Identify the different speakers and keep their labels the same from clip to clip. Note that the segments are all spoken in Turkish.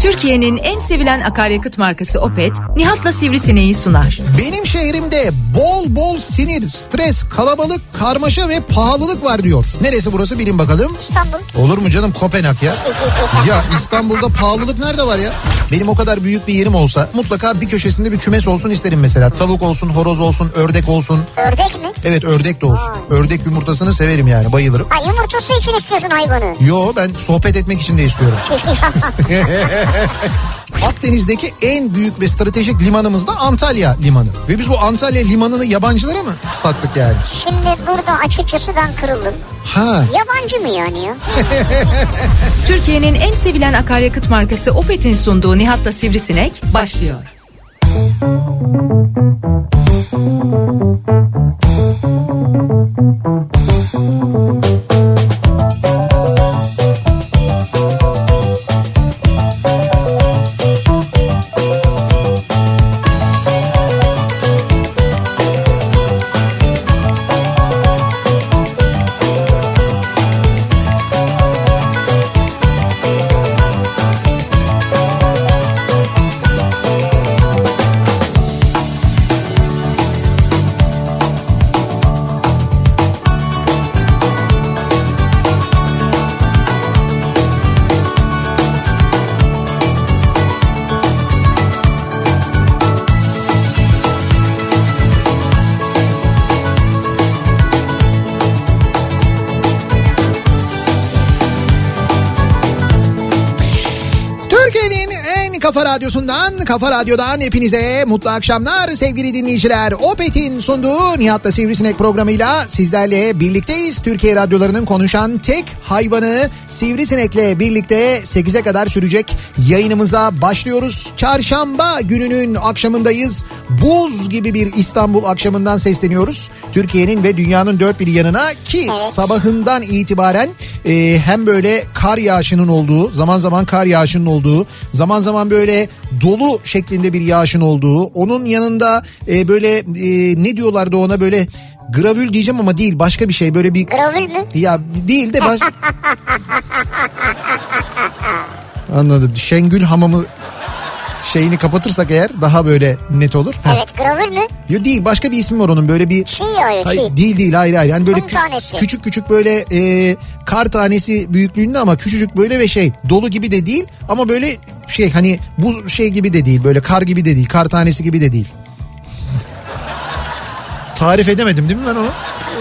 Speaker 1: Türkiye'nin en sevilen akaryakıt markası Opet, Nihat'la Sivrisineği sunar.
Speaker 2: Benim şehrimde bol bol sinir, stres, kalabalık, karmaşa ve pahalılık var diyor. Neresi burası bilin bakalım.
Speaker 3: İstanbul.
Speaker 2: Olur mu canım Kopenhag ya? ya İstanbul'da pahalılık nerede var ya? Benim o kadar büyük bir yerim olsa mutlaka bir köşesinde bir kümes olsun isterim mesela. Tavuk olsun, horoz olsun, ördek olsun.
Speaker 3: Ördek mi?
Speaker 2: Evet ördek de olsun. Ördek yumurtasını severim yani bayılırım.
Speaker 3: Ha yumurtası için istiyorsun hayvanı.
Speaker 2: Yo ben sohbet etmek için de istiyorum. Akdeniz'deki en büyük ve stratejik limanımız da Antalya Limanı. Ve biz bu Antalya Limanı'nı yabancılara mı sattık yani?
Speaker 3: Şimdi burada açıkçası ben kırıldım.
Speaker 2: Ha.
Speaker 3: Yabancı mı yani ya?
Speaker 1: Türkiye'nin en sevilen akaryakıt markası Opet'in sunduğu Nihat'la Sivrisinek başlıyor.
Speaker 2: Türkiye'nin en kafa radyosundan, kafa radyodan hepinize mutlu akşamlar sevgili dinleyiciler. Opet'in sunduğu Nihat'la Sivrisinek programıyla sizlerle birlikteyiz. Türkiye radyolarının konuşan tek hayvanı Sivrisinek'le birlikte 8'e kadar sürecek yayınımıza başlıyoruz. Çarşamba gününün akşamındayız. Buz gibi bir İstanbul akşamından sesleniyoruz. Türkiye'nin ve dünyanın dört bir yanına ki
Speaker 3: Evet.
Speaker 2: sabah sabahından itibaren e, hem böyle kar yağışının olduğu, zaman zaman kar yağışının olduğu, zaman zaman böyle dolu şeklinde bir yağışın olduğu, onun yanında e, böyle e, ne diyorlardı ona böyle gravül diyeceğim ama değil başka bir şey böyle bir
Speaker 3: Gravül mü?
Speaker 2: ya değil de baş... Anladım. Şengül hamamı şeyini kapatırsak eğer daha böyle net olur. Heh.
Speaker 3: Evet gravül mü?
Speaker 2: Ya değil başka bir ismi var onun böyle bir
Speaker 3: Çiğ hayır
Speaker 2: Hayır,
Speaker 3: çiğ.
Speaker 2: değil değil hayır hayır. Yani böyle
Speaker 3: Kum tanesi.
Speaker 2: küçük küçük böyle e, kar tanesi büyüklüğünde ama küçücük böyle ve şey dolu gibi de değil ama böyle şey hani buz şey gibi de değil böyle kar gibi de değil kar tanesi gibi de değil. Tarif edemedim değil mi ben onu?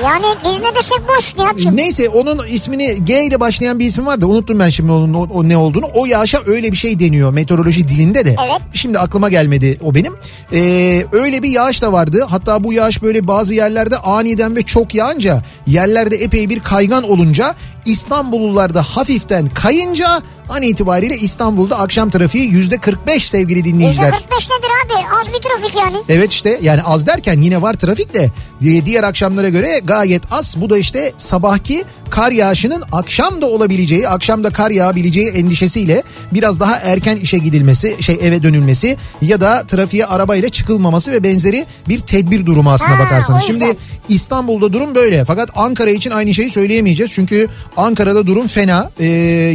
Speaker 3: Yani biz ne desek boş Nihat'cığım.
Speaker 2: Neyse onun ismini G ile başlayan bir isim var da unuttum ben şimdi onun o, o ne olduğunu. O yağışa öyle bir şey deniyor meteoroloji dilinde de.
Speaker 3: Evet.
Speaker 2: Şimdi aklıma gelmedi o benim. Ee, öyle bir yağış da vardı. Hatta bu yağış böyle bazı yerlerde aniden ve çok yağınca yerlerde epey bir kaygan olunca İstanbullular da hafiften kayınca an itibariyle İstanbul'da akşam trafiği yüzde 45 sevgili dinleyiciler.
Speaker 3: %45 nedir abi? Az bir trafik yani.
Speaker 2: Evet işte yani az derken yine var trafik de e, diğer akşamlara göre gayet az. Bu da işte sabahki kar yağışının akşam da olabileceği, akşam da kar yağabileceği endişesiyle biraz daha erken işe gidilmesi, şey eve dönülmesi ya da trafiğe arabayla çıkılmaması ve benzeri bir tedbir durumu aslına
Speaker 3: Ha,
Speaker 2: bakarsanız.
Speaker 3: o yüzden.
Speaker 2: Şimdi İstanbul'da durum böyle fakat Ankara için aynı şeyi söyleyemeyeceğiz. Çünkü Ankara'da durum fena. Ee,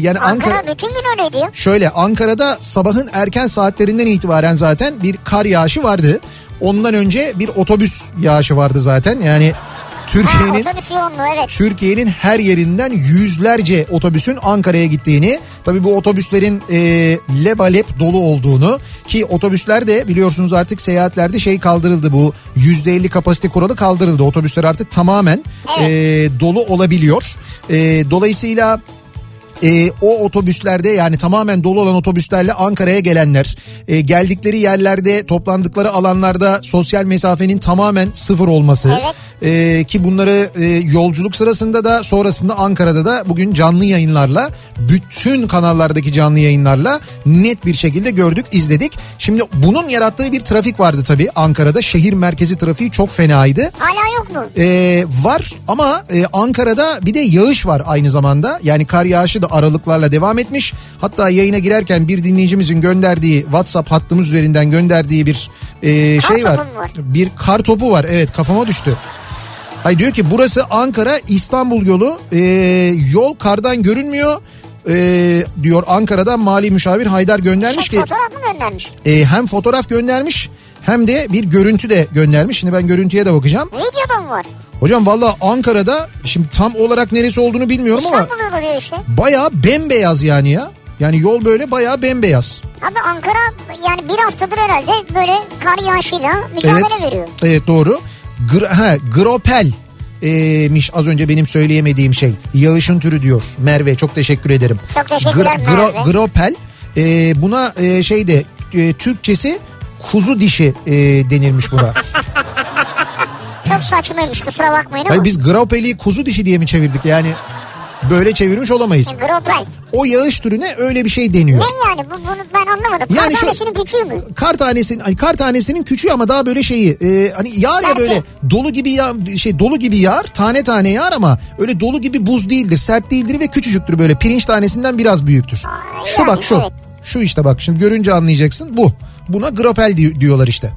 Speaker 2: yani
Speaker 3: Ankara,
Speaker 2: Ankara
Speaker 3: bütün gün öyle diyor.
Speaker 2: Şöyle Ankara'da sabahın erken saatlerinden itibaren zaten bir kar yağışı vardı. Ondan önce bir otobüs yağışı vardı zaten. Yani
Speaker 3: Ha,
Speaker 2: Türkiye'nin
Speaker 3: otobüs yoğunluğu evet.
Speaker 2: Türkiye'nin her yerinden yüzlerce otobüsün Ankara'ya gittiğini, tabii bu otobüslerin e, lebalep dolu olduğunu ki otobüsler de biliyorsunuz artık seyahatlerde şey kaldırıldı bu yüzde elli kapasite kuralı kaldırıldı. Otobüsler artık tamamen
Speaker 3: Evet.
Speaker 2: e, dolu olabiliyor. E, dolayısıyla e, o otobüslerde yani tamamen dolu olan otobüslerle Ankara'ya gelenler e, geldikleri yerlerde toplandıkları alanlarda sosyal mesafenin tamamen sıfır olması
Speaker 3: Evet.
Speaker 2: E, ki bunları e, yolculuk sırasında da sonrasında Ankara'da da bugün canlı yayınlarla bütün kanallardaki canlı yayınlarla net bir şekilde gördük izledik. Şimdi bunun yarattığı bir trafik vardı tabii Ankara'da şehir merkezi trafiği çok fenaydı.
Speaker 3: Hala yok mu?
Speaker 2: Ee, var ama e, Ankara'da bir de yağış var aynı zamanda. Yani kar yağışı da aralıklarla devam etmiş. Hatta yayına girerken bir dinleyicimizin gönderdiği WhatsApp hattımız üzerinden gönderdiği bir e, şey
Speaker 3: Kar
Speaker 2: var.
Speaker 3: topu mu var?
Speaker 2: Bir kar topu var. Evet kafama düştü. Hay diyor ki burası Ankara İstanbul yolu. Ee, yol E, kardan görünmüyor. Ee, diyor Ankara'dan mali müşavir Haydar göndermiş ki
Speaker 3: Şey, Fotoğraf mı göndermiş?
Speaker 2: e, hem fotoğraf göndermiş hem de bir görüntü de göndermiş. Şimdi ben görüntüye de bakacağım.
Speaker 3: Videoda mı var?
Speaker 2: Hocam valla Ankara'da şimdi tam olarak neresi olduğunu bilmiyorum ama
Speaker 3: İstanbul'da diyor işte.
Speaker 2: bayağı bembeyaz yani ya. Yani yol böyle bayağı bembeyaz.
Speaker 3: Abi Ankara yani bir haftadır herhalde böyle kar yağışıyla mücadele veriyor.
Speaker 2: Evet doğru. Gr ha, gropel e, miş az önce benim söyleyemediğim şey. Yağışın türü diyor Merve. Çok teşekkür ederim.
Speaker 3: Çok teşekkürler Merve.
Speaker 2: Gropel. e, buna e, şey de e, Türkçesi kuzu dişi e, denilmiş buna.
Speaker 3: Çok saçmaymış kusura bakmayın ama.
Speaker 2: Hayır biz gropeli kuzu dişi diye mi çevirdik yani? Böyle çevirmiş olamayız.
Speaker 3: Gropel.
Speaker 2: O yağış türüne öyle bir şey deniyor.
Speaker 3: Ne yani bu, bunu ben anlamadım.
Speaker 2: Yani
Speaker 3: Yani
Speaker 2: şu-
Speaker 3: Kardeşinin küçüğü mü?
Speaker 2: kar tanesinin hani kar tanesinin küçüğü ama daha böyle şeyi e, hani yağar ya
Speaker 3: Serti.
Speaker 2: böyle dolu gibi yağ, şey dolu gibi yağar tane tane yağar ama öyle dolu gibi buz değildir sert değildir ve küçücüktür böyle pirinç tanesinden biraz büyüktür.
Speaker 3: Aa,
Speaker 2: şu
Speaker 3: yani
Speaker 2: bak şu
Speaker 3: evet.
Speaker 2: şu işte bak şimdi görünce anlayacaksın bu buna gropel di- diyorlar işte.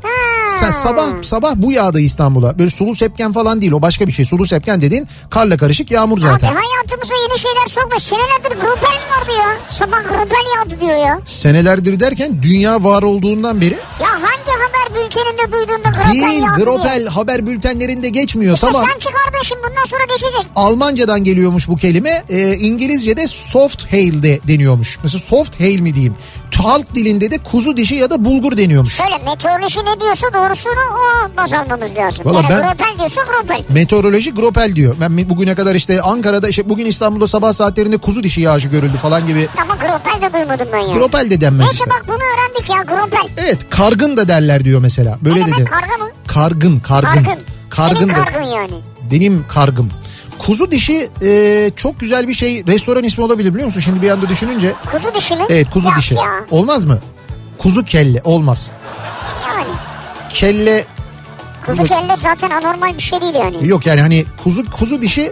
Speaker 2: Sen sabah sabah bu yağdı İstanbul'a. Böyle sulu sepken falan değil o başka bir şey. Sulu sepken dediğin karla karışık yağmur
Speaker 3: Abi
Speaker 2: zaten.
Speaker 3: hayatımıza yeni şeyler sokma. Senelerdir gropel mi vardı ya? Sabah gropel yağdı diyor ya.
Speaker 2: Senelerdir derken dünya var olduğundan beri
Speaker 3: Ya hangi haber bülteninde duyduğunda gropel
Speaker 2: değil
Speaker 3: yağdı diye.
Speaker 2: gropel haber bültenlerinde geçmiyor
Speaker 3: İşte
Speaker 2: tamam.
Speaker 3: sen çıkardın şimdi bundan sonra geçecek.
Speaker 2: Almancadan geliyormuş bu kelime. Ee, İngilizce'de soft hail de deniyormuş. Mesela soft hail mi diyeyim. Halk dilinde de kuzu dişi ya da bulgur deniyormuş.
Speaker 3: Şöyle meteoroloji ne diyorsa doğrusunu o baz almamız lazım.
Speaker 2: Valla
Speaker 3: yani
Speaker 2: ben-
Speaker 3: gropel diyorsa gropel.
Speaker 2: Meteoroloji gropel diyor. Ben mi- bugüne kadar işte Ankara'da işte bugün İstanbul'da sabah saatlerinde kuzu dişi yağışı görüldü falan gibi.
Speaker 3: Ama gropel de duymadım ben ya.
Speaker 2: Gropel de denmez
Speaker 3: Neyse
Speaker 2: işte.
Speaker 3: bak bunu öğrendik ya gropel.
Speaker 2: Evet kargın da derler diyor mesela. Böyle
Speaker 3: Ne demek
Speaker 2: dedi.
Speaker 3: karga mı?
Speaker 2: Kargın kargın.
Speaker 3: Kargın.
Speaker 2: Kargın
Speaker 3: Senin
Speaker 2: da-
Speaker 3: kargın yani.
Speaker 2: Benim kargım. Kuzu dişi e, çok güzel bir şey. Restoran ismi olabilir biliyor musun? Şimdi bir anda düşününce.
Speaker 3: Kuzu dişi mi?
Speaker 2: Evet kuzu
Speaker 3: Yok
Speaker 2: dişi.
Speaker 3: Ya.
Speaker 2: Olmaz mı? Kuzu kelle olmaz.
Speaker 3: Yani.
Speaker 2: Kelle
Speaker 3: Kuzu kelle zaten anormal bir şey değil yani.
Speaker 2: yok yani hani kuzu kuzu dişi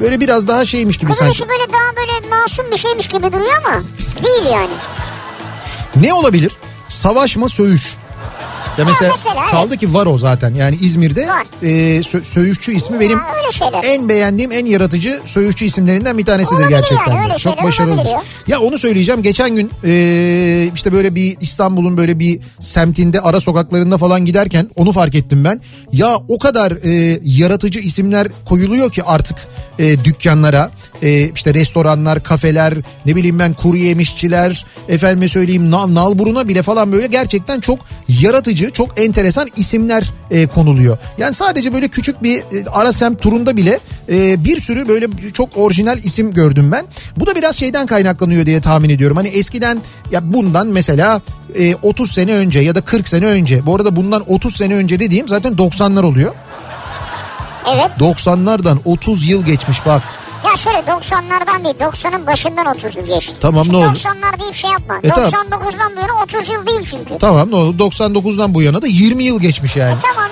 Speaker 2: böyle biraz daha şeymiş gibi
Speaker 3: Kuzu
Speaker 2: sanki.
Speaker 3: dişi böyle daha böyle masum bir şeymiş gibi duruyor ama değil yani.
Speaker 2: Ne olabilir? Savaşma söğüş. Ya mesela,
Speaker 3: mesela, evet.
Speaker 2: kaldı ki var o zaten. Yani İzmir'de
Speaker 3: Var.
Speaker 2: e, sö- söğüşçü ismi benim E-
Speaker 3: Ha, öyle şeyler.
Speaker 2: en beğendiğim, en yaratıcı söğüşçü isimlerinden bir tanesidir
Speaker 3: Olabilir
Speaker 2: gerçekten.
Speaker 3: yani,
Speaker 2: de.
Speaker 3: öyle
Speaker 2: Çok
Speaker 3: şeyler
Speaker 2: başarılı.
Speaker 3: olabilir ya.
Speaker 2: Ya onu söyleyeceğim. Geçen gün e, işte böyle bir İstanbul'un böyle bir semtinde ara sokaklarında falan giderken onu fark ettim ben. Ya o kadar e, yaratıcı isimler koyuluyor ki artık e, dükkanlara. E, işte restoranlar, kafeler, ne bileyim ben kuru yemişçiler, efendime söyleyeyim nal, nalburuna bile falan böyle gerçekten çok yaratıcı, çok enteresan isimler e, konuluyor. Yani sadece böyle küçük bir e, ara semt turunda bile e, bir sürü böyle çok orijinal isim gördüm ben. Bu da biraz şeyden kaynaklanıyor diye tahmin ediyorum. Hani eskiden ya bundan mesela e, 30 sene önce ya da 40 sene önce. Bu arada bundan 30 sene önce dediğim zaten 90'lar oluyor.
Speaker 3: Evet.
Speaker 2: 90'lardan 30 yıl geçmiş bak.
Speaker 3: Ya şöyle 90'lardan değil 90'ın başından 30 yıl geçti.
Speaker 2: Tamam,
Speaker 3: Şimdi
Speaker 2: ne oldu?
Speaker 3: 90'lar deyip şey yapma.
Speaker 2: E, tamam.
Speaker 3: 99'dan beri 30 yıl değil çünkü.
Speaker 2: Tamam ne oldu? 99'dan bu yana da 20 yıl geçmiş yani.
Speaker 3: Tamam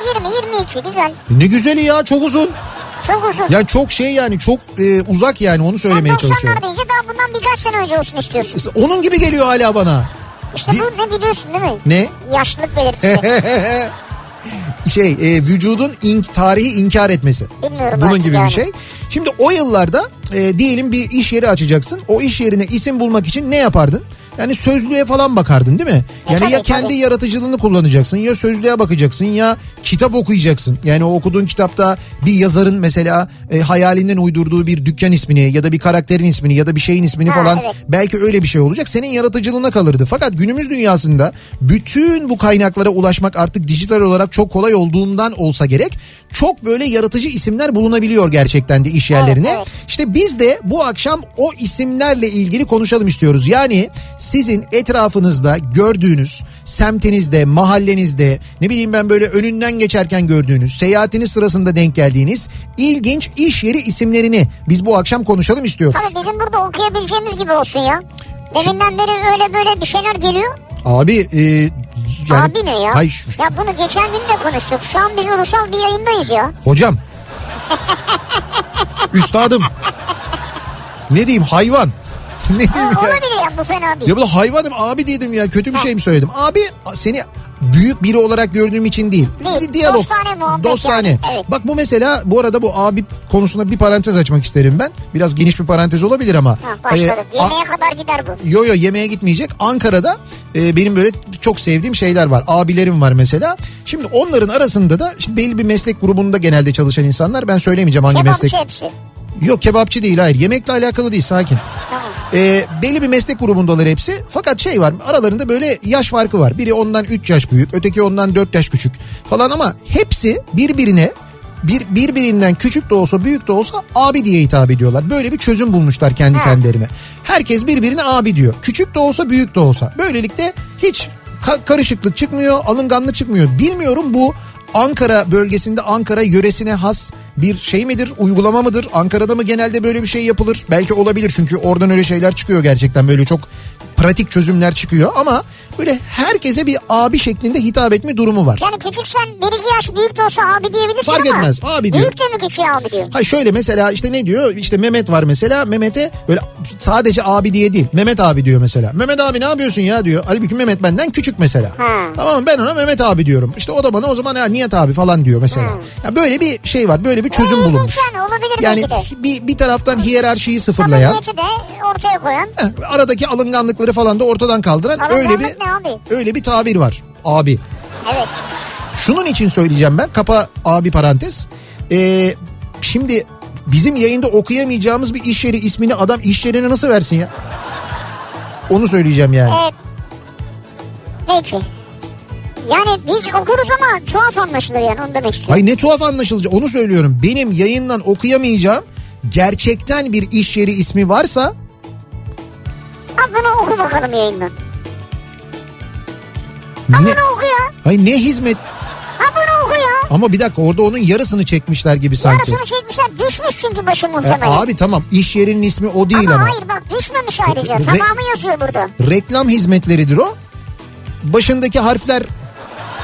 Speaker 3: 20-22 güzel.
Speaker 2: Ne güzeli ya çok uzun.
Speaker 3: Çok uzun.
Speaker 2: Yani çok şey yani çok e, uzak yani onu
Speaker 3: Sen
Speaker 2: söylemeye çalışıyorum.
Speaker 3: 90'lar deyince daha bundan birkaç sene önce olsun istiyorsun.
Speaker 2: Onun gibi geliyor hala bana.
Speaker 3: İşte
Speaker 2: Bir-
Speaker 3: bu ne biliyorsun değil mi?
Speaker 2: Ne?
Speaker 3: Yaşlılık belirtisi.
Speaker 2: şey e, vücudun in, tarihi inkar etmesi.
Speaker 3: Bilmiyorum
Speaker 2: Bunun
Speaker 3: artık
Speaker 2: gibi bir
Speaker 3: yani.
Speaker 2: şey. Şimdi o yıllarda e, diyelim bir iş yeri açacaksın. O iş yerine isim bulmak için ne yapardın? Yani sözlüğe falan bakardın değil mi?
Speaker 3: E,
Speaker 2: Yani
Speaker 3: tabii,
Speaker 2: ya kendi
Speaker 3: tabii.
Speaker 2: yaratıcılığını kullanacaksın ya sözlüğe bakacaksın ya kitap okuyacaksın. Yani o okuduğun kitapta bir yazarın mesela e, hayalinden uydurduğu bir dükkan ismini ya da bir karakterin ismini ya da bir şeyin ismini
Speaker 3: Ha,
Speaker 2: falan
Speaker 3: evet.
Speaker 2: belki öyle bir şey olacak. Senin yaratıcılığına kalırdı. Fakat günümüz dünyasında bütün bu kaynaklara ulaşmak artık dijital olarak çok kolay olduğundan olsa gerek çok böyle yaratıcı isimler bulunabiliyor gerçekten de iş yerlerine.
Speaker 3: evet.
Speaker 2: İşte biz de bu akşam o isimlerle ilgili konuşalım istiyoruz. Yani sizin etrafınızda gördüğünüz, semtinizde, mahallenizde, ne bileyim ben böyle önünden geçerken gördüğünüz, seyahatiniz sırasında denk geldiğiniz ilginç iş yeri isimlerini biz bu akşam konuşalım istiyoruz.
Speaker 3: Abi bizim burada okuyabileceğimiz gibi olsun ya. Deminden beri öyle böyle bir şeyler geliyor.
Speaker 2: Abi e, yani-
Speaker 3: Abi ne ya?
Speaker 2: Hayır, şu-
Speaker 3: Ya bunu geçen gün de konuştuk. Şu an biz ulusal bir yayındayız ya.
Speaker 2: hocam. Üstadım. Ne diyeyim hayvan. ne
Speaker 3: Ha,
Speaker 2: diyeyim ya?
Speaker 3: olabilir ya bu fena değil.
Speaker 2: Ya bu da hayvanım abi dedim ya kötü bir şey mi söyledim? Abi seni büyük biri olarak gördüğüm için değil.
Speaker 3: Ne?
Speaker 2: Diyalog.
Speaker 3: Dostane muhabbet
Speaker 2: Dostane.
Speaker 3: yani, evet.
Speaker 2: Bak bu mesela bu arada bu abi konusunda bir parantez açmak isterim ben. Biraz geniş bir parantez olabilir ama.
Speaker 3: Ha, başladık.
Speaker 2: Ee,
Speaker 3: Yemeğe kadar gider bu.
Speaker 2: Yo yo yemeğe gitmeyecek. Ankara'da e, benim böyle çok sevdiğim şeyler var. Abilerim var mesela. Şimdi onların arasında da şimdi belli bir meslek grubunda genelde çalışan insanlar. Ben söylemeyeceğim hangi meslek.
Speaker 3: Kebapçı şey hepsi.
Speaker 2: Yok kebapçı değil hayır. Yemekle alakalı değil sakin.
Speaker 3: Tamam.
Speaker 2: E, belli bir meslek grubundalar hepsi. Fakat şey var aralarında böyle yaş farkı var. Biri ondan 3 yaş büyük öteki ondan 4 yaş küçük falan ama hepsi birbirine bir, birbirinden küçük de olsa büyük de olsa abi diye hitap ediyorlar. Böyle bir çözüm bulmuşlar kendi kendilerine. Herkes birbirine abi diyor. Küçük de olsa büyük de olsa. Böylelikle hiç ka- karışıklık çıkmıyor, alınganlık çıkmıyor. Bilmiyorum bu Ankara bölgesinde Ankara yöresine has bir şey midir, uygulama mıdır? Ankara'da mı genelde böyle bir şey yapılır? Belki olabilir çünkü oradan öyle şeyler çıkıyor gerçekten böyle çok pratik çözümler çıkıyor ama böyle herkese bir abi şeklinde hitap etme durumu var.
Speaker 3: Yani küçüksen bir iki yaş büyük de olsa abi diyebilirsin
Speaker 2: Fark
Speaker 3: ama.
Speaker 2: etmez, abi diyor.
Speaker 3: Büyük de mi küçüğe abi diyor.
Speaker 2: Hayır şöyle mesela işte ne diyor? İşte Mehmet var mesela. Mehmet'e böyle sadece abi diye değil. Mehmet abi diyor mesela. Mehmet abi ne yapıyorsun ya diyor. Halbuki Mehmet benden küçük mesela. Tamam mı? ben ona Mehmet abi diyorum. İşte o da bana o zaman ya Nihat abi falan diyor mesela. Ya böyle bir şey var. Böyle bir çözüm
Speaker 3: Olabilir
Speaker 2: bulunmuş.
Speaker 3: Ee, yani, olabilir
Speaker 2: Yani
Speaker 3: belki
Speaker 2: bir bir taraftan hiyerarşiyi sıfırlayan
Speaker 3: Samimiyeti de ortaya koyan.
Speaker 2: Heh, aradaki alınganlıkları falan da ortadan kaldıran öyle
Speaker 3: Alınganlık
Speaker 2: bir
Speaker 3: ne abi?
Speaker 2: öyle bir tabir var. Abi.
Speaker 3: Evet.
Speaker 2: Şunun için söyleyeceğim ben kapa abi parantez. Ee, şimdi bizim yayında okuyamayacağımız bir iş yeri ismini adam iş yerine nasıl versin ya? Onu söyleyeceğim yani.
Speaker 3: Ee, peki. Yani biz okuruz ama tuhaf anlaşılır yani onu demek istiyorum.
Speaker 2: Ay ne tuhaf anlaşılacak onu söylüyorum. Benim yayından okuyamayacağım gerçekten bir iş yeri ismi varsa
Speaker 3: Al bunu oku bakalım yayından. Al
Speaker 2: ne,
Speaker 3: bunu oku ya.
Speaker 2: ay ne hizmet
Speaker 3: Al bunu oku ya.
Speaker 2: ama bir dakika orada onun yarısını çekmişler gibi sanki.
Speaker 3: Arasını çekmişler düşmüş çünkü başı
Speaker 2: E,
Speaker 3: muhtemelen.
Speaker 2: abi tamam iş yerinin ismi o değil
Speaker 3: ama,
Speaker 2: ama.
Speaker 3: hayır bak düşmemiş ayrıca.
Speaker 2: Re-
Speaker 3: Tamamı yazıyor burada.
Speaker 2: reklam hizmetleridir o. Başındaki harfler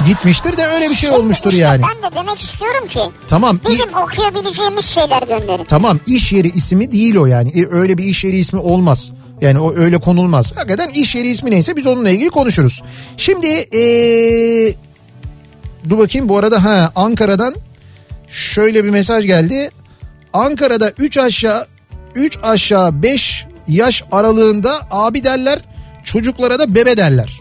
Speaker 2: gitmiştir de öyle bir şey
Speaker 3: Şimdi
Speaker 2: olmuştur
Speaker 3: işte
Speaker 2: yani.
Speaker 3: Ben de demek istiyorum ki
Speaker 2: Tamam. i-
Speaker 3: bizim okuyabileceğimiz şeyler gönderin.
Speaker 2: Tamam iş yeri ismi değil o yani. E, öyle bir iş yeri ismi olmaz. Yani o öyle konulmaz. Hakikaten iş yeri ismi neyse biz onunla ilgili konuşuruz. Şimdi ee, dur bakayım bu arada ha Ankara'dan şöyle bir mesaj geldi. Ankara'da 3 aşağı 3 aşağı 5 yaş aralığında abi derler çocuklara da bebe derler.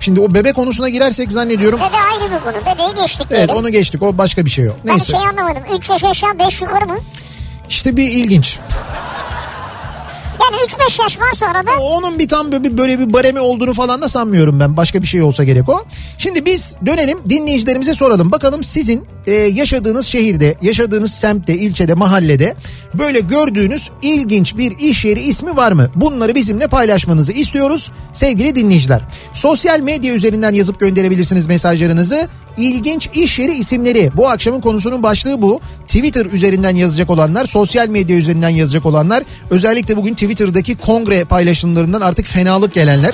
Speaker 2: Şimdi o bebe konusuna girersek zannediyorum.
Speaker 3: Bebe ayrı bir konu. Bebeği geçtik
Speaker 2: Evet
Speaker 3: diyelim.
Speaker 2: onu geçtik o başka bir şey o.
Speaker 3: Ben
Speaker 2: Neyse
Speaker 3: şey anlamadım. 3 yaş aşağı 5 yukarı mı?
Speaker 2: işte bir ilginç.
Speaker 3: Yani 3-5 yaş varsa arada
Speaker 2: Onun bir tam böyle, böyle bir baremi olduğunu falan da sanmıyorum ben. Başka bir şey olsa gerek o. Şimdi biz dönelim dinleyicilerimize soralım. Bakalım sizin e, yaşadığınız şehirde, yaşadığınız semtte, ilçede, mahallede böyle gördüğünüz ilginç bir iş yeri ismi var mı? Bunları bizimle paylaşmanızı istiyoruz sevgili dinleyiciler. Sosyal medya üzerinden yazıp gönderebilirsiniz mesajlarınızı. İlginç iş yeri isimleri bu akşamın konusunun başlığı bu. Twitter üzerinden yazacak olanlar, sosyal medya üzerinden yazacak olanlar, özellikle bugün Twitter'daki kongre paylaşımlarından artık fenalık gelenler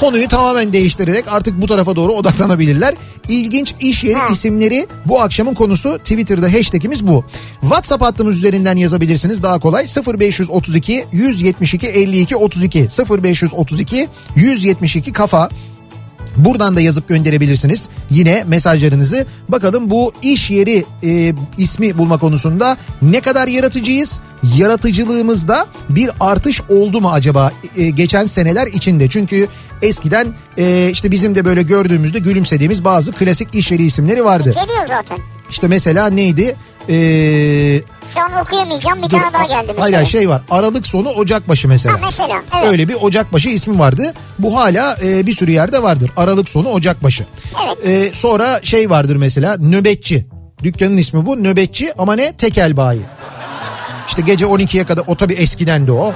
Speaker 2: konuyu tamamen değiştirerek artık bu tarafa doğru odaklanabilirler. İlginç iş yeri isimleri bu akşamın konusu Twitter'da hashtagimiz bu. WhatsApp hattımız üzerinden yazabilirsiniz daha kolay 0532 172 52 32 0532 172 kafa Buradan da yazıp gönderebilirsiniz yine mesajlarınızı. Bakalım bu iş yeri e, ismi bulma konusunda ne kadar yaratıcıyız? Yaratıcılığımızda bir artış oldu mu acaba e, geçen seneler içinde? Çünkü eskiden e, işte bizim de böyle gördüğümüzde gülümsediğimiz bazı klasik iş yeri isimleri vardı.
Speaker 3: geliyor zaten.
Speaker 2: İşte mesela neydi? E,
Speaker 3: Şu an okuyamayacağım. Bir
Speaker 2: dur,
Speaker 3: tane daha geldi.
Speaker 2: hayır,
Speaker 3: mesela.
Speaker 2: hayır, şey var. Aralık sonu Ocakbaşı mesela.
Speaker 3: Ha mesela. Evet.
Speaker 2: Öyle bir Ocakbaşı ismi vardı. Bu hala e, bir sürü yerde vardır. Aralık sonu Ocakbaşı.
Speaker 3: Evet.
Speaker 2: E, sonra şey vardır mesela nöbetçi. Dükkanın ismi bu nöbetçi ama ne tekel bayi. İşte gece 12'ye kadar o tabii eskiden de o.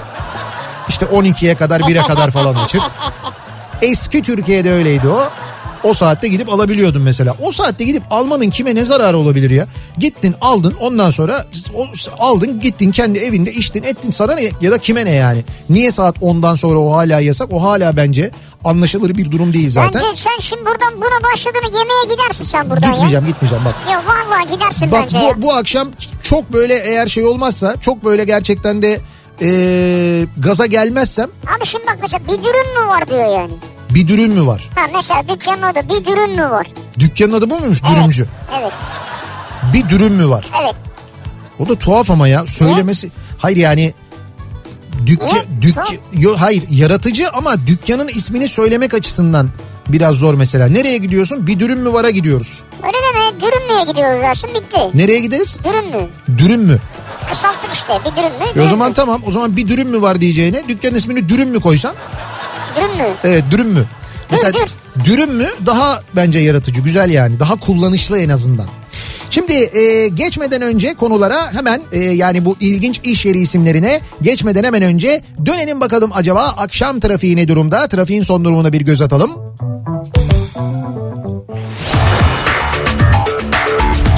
Speaker 2: İşte 12'ye kadar 1'e kadar falan açık. Eski Türkiye'de öyleydi o. O saatte gidip alabiliyordun mesela. O saatte gidip almanın kime ne zararı olabilir ya? Gittin aldın ondan sonra o- aldın gittin kendi evinde içtin ettin sana ne ya da kime ne yani? Niye saat 10'dan sonra o hala yasak? O hala bence anlaşılır bir durum değil zaten.
Speaker 3: Bence sen şimdi buradan buna başladığını yemeğe gidersin sen buradan
Speaker 2: Gitmeyeceğim gitmeyeceğim bak.
Speaker 3: ya. Ya vallahi gidersin
Speaker 2: Bak
Speaker 3: bence ya.
Speaker 2: bu, bu akşam çok böyle eğer şey olmazsa çok böyle gerçekten de eee, gaza gelmezsem
Speaker 3: Abi şimdi bak mesela bir dürüm mü var diyor yani.
Speaker 2: Bir dürüm mü var?
Speaker 3: Ha mesela dükkanın adı bir dürüm mü var?
Speaker 2: Dükkanın adı bu muymuş?
Speaker 3: Evet.
Speaker 2: Dürümcü.
Speaker 3: Evet.
Speaker 2: Bir dürüm mü var?
Speaker 3: Evet.
Speaker 2: O da tuhaf ama ya söylemesi. Hayır yani dükkan
Speaker 3: Ne?
Speaker 2: dük
Speaker 3: Ha?
Speaker 2: yo, hayır yaratıcı ama dükkanın ismini söylemek açısından biraz zor mesela. Nereye gidiyorsun? Bir dürüm mü vara gidiyoruz.
Speaker 3: Öyle deme dürüm müye gidiyoruz dersin bitti.
Speaker 2: Nereye gideriz?
Speaker 3: Dürüm mü?
Speaker 2: Dürüm mü?
Speaker 3: Kısalttık işte bir dürüm mü?
Speaker 2: E o
Speaker 3: dürüm
Speaker 2: zaman
Speaker 3: mü?
Speaker 2: tamam. O zaman bir dürüm mü var diyeceğine dükkanın ismini dürüm mü koysan?
Speaker 3: Dürüm mü?
Speaker 2: Evet E, dürüm mü? Mesela dürüm mü daha bence yaratıcı güzel yani daha kullanışlı en azından. Şimdi e, geçmeden önce konulara hemen e, yani bu ilginç iş yeri isimlerine geçmeden hemen önce dönelim bakalım acaba akşam trafiği ne durumda? Trafiğin son durumuna bir göz atalım.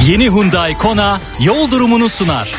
Speaker 4: Yeni Hyundai Kona yol durumunu sunar.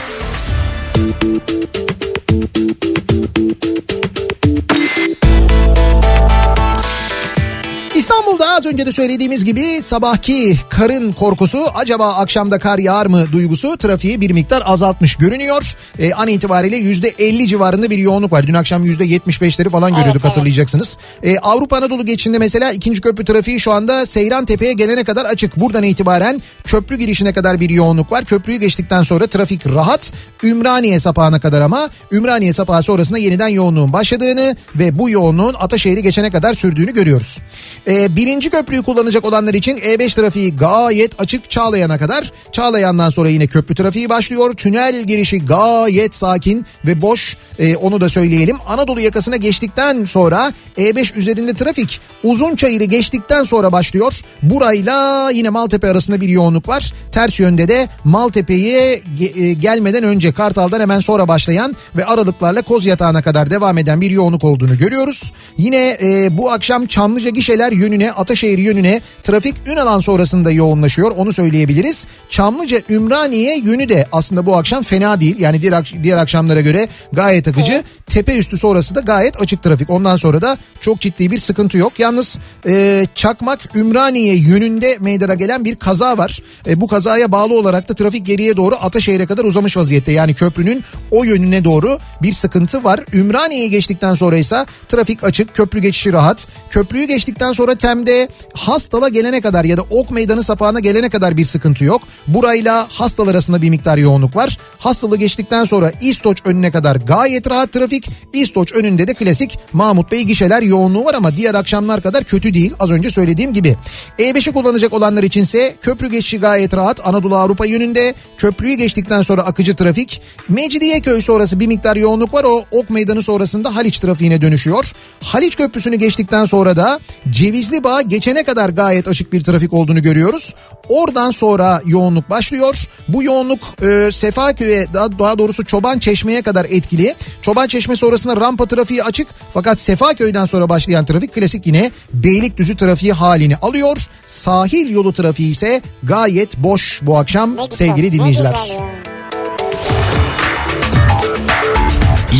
Speaker 2: İstanbul'da az önce de söylediğimiz gibi sabahki karın korkusu acaba akşamda kar yağar mı duygusu trafiği bir miktar azaltmış görünüyor. Ee, an itibariyle %50 civarında bir yoğunluk var. Dün akşam %75'leri falan görüyorduk
Speaker 3: evet.
Speaker 2: hatırlayacaksınız. Ee, Avrupa Anadolu geçişinde mesela ikinci köprü trafiği şu anda Seyran Tepe'ye gelene kadar açık. Buradan itibaren köprü girişine kadar bir yoğunluk var. Köprüyü geçtikten sonra trafik rahat. Ümraniye sapağına kadar ama Ümraniye sapağı sonrasında yeniden yoğunluğun başladığını ve bu yoğunluğun Ataşehir'i geçene kadar sürdüğünü görüyoruz. Ee, birinci köprüyü kullanacak olanlar için E5 trafiği gayet açık Çağlayan'a kadar. Çağlayan'dan sonra yine köprü trafiği başlıyor. Tünel girişi gayet sakin ve boş. Ee, onu da söyleyelim. Anadolu yakasına geçtikten sonra E5 üzerinde trafik Uzunçayır'ı geçtikten sonra başlıyor. Burayla yine Maltepe arasında bir yoğunluk var. Ters yönde de Maltepe'ye ge- e, gelmeden önce Kartal'dan hemen sonra başlayan ve aralıklarla Koz Yatağı'na kadar devam eden bir yoğunluk olduğunu görüyoruz. Yine e, bu akşam Çamlıca Gişeler yönüne Ataşehir yönüne trafik Ünalan sonrasında yoğunlaşıyor. Onu söyleyebiliriz. Çamlıca Ümraniye yönü de aslında bu akşam fena değil. Yani diğer, ak- diğer akşamlara göre gayet akıcı. Tepe üstü sonrası da gayet açık trafik. Ondan sonra da çok ciddi bir sıkıntı yok. Yalnız e, Çakmak Ümraniye yönünde meydana gelen bir kaza var. E, bu kazaya bağlı olarak da trafik geriye doğru Ataşehir'e kadar uzamış vaziyette. Yani köprünün o yönüne doğru bir sıkıntı var. Ümraniye'yi geçtikten sonra ise trafik açık, köprü geçişi rahat. Köprüyü geçtikten sonra Tem'de Hastal'a gelene kadar ya da Ok Meydanı sapağına gelene kadar bir sıkıntı yok. Burayla Hastal arasında bir miktar yoğunluk var. Hastal'ı geçtikten sonra İstoç önüne kadar gayet rahat trafik. İstoç önünde de klasik Mahmut Bey gişeler yoğunluğu var ama diğer akşamlar kadar kötü değil. Az önce söylediğim gibi. E5'i kullanacak olanlar içinse köprü geçişi gayet rahat. Anadolu Avrupa yönünde köprüyü geçtikten sonra akıcı trafik. Mecidiyeköy sonrası bir miktar yoğunluk var. O Ok Meydanı sonrasında Haliç trafiğine dönüşüyor. Haliç Köprüsü'nü geçtikten sonra da Cevizli Bağ geçene kadar gayet açık bir trafik olduğunu görüyoruz. Oradan sonra yoğunluk başlıyor. Bu yoğunluk e, Sefaköy'e daha, daha doğrusu Çoban Çeşme'ye kadar etkili. Çoban Çeşme sonrasında rampa trafiği açık. Fakat Sefaköy'den sonra başlayan trafik klasik yine Beylikdüzü trafiği halini alıyor. Sahil yolu trafiği ise gayet boş bu akşam
Speaker 3: Ne güzel,
Speaker 2: sevgili dinleyiciler.
Speaker 3: Ne güzel ya.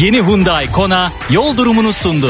Speaker 4: Yeni Hyundai Kona yol durumunu sundu.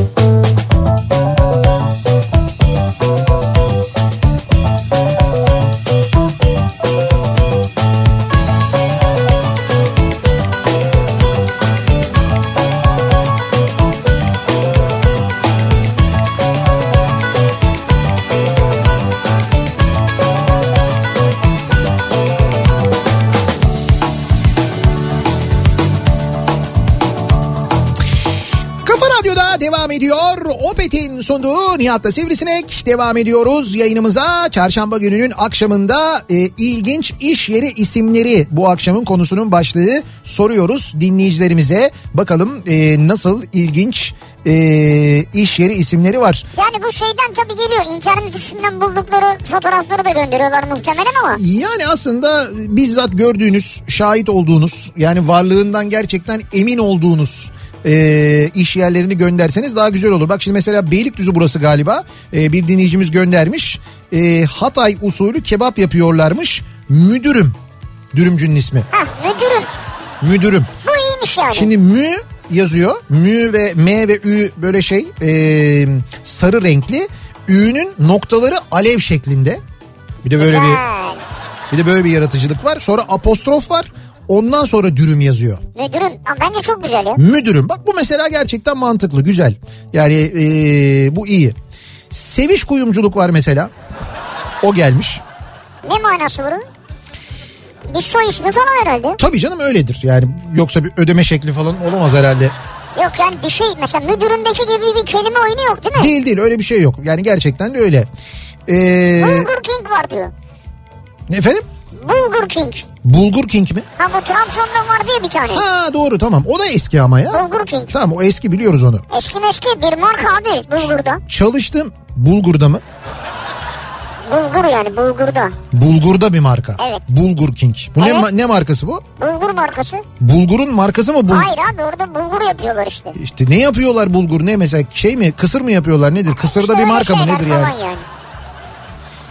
Speaker 2: Kafa Radyo'da devam ediyor. Opet'in sunduğu Nihat'ta Sivrisinek. Devam ediyoruz yayınımıza. Çarşamba gününün akşamında e, ilginç iş yeri isimleri bu akşamın konusunun başlığı. Soruyoruz dinleyicilerimize. Bakalım e, nasıl ilginç e, iş yeri isimleri var.
Speaker 3: Yani bu şeyden tabii geliyor. İnternet üstünden buldukları fotoğrafları da gönderiyorlar muhtemelen ama.
Speaker 2: Yani aslında bizzat gördüğünüz, şahit olduğunuz yani varlığından gerçekten emin olduğunuz e, iş yerlerini gönderseniz daha güzel olur. Bak şimdi mesela Beylikdüzü burası galiba E, bir dinleyicimiz göndermiş. E, Hatay usulü kebap yapıyorlarmış. Müdürüm. Dürümcünün ismi.
Speaker 3: Hah müdürüm.
Speaker 2: Müdürüm.
Speaker 3: Bu iyiymiş yani.
Speaker 2: Şimdi mü yazıyor. Mü ve M ve Ü böyle şey e, sarı renkli. Ü'nün noktaları alev şeklinde. Bir de böyle bir
Speaker 3: Güzel.
Speaker 2: Bir de böyle bir yaratıcılık var. Sonra apostrof var. Ondan sonra dürüm yazıyor.
Speaker 3: Müdürüm ama bence çok güzel ya.
Speaker 2: Müdürüm. Bak bu mesela gerçekten mantıklı, güzel. Yani ee, bu iyi. Seviş kuyumculuk var mesela. O gelmiş.
Speaker 3: Ne manası bunun? Bir soy ismi falan herhalde.
Speaker 2: Tabii canım öyledir. Yani yoksa bir ödeme şekli falan olamaz herhalde.
Speaker 3: Yok yani bir şey mesela müdürümdeki gibi bir kelime oyunu yok değil mi?
Speaker 2: Değil değil öyle bir şey yok. Yani gerçekten de öyle. Ee,
Speaker 3: Bulgur King var diyor.
Speaker 2: efendim?
Speaker 3: Bulgur King.
Speaker 2: Bulgur King mi?
Speaker 3: Ha bu Trabzon'da var diye bir tane.
Speaker 2: Ha doğru tamam. O da eski ama ya.
Speaker 3: Bulgur King.
Speaker 2: Tamam o eski biliyoruz onu.
Speaker 3: Eski meski bir marka abi Bulgur'da.
Speaker 2: Çalıştım Bulgur'da mı?
Speaker 3: Bulgur yani Bulgur'da.
Speaker 2: Bulgur'da bir marka.
Speaker 3: Evet.
Speaker 2: Bulgur King. Bu ne
Speaker 3: Evet.
Speaker 2: ma- ne markası bu?
Speaker 3: Bulgur markası.
Speaker 2: Bulgur'un markası mı bu?
Speaker 3: Hayır abi orada bulgur yapıyorlar işte.
Speaker 2: İşte ne yapıyorlar bulgur ne mesela şey mi kısır mı yapıyorlar nedir kısırda
Speaker 3: İşte
Speaker 2: bir
Speaker 3: öyle
Speaker 2: marka mı
Speaker 3: şeyler
Speaker 2: nedir
Speaker 3: falan
Speaker 2: yani?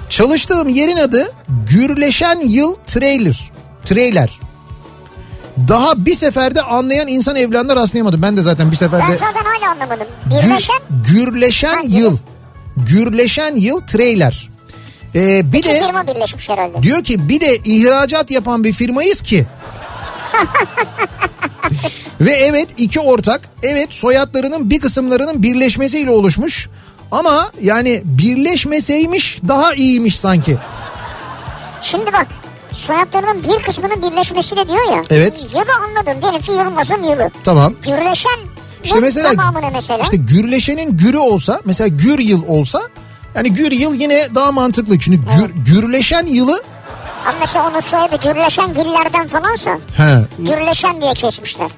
Speaker 2: Çalıştığım yerin adı Gürleşen Yıl Trailer. Trailer. Daha bir seferde anlayan insan evlenler rastlayamadım. Ben de zaten bir
Speaker 3: Ben
Speaker 2: seferde
Speaker 3: zaten hala anlamadım.
Speaker 2: Gür-
Speaker 3: Birleşen
Speaker 2: Gürleşen
Speaker 3: Ha,
Speaker 2: Yıl. Gürleşen Yıl Trailer. Ee, bir
Speaker 3: iki
Speaker 2: de
Speaker 3: firma birleşmiş herhalde.
Speaker 2: diyor ki bir de ihracat yapan bir firmayız ki. Ve evet iki ortak evet soyadlarının bir kısımlarının birleşmesiyle oluşmuş. Ama yani birleşmeseymiş daha iyiymiş sanki.
Speaker 3: Şimdi bak soyadlarının bir kısmının birleşmesiyle diyor ya.
Speaker 2: Evet.
Speaker 3: Yılı anladım. Diyelim ki Yılmaz'ın yılı.
Speaker 2: Tamam.
Speaker 3: Birleşen
Speaker 2: İşte mesela,
Speaker 3: tamamı ne mesela?
Speaker 2: işte gürleşenin gürü olsa mesela gür yıl olsa yani gür yıl yine daha mantıklı. Çünkü gür, gürleşen yılı
Speaker 3: Ama mesela onun soyadı gürleşen gillerden falansa
Speaker 2: he,
Speaker 3: gürleşen diye kesmişler.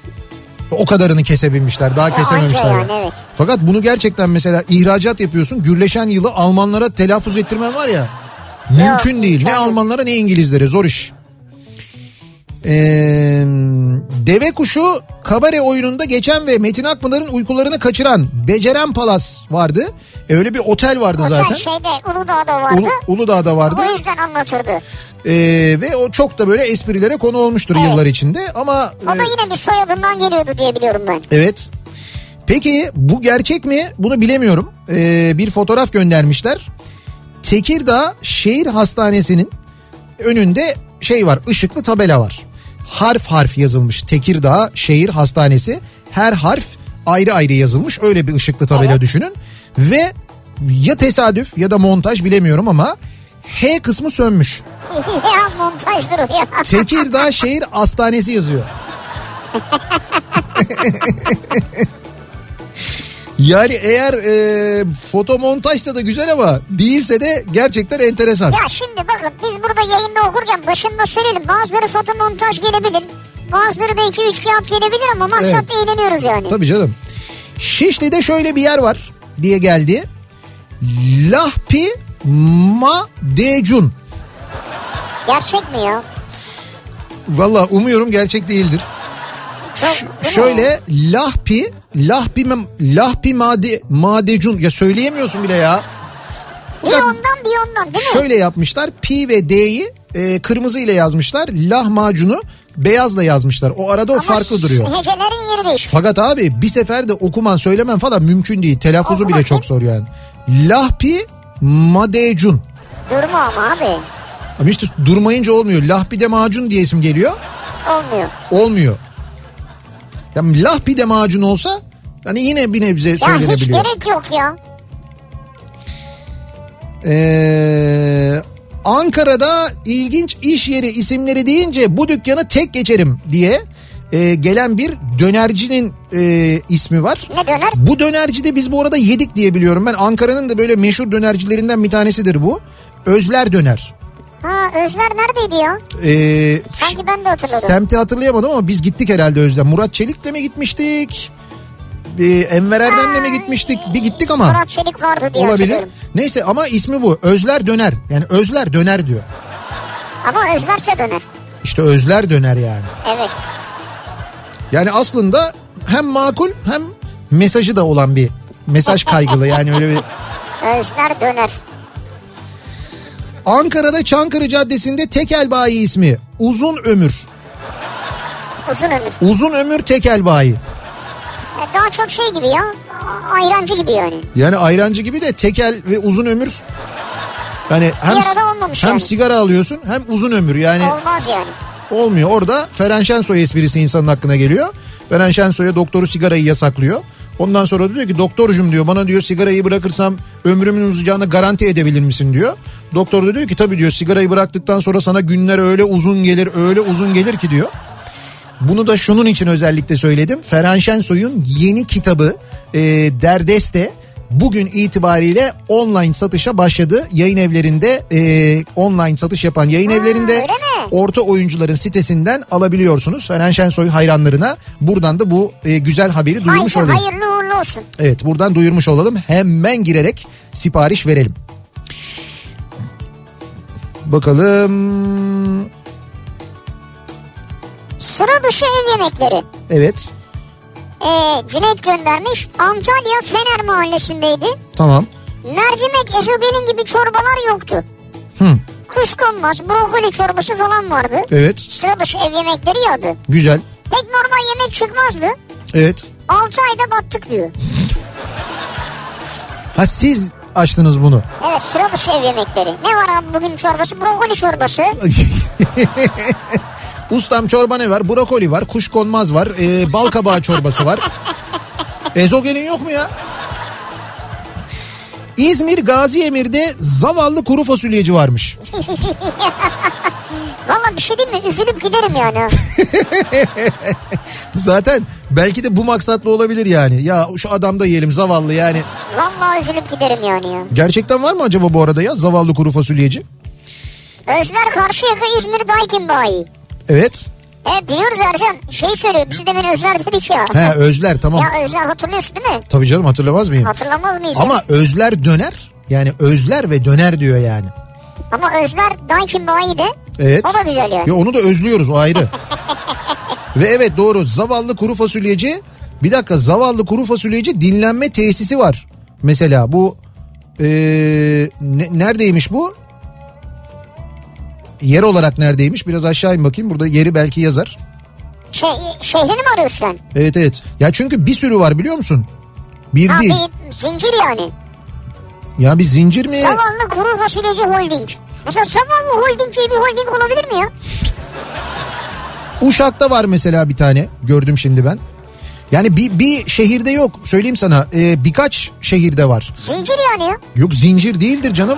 Speaker 2: o kadarını kesebilmişler daha kesememişler.
Speaker 3: anca yani, evet.
Speaker 2: Fakat bunu gerçekten mesela ihracat yapıyorsun gürleşen yılı Almanlara telaffuz ettirmen var ya mümkün
Speaker 3: Yok,
Speaker 2: değil ne
Speaker 3: imkansız.
Speaker 2: Almanlara ne İngilizlere zor iş. Ee, deve kuşu kabare oyununda geçen ve Metin Akpınar'ın uykularını kaçıran Beceren Palas vardı. E, öyle bir otel vardı
Speaker 3: Otel
Speaker 2: zaten.
Speaker 3: şeyde Uludağ'da vardı.
Speaker 2: Ulu, Uludağ'da vardı.
Speaker 3: O yüzden anlatırdı.
Speaker 2: Ee, ve o çok da böyle esprilere konu olmuştur
Speaker 3: Evet.
Speaker 2: yıllar içinde ama
Speaker 3: O da
Speaker 2: e,
Speaker 3: yine bir soyadından geliyordu diye biliyorum ben.
Speaker 2: evet. Peki bu gerçek mi? Bunu bilemiyorum. Ee, bir fotoğraf göndermişler. Tekirdağ Şehir Hastanesi'nin önünde şey var, ışıklı tabela var. Harf harf yazılmış Tekirdağ Şehir Hastanesi. Her harf ayrı ayrı yazılmış. Öyle bir ışıklı tabela düşünün. Ve ya tesadüf ya da montaj bilemiyorum ama H kısmı sönmüş.
Speaker 3: ya montajdır o ya.
Speaker 2: Tekirdağ Şehir Hastanesi yazıyor. yani eğer e, fotomontajsa da güzel ama değilse de gerçekten enteresan.
Speaker 3: Ya şimdi bakın biz burada yayında okurken başında söyleyelim. Bazıları fotomontaj gelebilir. Bazıları belki üç kağıt gelebilir ama maksat
Speaker 2: Evet.
Speaker 3: eğleniyoruz yani.
Speaker 2: Tabii canım. Şişli'de şöyle bir yer var diye geldi. Lahpi Ma Decun.
Speaker 3: Gerçek mi ya?
Speaker 2: Valla umuyorum gerçek değildir.
Speaker 3: Çok,
Speaker 2: Ş-
Speaker 3: değil mi?
Speaker 2: şöyle Lahpi Lahpi Mem- Lahpi Made Madecun ya söyleyemiyorsun bile ya.
Speaker 3: Bir ondan bir ondan değil mi?
Speaker 2: Şöyle yapmışlar. Pi ve D'yi e, kırmızı ile yazmışlar. Lahmacunu beyazla yazmışlar. O arada o
Speaker 3: Ama
Speaker 2: farklı duruyor.
Speaker 3: Hecelerin yeri değişiyor.
Speaker 2: Fakat abi bir seferde okuman söylemen falan mümkün değil. Telaffuzu bile
Speaker 3: Okumak
Speaker 2: çok zor yani. Lahpi madecun.
Speaker 3: Durma ama abi.
Speaker 2: Ama işte durmayınca olmuyor. Lahpi de macun diye isim geliyor.
Speaker 3: Olmuyor.
Speaker 2: Olmuyor. Ya lahpi de macun olsa yani yine bir nebze
Speaker 3: Ya hiç
Speaker 2: söylenebiliyor.
Speaker 3: gerek yok ya.
Speaker 2: Ee, Ankara'da ilginç iş yeri isimleri deyince bu dükkanı tek geçerim diye e, gelen bir dönercinin e, ismi var.
Speaker 3: Ne döner?
Speaker 2: Bu dönerci de biz bu arada yedik diye biliyorum ben. Ankara'nın da böyle meşhur dönercilerinden bir tanesidir bu. Özler Döner.
Speaker 3: Ha Özler neredeydi ya?
Speaker 2: Ee,
Speaker 3: Sanki ben de hatırladım.
Speaker 2: semti hatırlayamadım ama biz gittik herhalde Özler. Murat Çelik'le mi gitmiştik? Bir Enver Erdem'le mi gitmiştik? Bir gittik ama.
Speaker 3: Murat Çelik vardı diye
Speaker 2: Olabilir.
Speaker 3: hatırlıyorum.
Speaker 2: Neyse ama ismi bu. Özler döner. Yani özler döner diyor.
Speaker 3: Ama Özlerse döner.
Speaker 2: İşte özler döner yani.
Speaker 3: Evet.
Speaker 2: Yani aslında hem makul hem mesajı da olan bir mesaj kaygılı. Yani öyle bir
Speaker 3: Özler döner.
Speaker 2: Ankara'da Çankırı Caddesi'nde tekel bayi ismi. Uzun ömür.
Speaker 3: Uzun ömür.
Speaker 2: Uzun ömür tekel bayi.
Speaker 3: E, Daha çok şey gibi ya. a- Ayrancı gibi yani.
Speaker 2: Yani ayrancı gibi de tekel ve uzun ömür Yani hem,
Speaker 3: arada olmamış
Speaker 2: hem
Speaker 3: yani.
Speaker 2: sigara alıyorsun hem uzun ömür yani
Speaker 3: Olmaz yani.
Speaker 2: olmuyor. Orada Feren Şensoy esprisi insanın aklına geliyor. Feren Şensoy'a doktoru sigarayı yasaklıyor. Ondan sonra diyor ki doktorcum diyor bana diyor sigarayı bırakırsam ömrümün uzayacağını garanti edebilir misin diyor. Doktor da diyor ki tabii diyor sigarayı bıraktıktan sonra sana günler öyle uzun gelir öyle uzun gelir ki diyor. Bunu da şunun için özellikle söyledim. Ferhan Şensoy'un yeni kitabı e, Derdeste bugün itibariyle online satışa başladı. Yayın evlerinde e, online satış yapan yayın evlerinde
Speaker 3: öyle mi?
Speaker 2: orta oyuncuların sitesinden alabiliyorsunuz. Ferhan Şensoy hayranlarına buradan da bu e, güzel haberi duyurmuş
Speaker 3: Haydi,
Speaker 2: olayım.
Speaker 3: hayırlı uğurlu olsun.
Speaker 2: Evet buradan duyurmuş olalım. Hemen girerek sipariş verelim. Bakalım.
Speaker 3: Sıra dışı ev yemekleri.
Speaker 2: Evet.
Speaker 3: Ee, Cüneyt göndermiş. Antalya Fener mahallesindeydi.
Speaker 2: Tamam.
Speaker 3: Mercimek ezogelin gibi çorbalar yoktu.
Speaker 2: Hı.
Speaker 3: Kuşkonmaz, brokoli çorbası falan vardı.
Speaker 2: Evet.
Speaker 3: Sıra dışı ev yemekleri yadı.
Speaker 2: Güzel.
Speaker 3: Pek normal yemek çıkmazdı.
Speaker 2: Evet.
Speaker 3: 6 ayda battık diyor.
Speaker 2: Ha siz açtınız bunu.
Speaker 3: Evet sıra dışı ev yemekleri. Ne var abi bugün çorbası? Brokoli çorbası.
Speaker 2: Ustam çorba ne var? Brokoli var, kuşkonmaz var, e, bal kabağı çorbası var. Ezogelin yok mu ya? İzmir Gazi Emir'de zavallı kuru fasulyeci varmış.
Speaker 3: Valla bir şey değil mi? Üzülüp giderim yani.
Speaker 2: Zaten belki de bu maksatlı olabilir yani. Ya şu adam da yiyelim zavallı yani.
Speaker 3: Valla üzülüp giderim yani. ya.
Speaker 2: Gerçekten var mı acaba bu arada ya zavallı kuru fasulyeci?
Speaker 3: Özler Karşıyaka İzmir Daikin Bayi.
Speaker 2: Evet.
Speaker 3: E biliyoruz Ercan. Şey söylüyor. Biz demin Özler dedik ya.
Speaker 2: He özler tamam.
Speaker 3: Ya Özler hatırlıyorsun değil mi?
Speaker 2: Tabii canım hatırlamaz mıyım?
Speaker 3: Hatırlamaz mıyız? ya?
Speaker 2: Ama özler döner. Yani özler ve döner diyor yani.
Speaker 3: Ama Özler Daikin Bayi de.
Speaker 2: Evet.
Speaker 3: O da güzel yani.
Speaker 2: Ya onu da özlüyoruz o ayrı. Ve evet doğru zavallı kuru fasulyeci bir dakika zavallı kuru fasulyeci dinlenme tesisi var. Mesela bu eee, ne- neredeymiş bu? Yer olarak neredeymiş? Biraz aşağı in bakayım. Burada yeri belki yazar.
Speaker 3: Şey, şehrini mi arıyorsun sen?
Speaker 2: Evet evet. Ya çünkü bir sürü var biliyor musun? Bir
Speaker 3: Ha,
Speaker 2: değil.
Speaker 3: bir zincir yani.
Speaker 2: Ya bir zincir mi?
Speaker 3: Zavallı kuru fasulyeci holding. Mesela zavallı holding diye bir holding olabilir mi ya?
Speaker 2: Uşak'ta var mesela bir tane gördüm şimdi ben. Yani bir, bir şehirde yok söyleyeyim sana Ee, birkaç şehirde var.
Speaker 3: Zincir yani ya.
Speaker 2: Yok zincir değildir canım.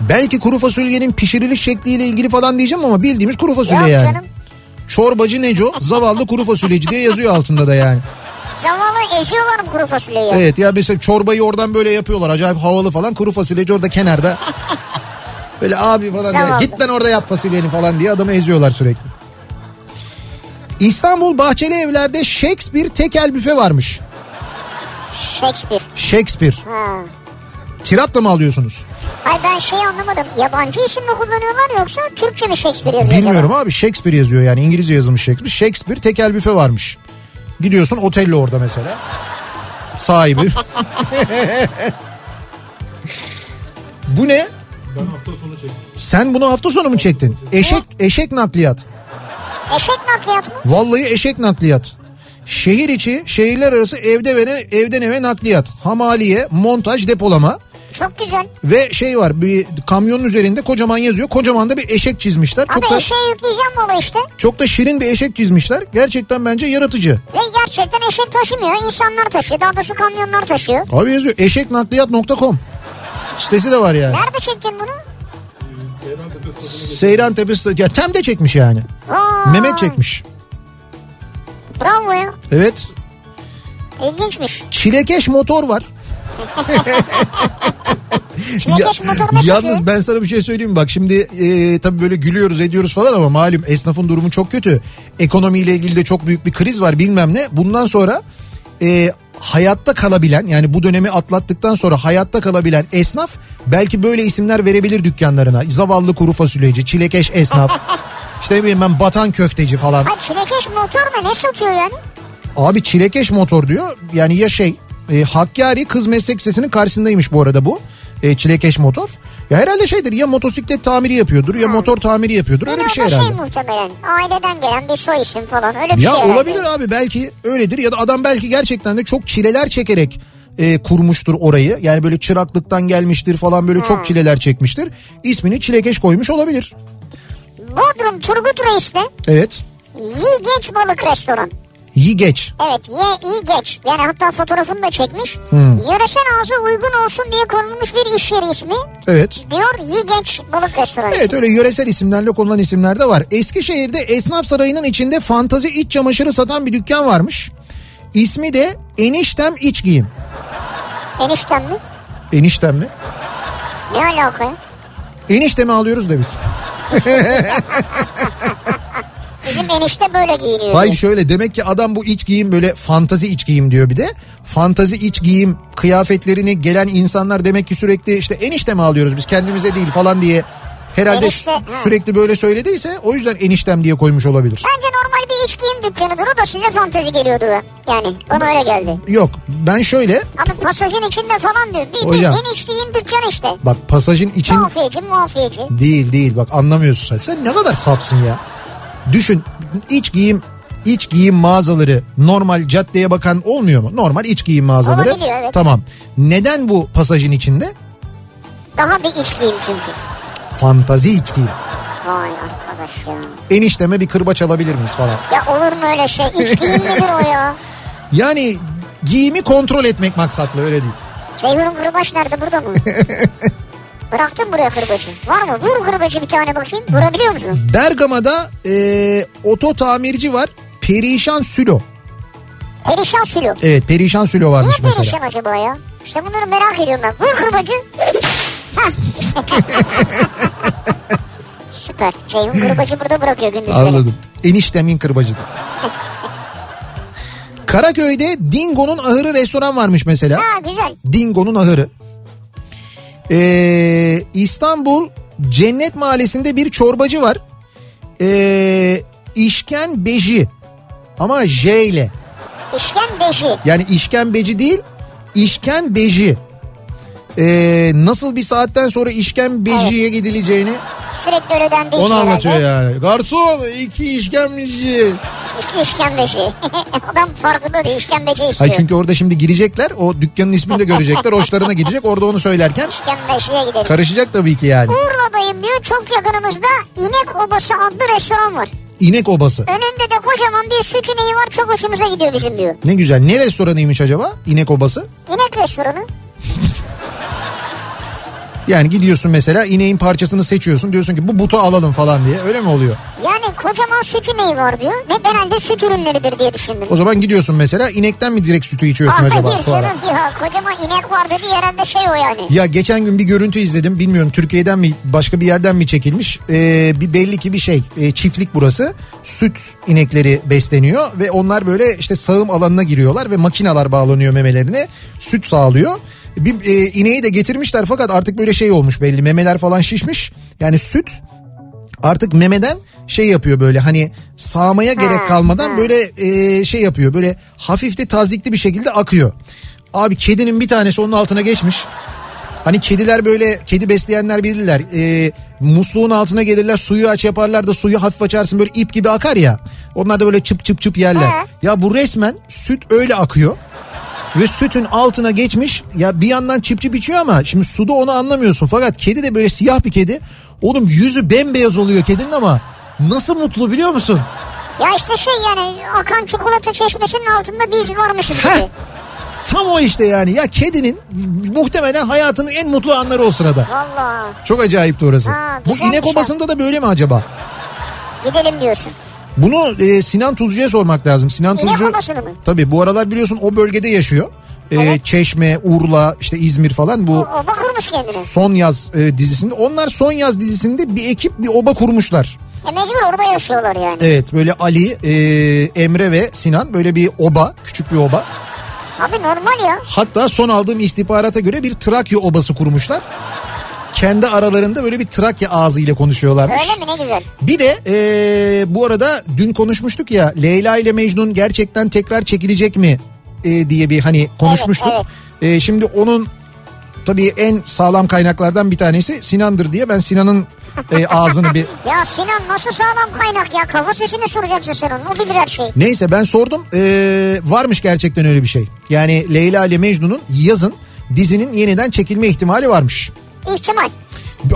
Speaker 2: Belki kuru fasulyenin pişiriliş şekliyle ilgili falan diyeceğim ama bildiğimiz kuru fasulye
Speaker 3: Yok
Speaker 2: yani.
Speaker 3: canım.
Speaker 2: Çorbacı Neco zavallı kuru fasulyeci diye yazıyor altında da yani.
Speaker 3: Zavallı eziyorlar mı kuru fasulyeyi? ya?
Speaker 2: Evet ya mesela çorbayı oradan böyle yapıyorlar acayip havalı falan kuru fasulyeci orada kenarda. Böyle abi falan diye,
Speaker 3: Zavallı.
Speaker 2: git lan orada yap fasulyeni falan diye adamı eziyorlar sürekli. İstanbul Bahçeli Evler'de Shakespeare tekel büfe varmış.
Speaker 3: Shakespeare.
Speaker 2: Shakespeare.
Speaker 3: Ha.
Speaker 2: Tiratla mı alıyorsunuz?
Speaker 3: Ay ben şey anlamadım. Yabancı isim mi kullanıyorlar yoksa Türkçe mi Shakespeare yazıyor
Speaker 2: Bilmiyorum abi Shakespeare yazıyor yani İngilizce yazılmış Shakespeare. Shakespeare tekel büfe varmış. Gidiyorsun otelli orada mesela. Sahibi. Bu ne?
Speaker 5: Ben hafta sonu çektim.
Speaker 2: Sen bunu hafta sonu mu çektin? Eşek eşek nakliyat.
Speaker 3: acaba? Eşek nakliyat mı?
Speaker 2: Vallahi eşek nakliyat. Şehir içi, şehirler arası evde ve ne- evden eve nakliyat. Hamaliye, montaj, depolama
Speaker 3: Çok güzel.
Speaker 2: ve şey var. Bir kamyonun üzerinde kocaman yazıyor. Kocaman da bir eşek çizmişler. Çok
Speaker 3: Abi
Speaker 2: da
Speaker 3: eşeğe yükleyeceğim baba işte.
Speaker 2: çok da şirin bir eşek çizmişler. Gerçekten bence yaratıcı.
Speaker 3: Ve gerçekten eşek taşımıyor. insanlar taşıyor. Daha doğrusu kamyonlar taşıyor.
Speaker 2: Abi yazıyor eşeknakliyat.com sitesi de var yani.
Speaker 3: Nerede çektin bunu?
Speaker 5: Seyran Tepesi tadına
Speaker 2: Seyran Tepesi ya tem de çekmiş yani.
Speaker 3: Vay,
Speaker 2: Mehmet çekmiş.
Speaker 3: Bravo ya.
Speaker 2: Evet.
Speaker 3: İlginçmiş.
Speaker 2: Çilekeş motor var.
Speaker 3: Çilekeş motor nasıl
Speaker 2: yalnız
Speaker 3: ki?
Speaker 2: ben sana bir şey söyleyeyim mi? bak şimdi e, tabii böyle gülüyoruz ediyoruz falan ama malum esnafın durumu çok kötü. Ekonomiyle ilgili de çok büyük bir kriz var bilmem ne. Bundan sonra e, hayatta kalabilen yani bu dönemi atlattıktan sonra hayatta kalabilen esnaf belki böyle isimler verebilir dükkanlarına. Zavallı kuru fasulyeci, çilekeş esnaf. işte ne bileyim ben batan köfteci falan.
Speaker 3: Ay çilekeş motor da ne satıyor yani?
Speaker 2: Abi çilekeş motor diyor. Yani ya şey e, Hakkari Kız Meslek Lisesi'nin karşısındaymış bu arada bu. E, çilekeş motor. Ya herhalde şeydir ya motosiklet tamiri yapıyordur ya motor tamiri yapıyordur. Öyle bir şey
Speaker 3: Herhalde
Speaker 2: herhalde.
Speaker 3: şey muhtemelen. Aileden gelen bir soy isim falan. Öyle bir
Speaker 2: Ya
Speaker 3: şey herhalde.
Speaker 2: olabilir abi belki öyledir ya da adam belki gerçekten de çok çileler çekerek e, kurmuştur orayı. Yani böyle çıraklıktan gelmiştir falan böyle çok çileler çekmiştir. İsmini Çilekeş koymuş olabilir.
Speaker 3: Bodrum Turgut Reis'te
Speaker 2: Evet.
Speaker 3: Yi Geç Balık Restoran.
Speaker 2: Yigeç.
Speaker 3: Evet ye iyi geç. Yani hatta fotoğrafını da çekmiş. Yöresel ağza uygun olsun diye konulmuş bir iş yeri ismi.
Speaker 2: Evet.
Speaker 3: Diyor yi geç balık restoranı.
Speaker 2: Evet öyle yöresel isimlerle konulan isimler de var. Eskişehir'de Esnaf Sarayı'nın içinde fantazi iç çamaşırı satan bir dükkan varmış. İsmi de Eniştem İç Giyim.
Speaker 3: Enişten mi?
Speaker 2: Eniştem mi?
Speaker 3: Ne alaka ya?
Speaker 2: Eniştemi alıyoruz da biz.
Speaker 3: Bizim enişte böyle giyiniyor.
Speaker 2: Hayır
Speaker 3: Hayır.
Speaker 2: şöyle demek ki adam bu iç giyim böyle fantazi iç giyim diyor bir de. Fantazi iç giyim kıyafetlerini gelen insanlar demek ki sürekli işte enişte mi alıyoruz biz kendimize değil falan diye. Herhalde
Speaker 3: Enişte,
Speaker 2: sü-
Speaker 3: hı.
Speaker 2: sürekli böyle söylediyse o yüzden eniştem diye koymuş olabilir.
Speaker 3: Bence normal bir iç giyim dükkanıdır o da size fantezi geliyordur o. Yani bana öyle geldi.
Speaker 2: Yok ben şöyle
Speaker 3: Abi pasajın içinde falan diyor. Bir,
Speaker 2: Hocam.
Speaker 3: bir en iç giyim dükkanı işte.
Speaker 2: bak pasajın için
Speaker 3: Muafiyeci muafiyeci.
Speaker 2: değil değil bak anlamıyorsun sen. Sen ne kadar sapsın ya. Düşün iç giyim iç giyim mağazaları normal caddeye bakan olmuyor mu? Normal iç giyim mağazaları.
Speaker 3: Olabiliyor, evet.
Speaker 2: Tamam. Neden bu pasajın içinde?
Speaker 3: Daha bir iç giyim çünkü.
Speaker 2: Fantazi iç giyim.
Speaker 3: Vay arkadaş ya.
Speaker 2: enişteme bir kırbaç alabilir miyiz falan.
Speaker 3: Ya olur mu öyle şey? İç giyim nedir o ya?
Speaker 2: Yani giyimi kontrol etmek maksatlı öyle değil.
Speaker 3: Ceyhun'un kırbaç nerede burada mı? Bıraktın buraya kırbacı. Var mı? Vur kırbacı bir tane bakayım. Vurabiliyor musun?
Speaker 2: Bergama'da e, oto tamirci var. Perişan Sülo.
Speaker 3: Perişan silo.
Speaker 2: Evet Perişan Sülo varmış
Speaker 3: Niye
Speaker 2: mesela.
Speaker 3: perişan acaba ya? İşte bunları merak ediyorum ben. Vur kırbacı. Hah. Süper. Ceyhun kırbacı burada bırakıyor gündüzleri.
Speaker 2: Anladım. Eniştemin kırbacıdır. Karaköy'de Dingo'nun ahırı restoran varmış mesela.
Speaker 3: Ha güzel.
Speaker 2: Dingo'nun ahırı. Ee, İstanbul Cennet Mahallesi'nde bir çorbacı var. Ee, işken Beji. Ama J ile.
Speaker 3: İşken beşi.
Speaker 2: Yani işkembeci değil, işkembeci. Ee, nasıl bir saatten sonra işkembeciye gidileceğini
Speaker 3: Sürekli öyle dendiği için
Speaker 2: onu
Speaker 3: herhalde.
Speaker 2: anlatıyor yani. Garson iki işkembeci.
Speaker 3: İki işkembeci. Adam farkında değil işkembeci istiyor.
Speaker 2: Hayır çünkü orada şimdi girecekler o dükkanın ismini de görecekler. Hoşlarına gidecek orada onu söylerken
Speaker 3: İşkembeciye gidelim.
Speaker 2: karışacak tabii ki yani.
Speaker 3: Urla'dayım diyor çok yakınımızda İnek Obası adlı restoran var.
Speaker 2: İnek obası.
Speaker 3: Önünde de kocaman bir süt ineği var çok hoşumuza gidiyor bizim diyor.
Speaker 2: Ne güzel. Ne restoranıymış acaba? İnek obası.
Speaker 3: İnek restoranı.
Speaker 2: Yani gidiyorsun mesela ineğin parçasını seçiyorsun. Diyorsun ki bu butu alalım falan diye. Öyle mi oluyor?
Speaker 3: Yani kocaman süt ineği var diyor ve herhalde süt ürünleridir diye düşündüm.
Speaker 2: O zaman gidiyorsun mesela inekten mi direkt sütü içiyorsun
Speaker 3: Hayır
Speaker 2: acaba sonra?
Speaker 3: canım ya kocaman inek var dedi herhalde şey o yani.
Speaker 2: Ya geçen gün bir görüntü izledim. Bilmiyorum Türkiye'den mi başka bir yerden mi çekilmiş. Ee, bir belli ki bir şey e, çiftlik burası. Süt inekleri besleniyor ve onlar böyle işte sağım alanına giriyorlar ve makinalar bağlanıyor memelerine. Süt sağlıyor. Bir e, ineği de getirmişler fakat artık böyle şey olmuş belli. Memeler falan şişmiş. Yani süt artık memeden şey yapıyor böyle hani sağmaya gerek kalmadan böyle e, şey yapıyor böyle hafif de tazikli bir şekilde akıyor. Abi kedinin bir tanesi onun altına geçmiş. Hani kediler böyle kedi besleyenler bilirler. E, musluğun altına gelirler suyu aç yaparlar da suyu hafif açarsın böyle ip gibi akar ya. Onlar da böyle çıp çıp çıp yerler.
Speaker 3: He.
Speaker 2: Ya bu resmen süt öyle akıyor. Ve sütün altına geçmiş ya bir yandan çip çip içiyor ama şimdi suda onu anlamıyorsun. Fakat kedi de böyle siyah bir kedi. Oğlum yüzü bembeyaz oluyor kedinin ama nasıl mutlu biliyor musun?
Speaker 3: Ya işte şey yani akan çikolata çeşmesinin altında biz varmışız
Speaker 2: Heh.
Speaker 3: gibi.
Speaker 2: Tam o işte yani ya kedinin muhtemelen hayatının en mutlu anları o sırada.
Speaker 3: Valla
Speaker 2: Çok acayipti orası.
Speaker 3: Ha,
Speaker 2: Bu
Speaker 3: güzelmiş
Speaker 2: inek
Speaker 3: o.
Speaker 2: obasında da böyle mi acaba?
Speaker 3: gidelim diyorsun.
Speaker 2: Bunu e, Sinan Tuzcu'ya sormak lazım. Sinan
Speaker 3: İnek
Speaker 2: Tuzcu
Speaker 3: obasını mı?
Speaker 2: tabii bu aralar biliyorsun o bölgede yaşıyor. E, Çeşme, Urla, işte İzmir falan bu
Speaker 3: O bakırmış kendini.
Speaker 2: Son Yaz e, dizisinde. Onlar Son Yaz dizisinde bir ekip bir oba kurmuşlar.
Speaker 3: E mecbur orada yaşıyorlar yani.
Speaker 2: Evet böyle Ali, e, Emre ve Sinan böyle bir oba, küçük bir oba. E-
Speaker 3: Abi normal ya.
Speaker 2: Hatta son aldığım istihbarata göre bir Trakya obası kurmuşlar. Kendi aralarında böyle bir Trakya ağzıyla konuşuyorlarmış.
Speaker 3: Öyle mi ne güzel.
Speaker 2: Bir de e, bu arada dün konuşmuştuk ya Leyla ile Mecnun gerçekten tekrar çekilecek mi e, diye bir hani konuşmuştuk.
Speaker 3: Evet,
Speaker 2: E, şimdi onun tabii en sağlam kaynaklardan bir tanesi Sinan'dır diye ben Sinan'ın e, ağzını bir...
Speaker 3: Ya Sinan nasıl sağlam kaynak ya? Kafa sesini soracaksın sen onun. O bilir her şeyi.
Speaker 2: Neyse ben sordum Ee, varmış gerçekten öyle bir şey. Yani Leyla ile Mecnun'un yazın dizinin yeniden çekilme ihtimali varmış.
Speaker 3: İhtimal.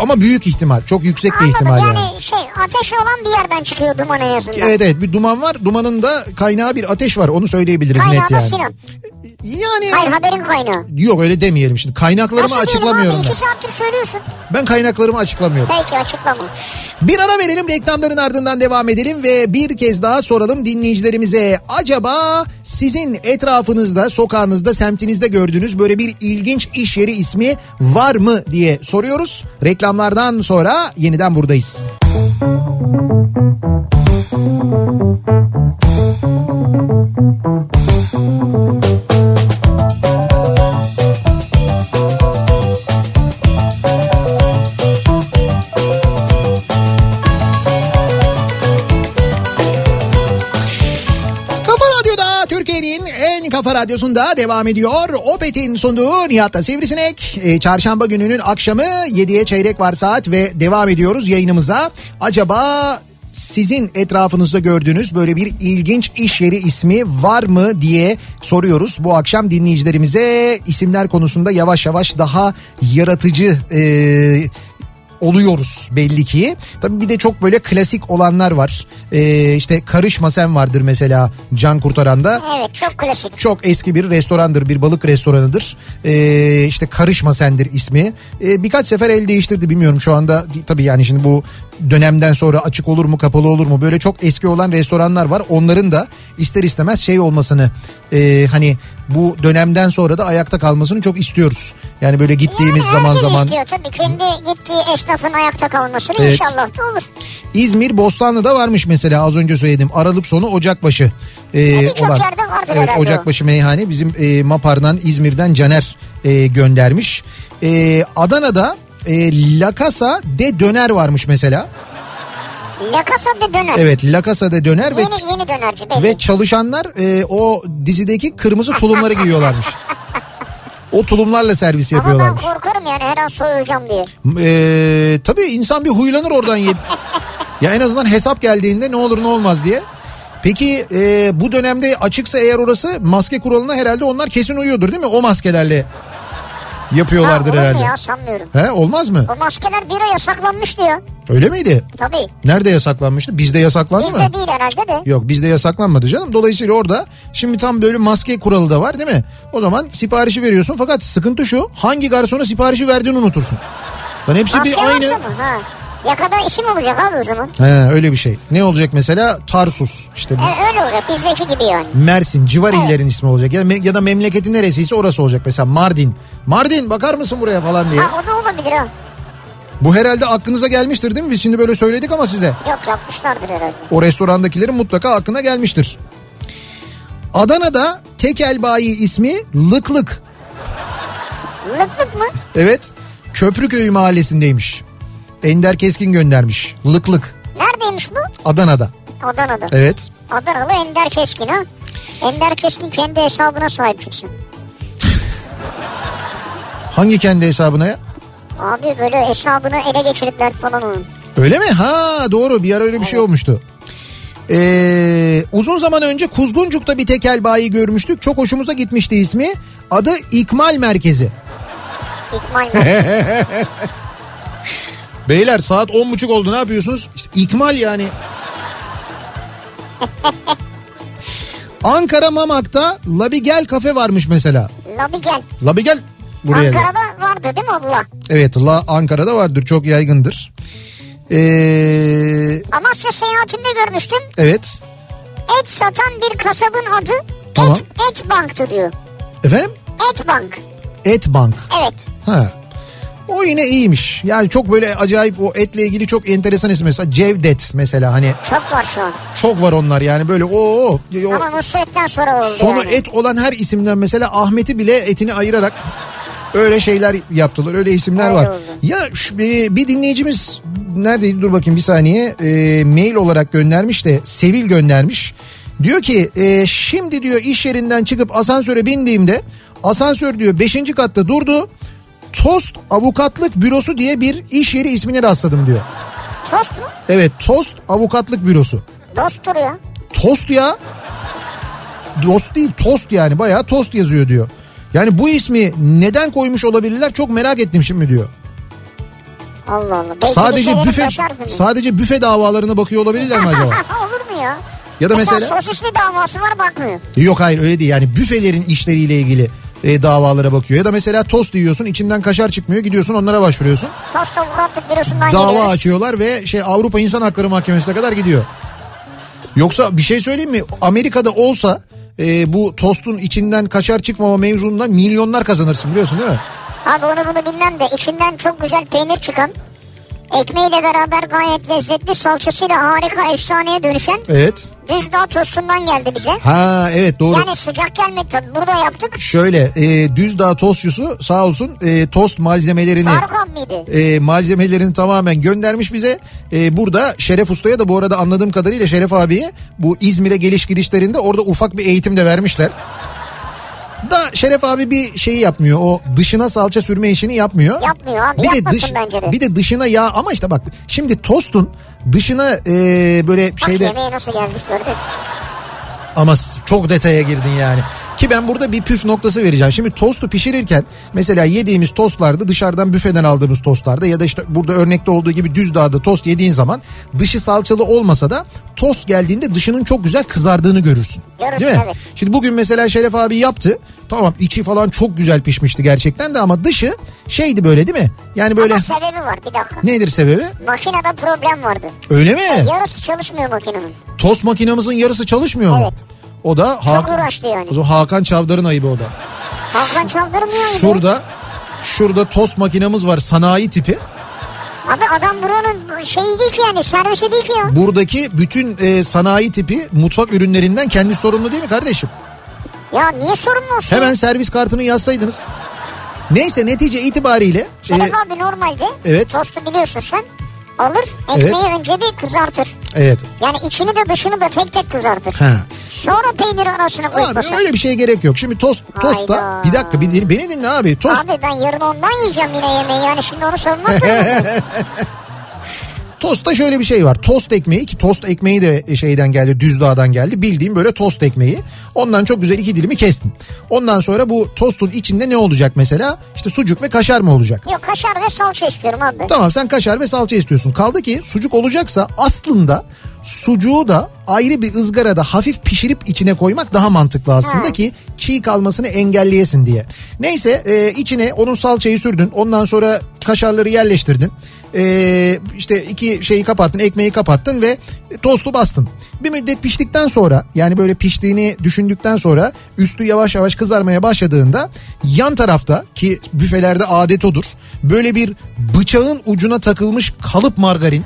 Speaker 2: Ama büyük ihtimal çok yüksek bir
Speaker 3: Anladım
Speaker 2: ihtimal yani.
Speaker 3: yani, şey ateş olan bir yerden çıkıyor duman en azından.
Speaker 2: Evet evet bir duman var dumanın da kaynağı bir ateş var onu söyleyebiliriz
Speaker 3: Kaynağı
Speaker 2: net
Speaker 3: da
Speaker 2: yani.
Speaker 3: Sinan.
Speaker 2: Yani
Speaker 3: Hayır haberin kaynağı.
Speaker 2: yok öyle demeyelim şimdi kaynaklarımı
Speaker 3: Nasıl diyelim
Speaker 2: açıklamıyorum
Speaker 3: abi?
Speaker 2: ben.
Speaker 3: İki saattir söylüyorsun.
Speaker 2: Ben kaynaklarımı açıklamıyorum.
Speaker 3: Belki açıklama.
Speaker 2: Bir ara verelim reklamların ardından devam edelim ve bir kez daha soralım dinleyicilerimize. Acaba sizin etrafınızda, sokağınızda, semtinizde gördüğünüz böyle bir ilginç iş yeri ismi var mı diye soruyoruz. Reklamlardan sonra yeniden buradayız. Kafa Radyo'da Türkiye'nin en kafa radyosunda devam ediyor. Opet'in sunduğu Nihat'la Sivrisinek. E, çarşamba gününün akşamı 7'ye çeyrek var saat ve devam ediyoruz yayınımıza. Acaba sizin etrafınızda gördüğünüz böyle bir ilginç iş yeri ismi var mı diye soruyoruz. Bu akşam dinleyicilerimize isimler konusunda yavaş yavaş daha yaratıcı e, oluyoruz belli ki. Tabii bir de çok böyle klasik olanlar var. Ee, işte Karışma Sen vardır mesela Can Kurtaran'da.
Speaker 3: Evet çok klasik.
Speaker 2: Çok eski bir restorandır, bir balık restoranıdır. Ee, işte Karışma Sen'dir ismi. Ee, birkaç sefer el değiştirdi bilmiyorum şu anda. Tabii yani şimdi bu dönemden sonra açık olur mu, kapalı olur mu? Böyle çok eski olan restoranlar var. Onların da ister istemez şey olmasını e, hani bu dönemden sonra da ayakta kalmasını çok istiyoruz. Yani böyle gittiğimiz
Speaker 3: yani
Speaker 2: zaman
Speaker 3: herkes
Speaker 2: zaman
Speaker 3: istiyor tabii. Kendi gittiği esnafın ayakta kalmasını
Speaker 2: Evet.
Speaker 3: inşallah da olur.
Speaker 2: İzmir Bostanlı'da varmış mesela az önce söyledim. Aralık sonu Ocakbaşı e,
Speaker 3: birçok
Speaker 2: olan.
Speaker 3: yerde vardır
Speaker 2: evet,
Speaker 3: herhalde o.
Speaker 2: Ocakbaşı meyhane bizim e, Mapar'dan İzmir'den Caner e, göndermiş. E, Adana'da e, La Casa de Döner varmış mesela.
Speaker 3: Lakasa da döner.
Speaker 2: Evet La Casa de Döner ve
Speaker 3: Yeni, yeni dönerci belli.
Speaker 2: ve çalışanlar e, o dizideki kırmızı tulumları giyiyorlarmış. O tulumlarla servis
Speaker 3: Ama ben
Speaker 2: yapıyorlarmış.
Speaker 3: korkarım yani her an soyulacağım diye.
Speaker 2: E, tabii insan bir huylanır oradan yedi. ya en azından hesap geldiğinde ne olur ne olmaz diye. Peki e, bu dönemde açıksa eğer orası maske kuralına herhalde onlar kesin uyuyordur değil mi? O maskelerle
Speaker 3: Ha, olur
Speaker 2: yapıyorlardır
Speaker 3: mu
Speaker 2: herhalde.
Speaker 3: ya sanmıyorum.
Speaker 2: He olmaz mı?
Speaker 3: O maskeler bir ay yasaklanmıştı ya.
Speaker 2: Öyle miydi?
Speaker 3: Tabii.
Speaker 2: Nerede yasaklanmıştı? Bizde yasaklandı mı?
Speaker 3: Bizde değil herhalde de.
Speaker 2: Yok bizde yasaklanmadı canım. Dolayısıyla orada şimdi tam böyle maske kuralı da var değil mi? O zaman siparişi veriyorsun fakat sıkıntı şu hangi garsona siparişi verdiğini unutursun. Lan hepsi
Speaker 3: Maske
Speaker 2: bir aynı.
Speaker 3: varsa mı? Ha. Yakada işim olacak abi o zaman.
Speaker 2: He öyle bir şey. Ne olacak mesela? Tarsus işte bu.
Speaker 3: E, öyle olacak bizdeki gibi yani.
Speaker 2: Mersin civar illerin ismi olacak ya, da me- ya da memleketin neresiyse orası olacak mesela Mardin. Mardin bakar mısın buraya falan diye.
Speaker 3: Ha o da olabilir ha.
Speaker 2: Bu herhalde aklınıza gelmiştir değil mi? Biz şimdi böyle söyledik ama size.
Speaker 3: Yok yapmışlardır herhalde.
Speaker 2: O restorandakilerin mutlaka aklına gelmiştir. Adana'da tekel bayi ismi Lıklık.
Speaker 3: Lıklık mı?
Speaker 2: Evet Köprüköy'ü mahallesindeymiş. Ender Keskin göndermiş. Lıklık
Speaker 3: Neredeymiş bu?
Speaker 2: Adana'da.
Speaker 3: Adana'da.
Speaker 2: Evet.
Speaker 3: Adanalı Ender Keskin ha. Ender Keskin kendi hesabına sahip çıksın.
Speaker 2: Hangi kendi hesabına ya?
Speaker 3: Abi böyle hesabını ele geçirdiler falan onun.
Speaker 2: Öyle mi? Ha doğru bir ara öyle bir şey olmuştu. Ee, uzun zaman önce Kuzguncuk'ta bir tekel bayi görmüştük. Çok hoşumuza gitmişti ismi. Adı İkmal Merkezi.
Speaker 3: İkmal
Speaker 2: E?
Speaker 3: mı?
Speaker 2: Beyler saat on buçuk oldu ne yapıyorsunuz? İşte ikmal yani. Ankara Mamak'ta Labigel Kafe varmış mesela.
Speaker 3: Labi gel.
Speaker 2: Labigel buraya. gel.
Speaker 3: Ankara'da vardı değil mi Allah?
Speaker 2: Evet La Ankara'da vardır çok yaygındır. Ee,
Speaker 3: Amasya seyahatimde görmüştüm.
Speaker 2: evet.
Speaker 3: Et satan bir kasabın adı
Speaker 2: Tamam.
Speaker 3: Et, et Bank'tı diyor.
Speaker 2: Efendim?
Speaker 3: Et Bank.
Speaker 2: Etbank.
Speaker 3: Evet.
Speaker 2: Ha. O yine iyiymiş. Yani çok böyle acayip o etle ilgili çok enteresan isim. Mesela Cevdet mesela hani
Speaker 3: Çok var şu an.
Speaker 2: çok var onlar yani böyle o o.
Speaker 3: Ama Nusret'ten sonra oldu
Speaker 2: Sonu
Speaker 3: yani.
Speaker 2: et olan her isimden mesela Ahmet'i bile etini ayırarak öyle şeyler yaptılar. Öyle isimler
Speaker 3: Öyle
Speaker 2: var.
Speaker 3: oldu.
Speaker 2: Ya şu- e, bir dinleyicimiz neredeydi dur bakayım bir saniye E, mail olarak göndermiş de Sevil göndermiş. Diyor ki e, şimdi diyor iş yerinden çıkıp asansöre bindiğimde asansör diyor 5. katta durdu. Tost Avukatlık Bürosu diye bir iş yeri ismine rastladım diyor.
Speaker 3: Tost mu?
Speaker 2: Evet Tost Avukatlık Bürosu.
Speaker 3: Dost duruyor.
Speaker 2: Tost ya. Dost değil tost yani bayağı tost yazıyor diyor. Yani bu ismi neden koymuş olabilirler çok merak ettim şimdi diyor.
Speaker 3: Allah Allah. Belki
Speaker 2: Sadece
Speaker 3: bir
Speaker 2: büfe sadece büfe davalarına bakıyor olabilirler mi acaba?
Speaker 3: Olur mu ya?
Speaker 2: Ya da mesela
Speaker 3: Mesela sosisli davası var bakmıyor.
Speaker 2: yok hayır öyle değil yani büfelerin işleriyle ilgili e, davalara bakıyor. Ya da mesela tost yiyorsun içinden kaşar çıkmıyor gidiyorsun onlara başvuruyorsun.
Speaker 3: Tost avukatlık bürosundan
Speaker 2: Dava
Speaker 3: geliyoruz.
Speaker 2: açıyorlar ve şey Avrupa İnsan Hakları Mahkemesi'ne kadar gidiyor. Yoksa bir şey söyleyeyim mi? Amerika'da olsa e, bu tostun içinden kaşar çıkmama mevzundan milyonlar kazanırsın biliyorsun değil mi?
Speaker 3: Abi onu bunu bilmem de içinden çok güzel peynir çıkan ekmeğiyle beraber gayet lezzetli salçasıyla harika efsaneye dönüşen
Speaker 2: Evet.
Speaker 3: Düzdağ tostundan geldi bize.
Speaker 2: Ha evet doğru.
Speaker 3: Yani sıcak gelmedi tabii burada yaptık.
Speaker 2: Şöyle e, Düzdağ Tostçusu sağ olsun e, tost malzemelerini
Speaker 3: Tarkan mıydı?
Speaker 2: e, malzemelerini tamamen göndermiş bize. E, burada Şeref Usta'ya da bu arada anladığım kadarıyla Şeref abiye bu İzmir'e geliş gidişlerinde orada ufak bir eğitim de vermişler. Da Şeref abi bir şeyi yapmıyor. O dışına salça sürme işini yapmıyor.
Speaker 3: Yapmıyor abi, yapmasın bence de.
Speaker 2: Bir de dışına yağ ama işte bak şimdi tostun dışına e, böyle
Speaker 3: Bak
Speaker 2: şeyde
Speaker 3: yemeğe nasıl gelmiş gördün.
Speaker 2: ama s- çok detaya girdin yani. Ki ben burada bir püf noktası vereceğim. Şimdi tostu pişirirken mesela yediğimiz tostlarda dışarıdan büfeden aldığımız tostlarda ya da işte burada örnekte olduğu gibi Düzdağ'da tost yediğin zaman dışı salçalı olmasa da tost geldiğinde dışının çok güzel kızardığını görürsün.
Speaker 3: Görürsün,
Speaker 2: Değil mi?
Speaker 3: evet.
Speaker 2: Şimdi bugün mesela Şeref abi yaptı. Tamam içi falan çok güzel pişmişti gerçekten de ama dışı şeydi böyle değil mi? Yani böyle
Speaker 3: Ama sebebi var bir dakika.
Speaker 2: nedir sebebi?
Speaker 3: Makinede problem vardı.
Speaker 2: Öyle mi?
Speaker 3: Yarısı çalışmıyor makinenin.
Speaker 2: Tost makinamızın yarısı çalışmıyor mu?
Speaker 3: Evet.
Speaker 2: O da Hakan,
Speaker 3: uğraştı yani.
Speaker 2: o zaman Hakan Çavdar'ın ayıbı o da.
Speaker 3: Hakan çaldırmıyor muydu?
Speaker 2: Şurada şurada tost makinamız var sanayi tipi.
Speaker 3: Abi adam buranın şeyi değil ki yani servisi değil ki ya.
Speaker 2: Buradaki bütün e, sanayi tipi mutfak ürünlerinden kendi sorumlu değil mi kardeşim?
Speaker 3: Ya niye sorumlu olsun?
Speaker 2: Hemen servis kartını yazsaydınız. Neyse netice itibariyle
Speaker 3: Şeref
Speaker 2: e,
Speaker 3: abi normalde
Speaker 2: evet.
Speaker 3: tostu biliyorsun sen alır ekmeği önce bir kızartır.
Speaker 2: evet.
Speaker 3: Yani içini de dışını da tek tek kızartır.
Speaker 2: Ha.
Speaker 3: Sonra peyniri arasına koyup
Speaker 2: Abi
Speaker 3: basar.
Speaker 2: öyle bir şeye gerek yok. Şimdi tost tosta
Speaker 3: Hayda.
Speaker 2: bir dakika bir din- beni dinle abi. Tost
Speaker 3: Abi ben yarın ondan yiyeceğim yine yemeği yani şimdi onu savunmak da
Speaker 2: Tosta şöyle bir şey var. Tost ekmeği ki tost ekmeği de e, şeyden geldi Düzdağ'dan geldi. Bildiğim böyle tost ekmeği. Ondan çok güzel iki dilimi kestim. Ondan sonra bu tostun içinde ne olacak mesela? İşte sucuk ve kaşar mı olacak?
Speaker 3: Yok kaşar ve salça istiyorum abi.
Speaker 2: Tamam sen kaşar ve salça istiyorsun. Kaldı ki sucuk olacaksa aslında sucuğu da ayrı bir ızgarada hafif pişirip içine koymak daha mantıklı aslında
Speaker 3: Ha.
Speaker 2: ki çiğ kalmasını engelleyesin diye. Neyse e, içine onun salçayı sürdün ondan sonra kaşarları yerleştirdin. E, işte iki şeyi kapattın ekmeği kapattın ve tostu bastın. Bir müddet piştikten sonra yani böyle piştiğini düşündükten sonra üstü yavaş yavaş kızarmaya başladığında yan tarafta ki büfelerde adet odur böyle bir bıçağın ucuna takılmış kalıp margarin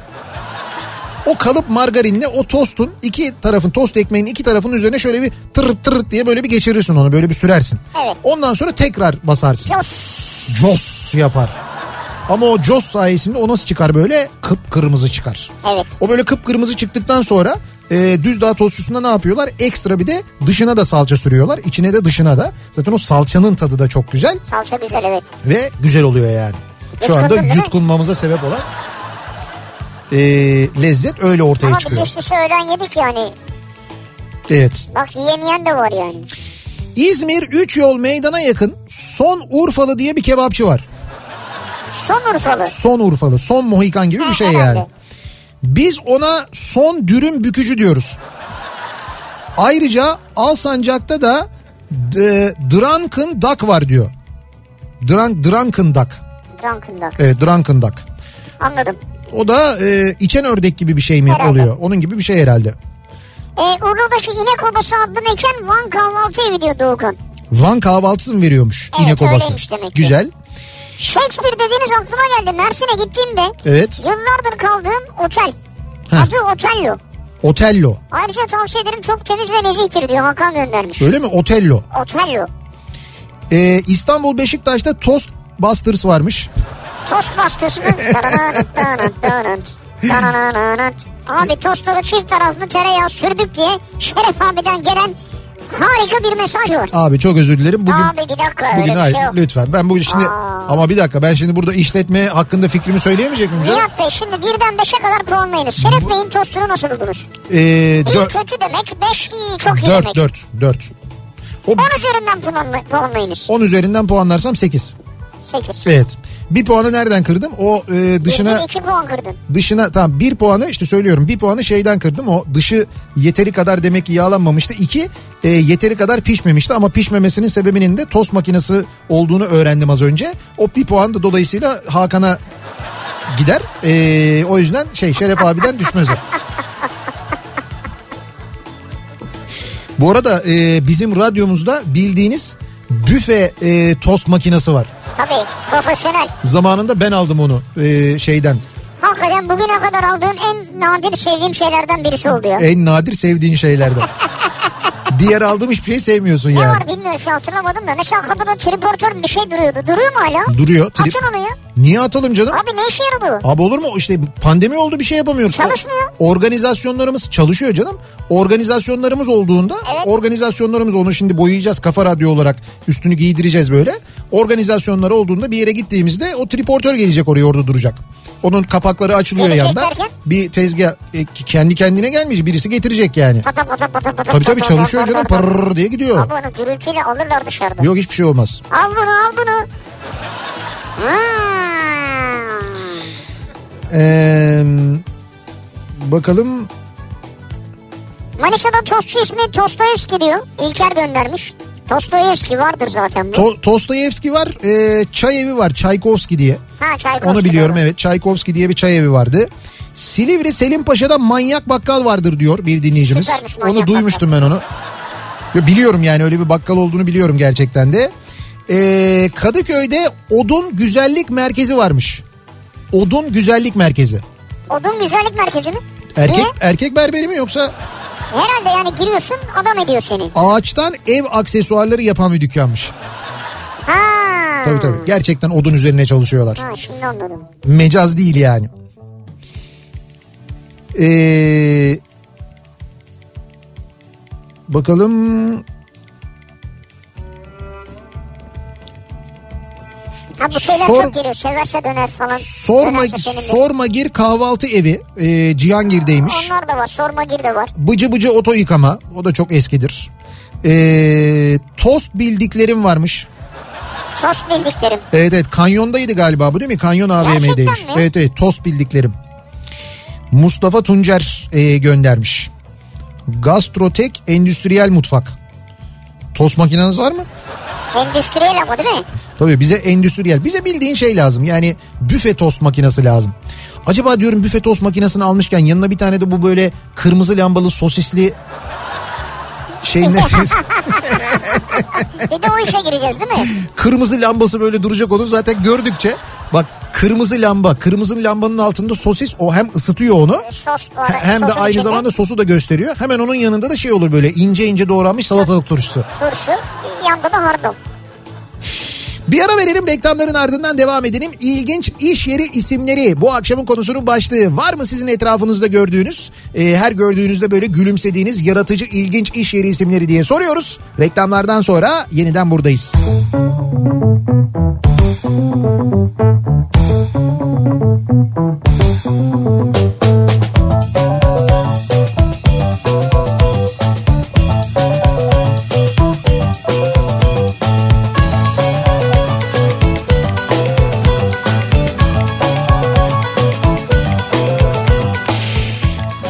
Speaker 2: o kalıp margarinle o tostun iki tarafın tost ekmeğinin iki tarafının üzerine şöyle bir tır tır diye böyle bir geçirirsin onu böyle bir sürersin.
Speaker 3: Evet.
Speaker 2: Ondan sonra tekrar basarsın.
Speaker 3: Yos.
Speaker 2: Jos yapar. Ama o jos sayesinde o nasıl çıkar böyle? Kıpkırmızı çıkar.
Speaker 3: Evet.
Speaker 2: O böyle kıpkırmızı çıktıktan sonra e, düz dağ tostçusunda ne yapıyorlar? Ekstra bir de dışına da salça sürüyorlar. İçine de dışına da. Zaten o salçanın tadı da çok güzel
Speaker 3: Salça güzel evet.
Speaker 2: ve güzel oluyor yani. Şu anda
Speaker 3: Yutkundun değil mi?
Speaker 2: yutkunmamıza sebep olan e, lezzet öyle ortaya
Speaker 3: Ama biz
Speaker 2: çıkıyor.
Speaker 3: işte öğlen yedik yani.
Speaker 2: Evet.
Speaker 3: Bak yiyemeyen de var yani.
Speaker 2: İzmir 3 yol meydana yakın son Urfalı diye bir kebapçı var.
Speaker 3: Son Urfalı.
Speaker 2: Son Urfalı, son Mohikan gibi bir
Speaker 3: Ha,
Speaker 2: şey
Speaker 3: herhalde.
Speaker 2: yani. Biz ona son dürüm bükücü diyoruz. Ayrıca Alsancak'ta da e, Drunken Duck var diyor. Drunk, Drunken Duck.
Speaker 3: Drunken'da.
Speaker 2: Evet Drunken Duck.
Speaker 3: Anladım.
Speaker 2: O da e, içen ördek gibi bir şey mi
Speaker 3: Herhalde.
Speaker 2: oluyor? Onun gibi bir şey herhalde.
Speaker 3: Ee, Urla'daki İnek Obası adlı mekan Van Kahvaltı Evi diyor Doğukan.
Speaker 2: Van kahvaltısı mı veriyormuş
Speaker 3: Evet,
Speaker 2: inek obası?
Speaker 3: öyleymiş demek ki.
Speaker 2: Güzel.
Speaker 3: Shakespeare dediğiniz aklıma geldi. Mersin'e gittiğimde
Speaker 2: Evet.
Speaker 3: yıllardır kaldığım otel.
Speaker 2: Heh.
Speaker 3: Adı Otello.
Speaker 2: Otello.
Speaker 3: Ayrıca tavsiye ederim çok temiz ve nezihtir diyor Hakan göndermiş.
Speaker 2: Öyle mi? Otello.
Speaker 3: Otello.
Speaker 2: Ee, İstanbul Beşiktaş'ta Toast Busters varmış.
Speaker 3: Tost bastısı mı? Taranant, taranant, taranant, taranant. Abi tostları çift taraflı tereyağı sürdük diye Şeref abiden gelen harika bir mesaj var.
Speaker 2: Abi çok özür dilerim. Bugün
Speaker 3: Abi bir dakika öyle
Speaker 2: bugün
Speaker 3: bir
Speaker 2: hayır
Speaker 3: şey yok.
Speaker 2: lütfen. Ben bugün şimdi
Speaker 3: Aa.
Speaker 2: ama bir dakika ben şimdi burada işletme hakkında fikrimi söyleyemeyecek miyim canım?
Speaker 3: Nihat Bey şimdi birden 5'e kadar puanlayınız. Şeref Bey'in tostunu nasıl buldunuz?
Speaker 2: Ee,
Speaker 3: İyi
Speaker 2: dört,
Speaker 3: kötü demek, 5 iyi çok iyi
Speaker 2: dört,
Speaker 3: demek.
Speaker 2: dört, dört. O,
Speaker 3: 10 üzerinden puanla- puanlayınız.
Speaker 2: 10 üzerinden puanlarsam 8.
Speaker 3: 8.
Speaker 2: Evet. Bir puanı nereden kırdım? O e, Ee, dışına
Speaker 3: 2 puan kırdın.
Speaker 2: dışına tamam bir puanı işte söylüyorum bir puanı şeyden kırdım o dışı yeteri kadar demek ki yağlanmamıştı iki e, yeteri kadar pişmemişti ama pişmemesinin sebebinin de tost makinesi olduğunu öğrendim az önce o bir puan da dolayısıyla Hakan'a gider E, o yüzden şey Şeref abiden düşmez o. Bu arada e, bizim radyomuzda bildiğiniz büfe e, tost makinesi var.
Speaker 3: Tabii profesyonel.
Speaker 2: Zamanında ben aldım onu e, şeyden
Speaker 3: Hakikaten bugüne kadar aldığın en nadir sevdiğim şeylerden birisi oldu ya.
Speaker 2: En nadir sevdiğin şeylerden. Diğer aldığım hiçbir şey sevmiyorsun
Speaker 3: ne
Speaker 2: yani.
Speaker 3: var bilmiyorum şu hatırlamadım da. Mesela kapıda triportör bir şey duruyordu. Duruyor mu hala?
Speaker 2: Duruyor. trip-
Speaker 3: Atın onu ya.
Speaker 2: Niye atalım canım?
Speaker 3: Abi ne işe yarıyor?
Speaker 2: Abi olur mu? İşte pandemi oldu bir şey yapamıyoruz.
Speaker 3: Çalışmıyor.
Speaker 2: O- Organizasyonlarımız çalışıyor canım. Organizasyonlarımız olduğunda
Speaker 3: Evet.
Speaker 2: organizasyonlarımız onu şimdi boyayacağız kafa radyo olarak üstünü giydireceğiz böyle. Organizasyonları olduğunda bir yere gittiğimizde o triportör gelecek oraya orada duracak. Onun kapakları açılıyor
Speaker 3: Gelecek
Speaker 2: yanda.
Speaker 3: derken?
Speaker 2: Bir tezgah e, kendi kendine gelmeyecek birisi getirecek yani.
Speaker 3: Pata pata pata pata.
Speaker 2: Tabii tabii
Speaker 3: pata,
Speaker 2: çalışıyor
Speaker 3: pata,
Speaker 2: canım
Speaker 3: pata.
Speaker 2: pırrrr diye gidiyor.
Speaker 3: Abi onu gürültüyle alırlar dışarıda.
Speaker 2: Yok hiçbir şey olmaz.
Speaker 3: Al bunu al bunu. Ha. Hmm.
Speaker 2: Ee, bakalım
Speaker 3: Manisa'da tostçu ismi Tostoyevski diyor. İlker göndermiş. Tostoyevski vardır zaten bu.
Speaker 2: to- Tostoyevski var, ee, çay evi var, Çaykovski diye.
Speaker 3: ha Çaykovski.
Speaker 2: Onu biliyorum
Speaker 3: doğru.
Speaker 2: evet. Çaykovski diye bir çay evi vardı. Silivri Selimpasa'da manyak bakkal vardır diyor bir dinleyicimiz.
Speaker 3: Süpermiş manyak
Speaker 2: Onu duymuştum ben onu. Ya biliyorum yani öyle bir bakkal olduğunu biliyorum gerçekten de. Ee, Kadıköy'de Odun Güzellik Merkezi varmış. Odun Güzellik Merkezi.
Speaker 3: Odun güzellik merkezi mi?
Speaker 2: Erkek
Speaker 3: Niye?
Speaker 2: erkek berberi mi yoksa
Speaker 3: Herhalde yani giriyorsun adam ediyor seni.
Speaker 2: ağaçtan ev aksesuarları yapan bir dükkanmış.
Speaker 3: Ha.
Speaker 2: Tabii tabii. Gerçekten odun üzerine çalışıyorlar.
Speaker 3: Ha şimdi anladım.
Speaker 2: Mecaz değil yani. Ee, bakalım.
Speaker 3: Ha bu şeyler
Speaker 2: Sor-
Speaker 3: çok geliyor. Sezarsa döner falan.
Speaker 2: Sorma
Speaker 3: Dönerse senin de.
Speaker 2: Sormagir kahvaltı evi e, Cihangir'deymiş.
Speaker 3: Onlar da var. Sorma gir de var.
Speaker 2: Bıcı bıcı oto yıkama. O da çok eskidir. Ee, tost bildiklerim varmış.
Speaker 3: Tost bildiklerim.
Speaker 2: Evet evet kanyondaydı galiba bu değil mi? Kanyon AVM'deymiş.
Speaker 3: Gerçekten mi?
Speaker 2: Evet evet tost bildiklerim. Mustafa Tuncer e, göndermiş. Gastrotek Endüstriyel Mutfak. Tost makineniz var mı?
Speaker 3: Endüstriyel ama değil mi?
Speaker 2: Tabii bize endüstriyel. Bize bildiğin şey lazım. Yani büfe tost makinesi lazım. Acaba diyorum büfe tost makinesini almışken yanına bir tane de bu böyle kırmızı lambalı sosisli şey ne?
Speaker 3: Bir de o işe gireceğiz değil mi?
Speaker 2: kırmızı lambası böyle duracak onu zaten gördükçe bak kırmızı lamba kırmızı lambanın altında sosis o hem ısıtıyor onu
Speaker 3: Sos
Speaker 2: he-
Speaker 3: olarak.
Speaker 2: hem de
Speaker 3: sosun
Speaker 2: aynı
Speaker 3: içinde
Speaker 2: zamanda sosu da gösteriyor. Hemen onun yanında da şey olur böyle ince ince doğranmış salatalık turşusu.
Speaker 3: Turşu. Yanında da hardal.
Speaker 2: Bir ara verelim reklamların ardından devam edelim. İlginç iş yeri isimleri bu akşamın konusunun başlığı. Var mı sizin etrafınızda gördüğünüz, e, her gördüğünüzde böyle gülümsediğiniz yaratıcı ilginç iş yeri isimleri diye soruyoruz. Reklamlardan sonra yeniden buradayız.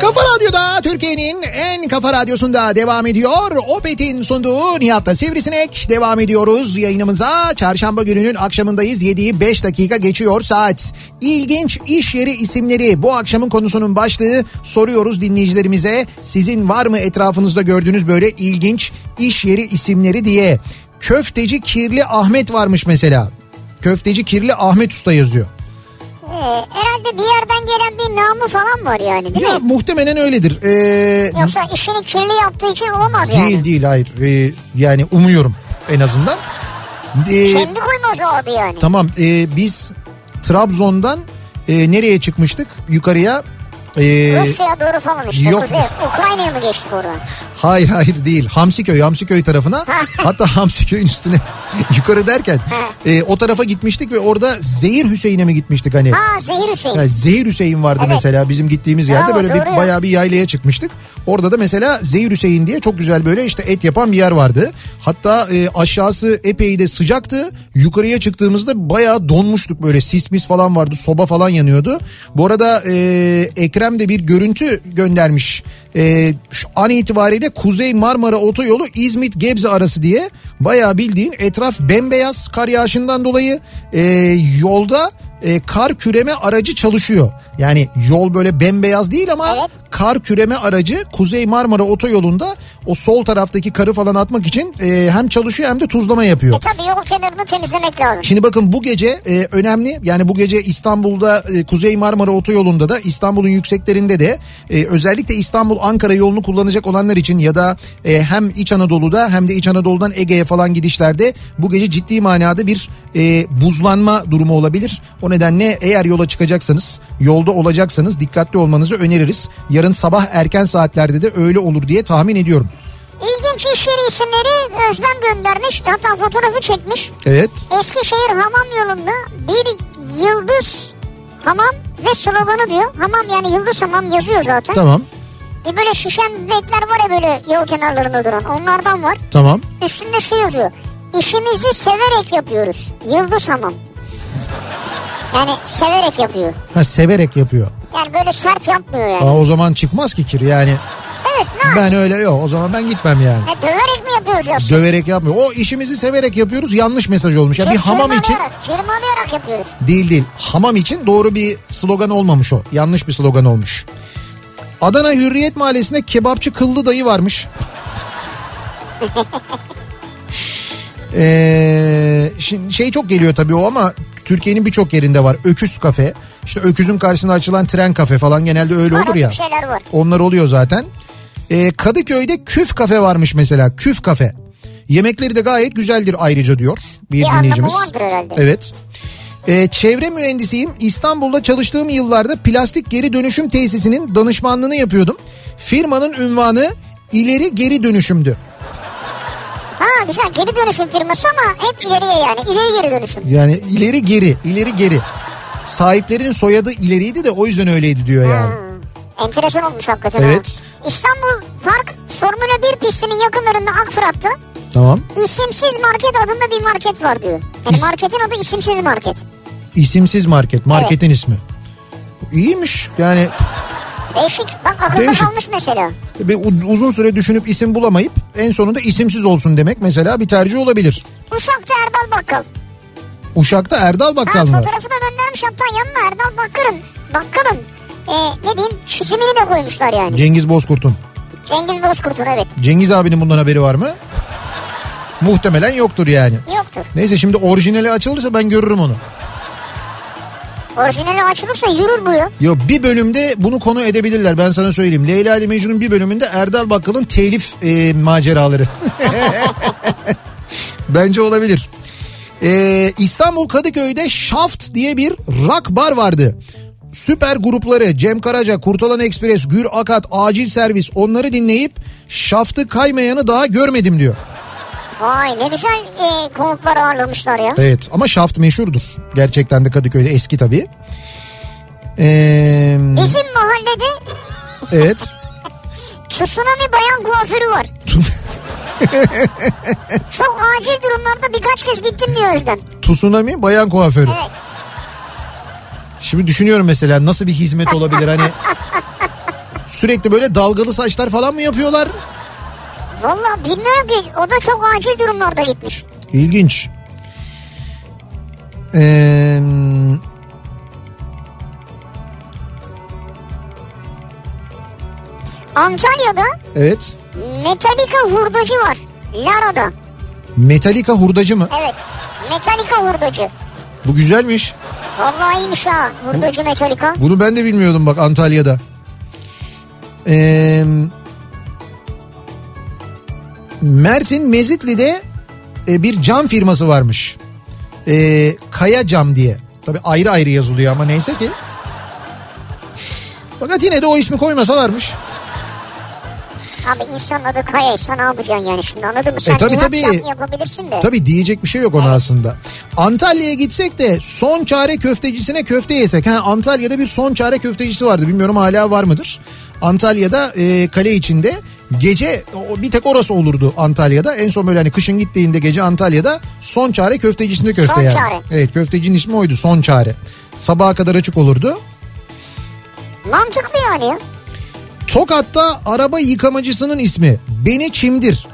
Speaker 2: Kafa Radyo'da Türkiye'nin en kafa radyosunda devam ediyor. Opet'in sunduğu Nihat'la Sivrisinek devam ediyoruz yayınımıza. Çarşamba gününün akşamındayız. 7'yi 5 dakika geçiyor saat. İlginç iş yeri isimleri bu akşamın konusunun başlığı. Soruyoruz dinleyicilerimize sizin var mı etrafınızda gördüğünüz böyle ilginç iş yeri isimleri diye. Köfteci Kirli Ahmet varmış mesela. Köfteci Kirli Ahmet Usta yazıyor.
Speaker 3: Ee, herhalde bir yerden gelen bir namı falan var yani değil
Speaker 2: Ya
Speaker 3: mi?
Speaker 2: muhtemelen öyledir. Ee,
Speaker 3: Yoksa işini kirli yaptığı için olamaz
Speaker 2: Değil
Speaker 3: yani.
Speaker 2: değil hayır. Ee, yani umuyorum en azından. Ee,
Speaker 3: Kendi koymaz o adı yani.
Speaker 2: tamam ee, biz Trabzon'dan ee, nereye çıkmıştık? Yukarıya. Ee,
Speaker 3: Rusya'ya doğru falan işte.
Speaker 2: Yok.
Speaker 3: Kuzey. Ukrayna'ya mı geçtik oradan?
Speaker 2: Hayır hayır değil. Hamsiköy, Hamsiköy tarafına. Hatta Hamsiköy'ün üstüne yukarı derken e, o tarafa gitmiştik ve orada Zehir Hüseyin'e mi gitmiştik hani?
Speaker 3: Ha Zehir Hüseyin.
Speaker 2: Yani Zehir Hüseyin vardı
Speaker 3: Evet.
Speaker 2: mesela bizim gittiğimiz yerde
Speaker 3: Bravo,
Speaker 2: böyle bir
Speaker 3: doğru ya.
Speaker 2: bayağı bir yaylaya çıkmıştık. Orada da mesela Zehir Hüseyin diye çok güzel böyle işte et yapan bir yer vardı. Hatta e, aşağısı epey de sıcaktı. Yukarıya çıktığımızda bayağı donmuştuk böyle sis mis falan vardı. Soba falan yanıyordu. Bu arada e, Ekrem de bir görüntü göndermiş. E, şu an itibariyle Kuzey Marmara Otoyolu İzmit Gebze arası diye bayağı bildiğin etraf bembeyaz kar yağışından dolayı e, yolda e, kar küreme aracı çalışıyor. Yani yol böyle bembeyaz değil ama
Speaker 3: Evet.
Speaker 2: kar küreme aracı Kuzey Marmara Otoyolu'nda o sol taraftaki karı falan atmak için e, hem çalışıyor hem de tuzlama yapıyor.
Speaker 3: E tabii yol kenarını temizlemek lazım.
Speaker 2: Şimdi bakın bu gece e, önemli yani bu gece İstanbul'da e, Kuzey Marmara Otoyolu'nda da İstanbul'un yükseklerinde de e, özellikle İstanbul Ankara yolunu kullanacak olanlar için ya da e, hem İç Anadolu'da hem de İç Anadolu'dan Ege'ye falan gidişlerde bu gece ciddi manada bir e, buzlanma durumu olabilir. O nedenle eğer yola çıkacaksanız yolda olacaksanız dikkatli olmanızı öneririz. Yarın sabah erken saatlerde de öyle olur diye tahmin ediyorum. Şey-
Speaker 3: İlginç iş yeri isimleri Özlem göndermiş. Hatta fotoğrafı çekmiş.
Speaker 2: Evet.
Speaker 3: Eskişehir hamam yolunda bir yıldız hamam ve sloganı diyor. Hamam yani yıldız hamam yazıyor zaten.
Speaker 2: Tamam.
Speaker 3: Bir böyle şişen bekler var ya böyle yol kenarlarında duran. Onlardan var.
Speaker 2: Tamam.
Speaker 3: Üstünde şu yazıyor. İşimizi severek yapıyoruz. Yıldız hamam. Yani severek yapıyor.
Speaker 2: Ha, severek yapıyor.
Speaker 3: Yani böyle sert yapmıyor yani.
Speaker 2: Aa, o zaman çıkmaz ki kir yani.
Speaker 3: Sever ne?
Speaker 2: Ben öyle yok o zaman ben gitmem yani.
Speaker 3: Ya döverek mi yapıyoruz ya?
Speaker 2: Döverek yapmıyor. O işimizi severek yapıyoruz yanlış mesaj olmuş. Ya bir hamam için
Speaker 3: Cırmalayarak, cırmalayarak yapıyoruz.
Speaker 2: değil değil. Hamam için doğru bir slogan olmamış o. Yanlış bir slogan olmuş. Adana Hürriyet Mahallesi'nde kebapçı kıllı dayı varmış. Ee, şimdi şey çok geliyor tabii o ama Türkiye'nin birçok yerinde var. Öküz kafe. İşte öküzün karşısına açılan tren kafe falan genelde öyle
Speaker 3: Var,
Speaker 2: olur
Speaker 3: öyle
Speaker 2: ya.
Speaker 3: bir şey şeyler var.
Speaker 2: Onlar oluyor zaten. Ee, Kadıköy'de küf kafe varmış mesela. Küf kafe. Yemekleri de gayet güzeldir ayrıca diyor bir,
Speaker 3: Bir anlamı
Speaker 2: dinleyicimiz.
Speaker 3: vardır herhalde.
Speaker 2: Evet. Ee, çevre mühendisiyim. İstanbul'da çalıştığım yıllarda plastik geri dönüşüm tesisinin danışmanlığını yapıyordum. Firmanın ünvanı ileri geri dönüşümdü.
Speaker 3: Ha güzel geri dönüşüm firması ama hep ileriye yani. İleri geri dönüşüm.
Speaker 2: Yani ileri geri, ileri geri. Sahiplerinin soyadı ileriydi de o yüzden öyleydi diyor yani.
Speaker 3: Hmm. Enteresan olmuş hakikaten.
Speaker 2: Evet.
Speaker 3: ha. İstanbul Park Formula 1 pistinin yakınlarında Akfırat'ta
Speaker 2: Tamam.
Speaker 3: isimsiz market adında bir market var diyor. Yani
Speaker 2: İs-
Speaker 3: marketin adı isimsiz market.
Speaker 2: İsimsiz market, marketin ismi. İyiymiş yani
Speaker 3: Değişik. Bak akılda
Speaker 2: Değişik.
Speaker 3: kalmış mesela.
Speaker 2: bir u- uzun süre düşünüp isim bulamayıp en sonunda isimsiz olsun demek mesela bir tercih olabilir.
Speaker 3: Uşak'ta Erdal Bakkal.
Speaker 2: Uşak'ta Erdal
Speaker 3: Ha,
Speaker 2: Bakkal mı?
Speaker 3: fotoğrafı da göndermiş hatta yanına Erdal Bakkal'ın. Bakkal'ın. E, ne diyeyim çizimini de koymuşlar yani.
Speaker 2: Cengiz Bozkurt'un.
Speaker 3: Cengiz Bozkurt'un evet.
Speaker 2: Cengiz abinin bundan haberi var mı? Muhtemelen yoktur yani.
Speaker 3: Yoktur.
Speaker 2: Neyse şimdi orijinali açılırsa ben görürüm onu.
Speaker 3: Orijinali açılırsa yürür bu ya.
Speaker 2: Yo bir bölümde bunu konu edebilirler ben sana söyleyeyim. Leyla ile Mecnun'un bir bölümünde Erdal Bakkal'ın telif e, maceraları. Bence olabilir. Ee, İstanbul Kadıköy'de Shaft diye bir rock bar vardı. Süper grupları Cem Karaca, Kurtalan Ekspres, Gür Akat, Acil Servis onları dinleyip Shaft'ı kaymayanı daha görmedim diyor.
Speaker 3: Vay ne güzel e, konuklar ağırlamışlar ya.
Speaker 2: Evet ama Shaft meşhurdur. Gerçekten de Kadıköy'de eski tabii. Ee,
Speaker 3: Bizim mahallede
Speaker 2: evet.
Speaker 3: tsunami bayan kuaförü var. Çok acil durumlarda birkaç kez gittim diyor Özlem.
Speaker 2: Tsunami bayan kuaförü.
Speaker 3: Evet.
Speaker 2: Şimdi düşünüyorum mesela nasıl bir hizmet olabilir hani sürekli böyle dalgalı saçlar falan mı yapıyorlar?
Speaker 3: Valla bilmiyorum ki o da çok acil durumlarda gitmiş.
Speaker 2: İlginç. Ee,
Speaker 3: Antalya'da
Speaker 2: evet.
Speaker 3: Metallica hurdacı var. Lara'da.
Speaker 2: Metallica hurdacı mı?
Speaker 3: Evet. Metallica hurdacı.
Speaker 2: Bu güzelmiş.
Speaker 3: Vallahi iyiymiş ha. Hurdacı Metallica.
Speaker 2: Bunu ben de bilmiyordum bak Antalya'da. Ee, Mersin Mezitli'de e, bir cam firması varmış. Ee, Kaya Cam diye. Tabi ayrı ayrı yazılıyor ama neyse ki. Fakat yine de o ismi koymasalarmış.
Speaker 3: Abi insanın adı Kaya'ysa ne yapacaksın yani şimdi anladın mı? Sen
Speaker 2: E, tabii,
Speaker 3: inat
Speaker 2: tabii.
Speaker 3: yap- yapabilirsin de.
Speaker 2: Tabii diyecek bir şey yok ona aslında. Antalya'ya gitsek de son çare köftecisine köfte yesek. Ha, Antalya'da bir son çare köftecisi vardı. Bilmiyorum hala var mıdır? Antalya'da e, kale içinde gece o, bir tek orası olurdu Antalya'da. En son böyle hani kışın gittiğinde gece Antalya'da son çare köftecisinde köfte
Speaker 3: Son
Speaker 2: yani.
Speaker 3: Çare.
Speaker 2: Evet köftecinin ismi oydu son çare. Sabaha kadar açık olurdu.
Speaker 3: Mantıklı yani ya.
Speaker 2: Tokat'ta araba yıkamacısının ismi Beni Çimdir.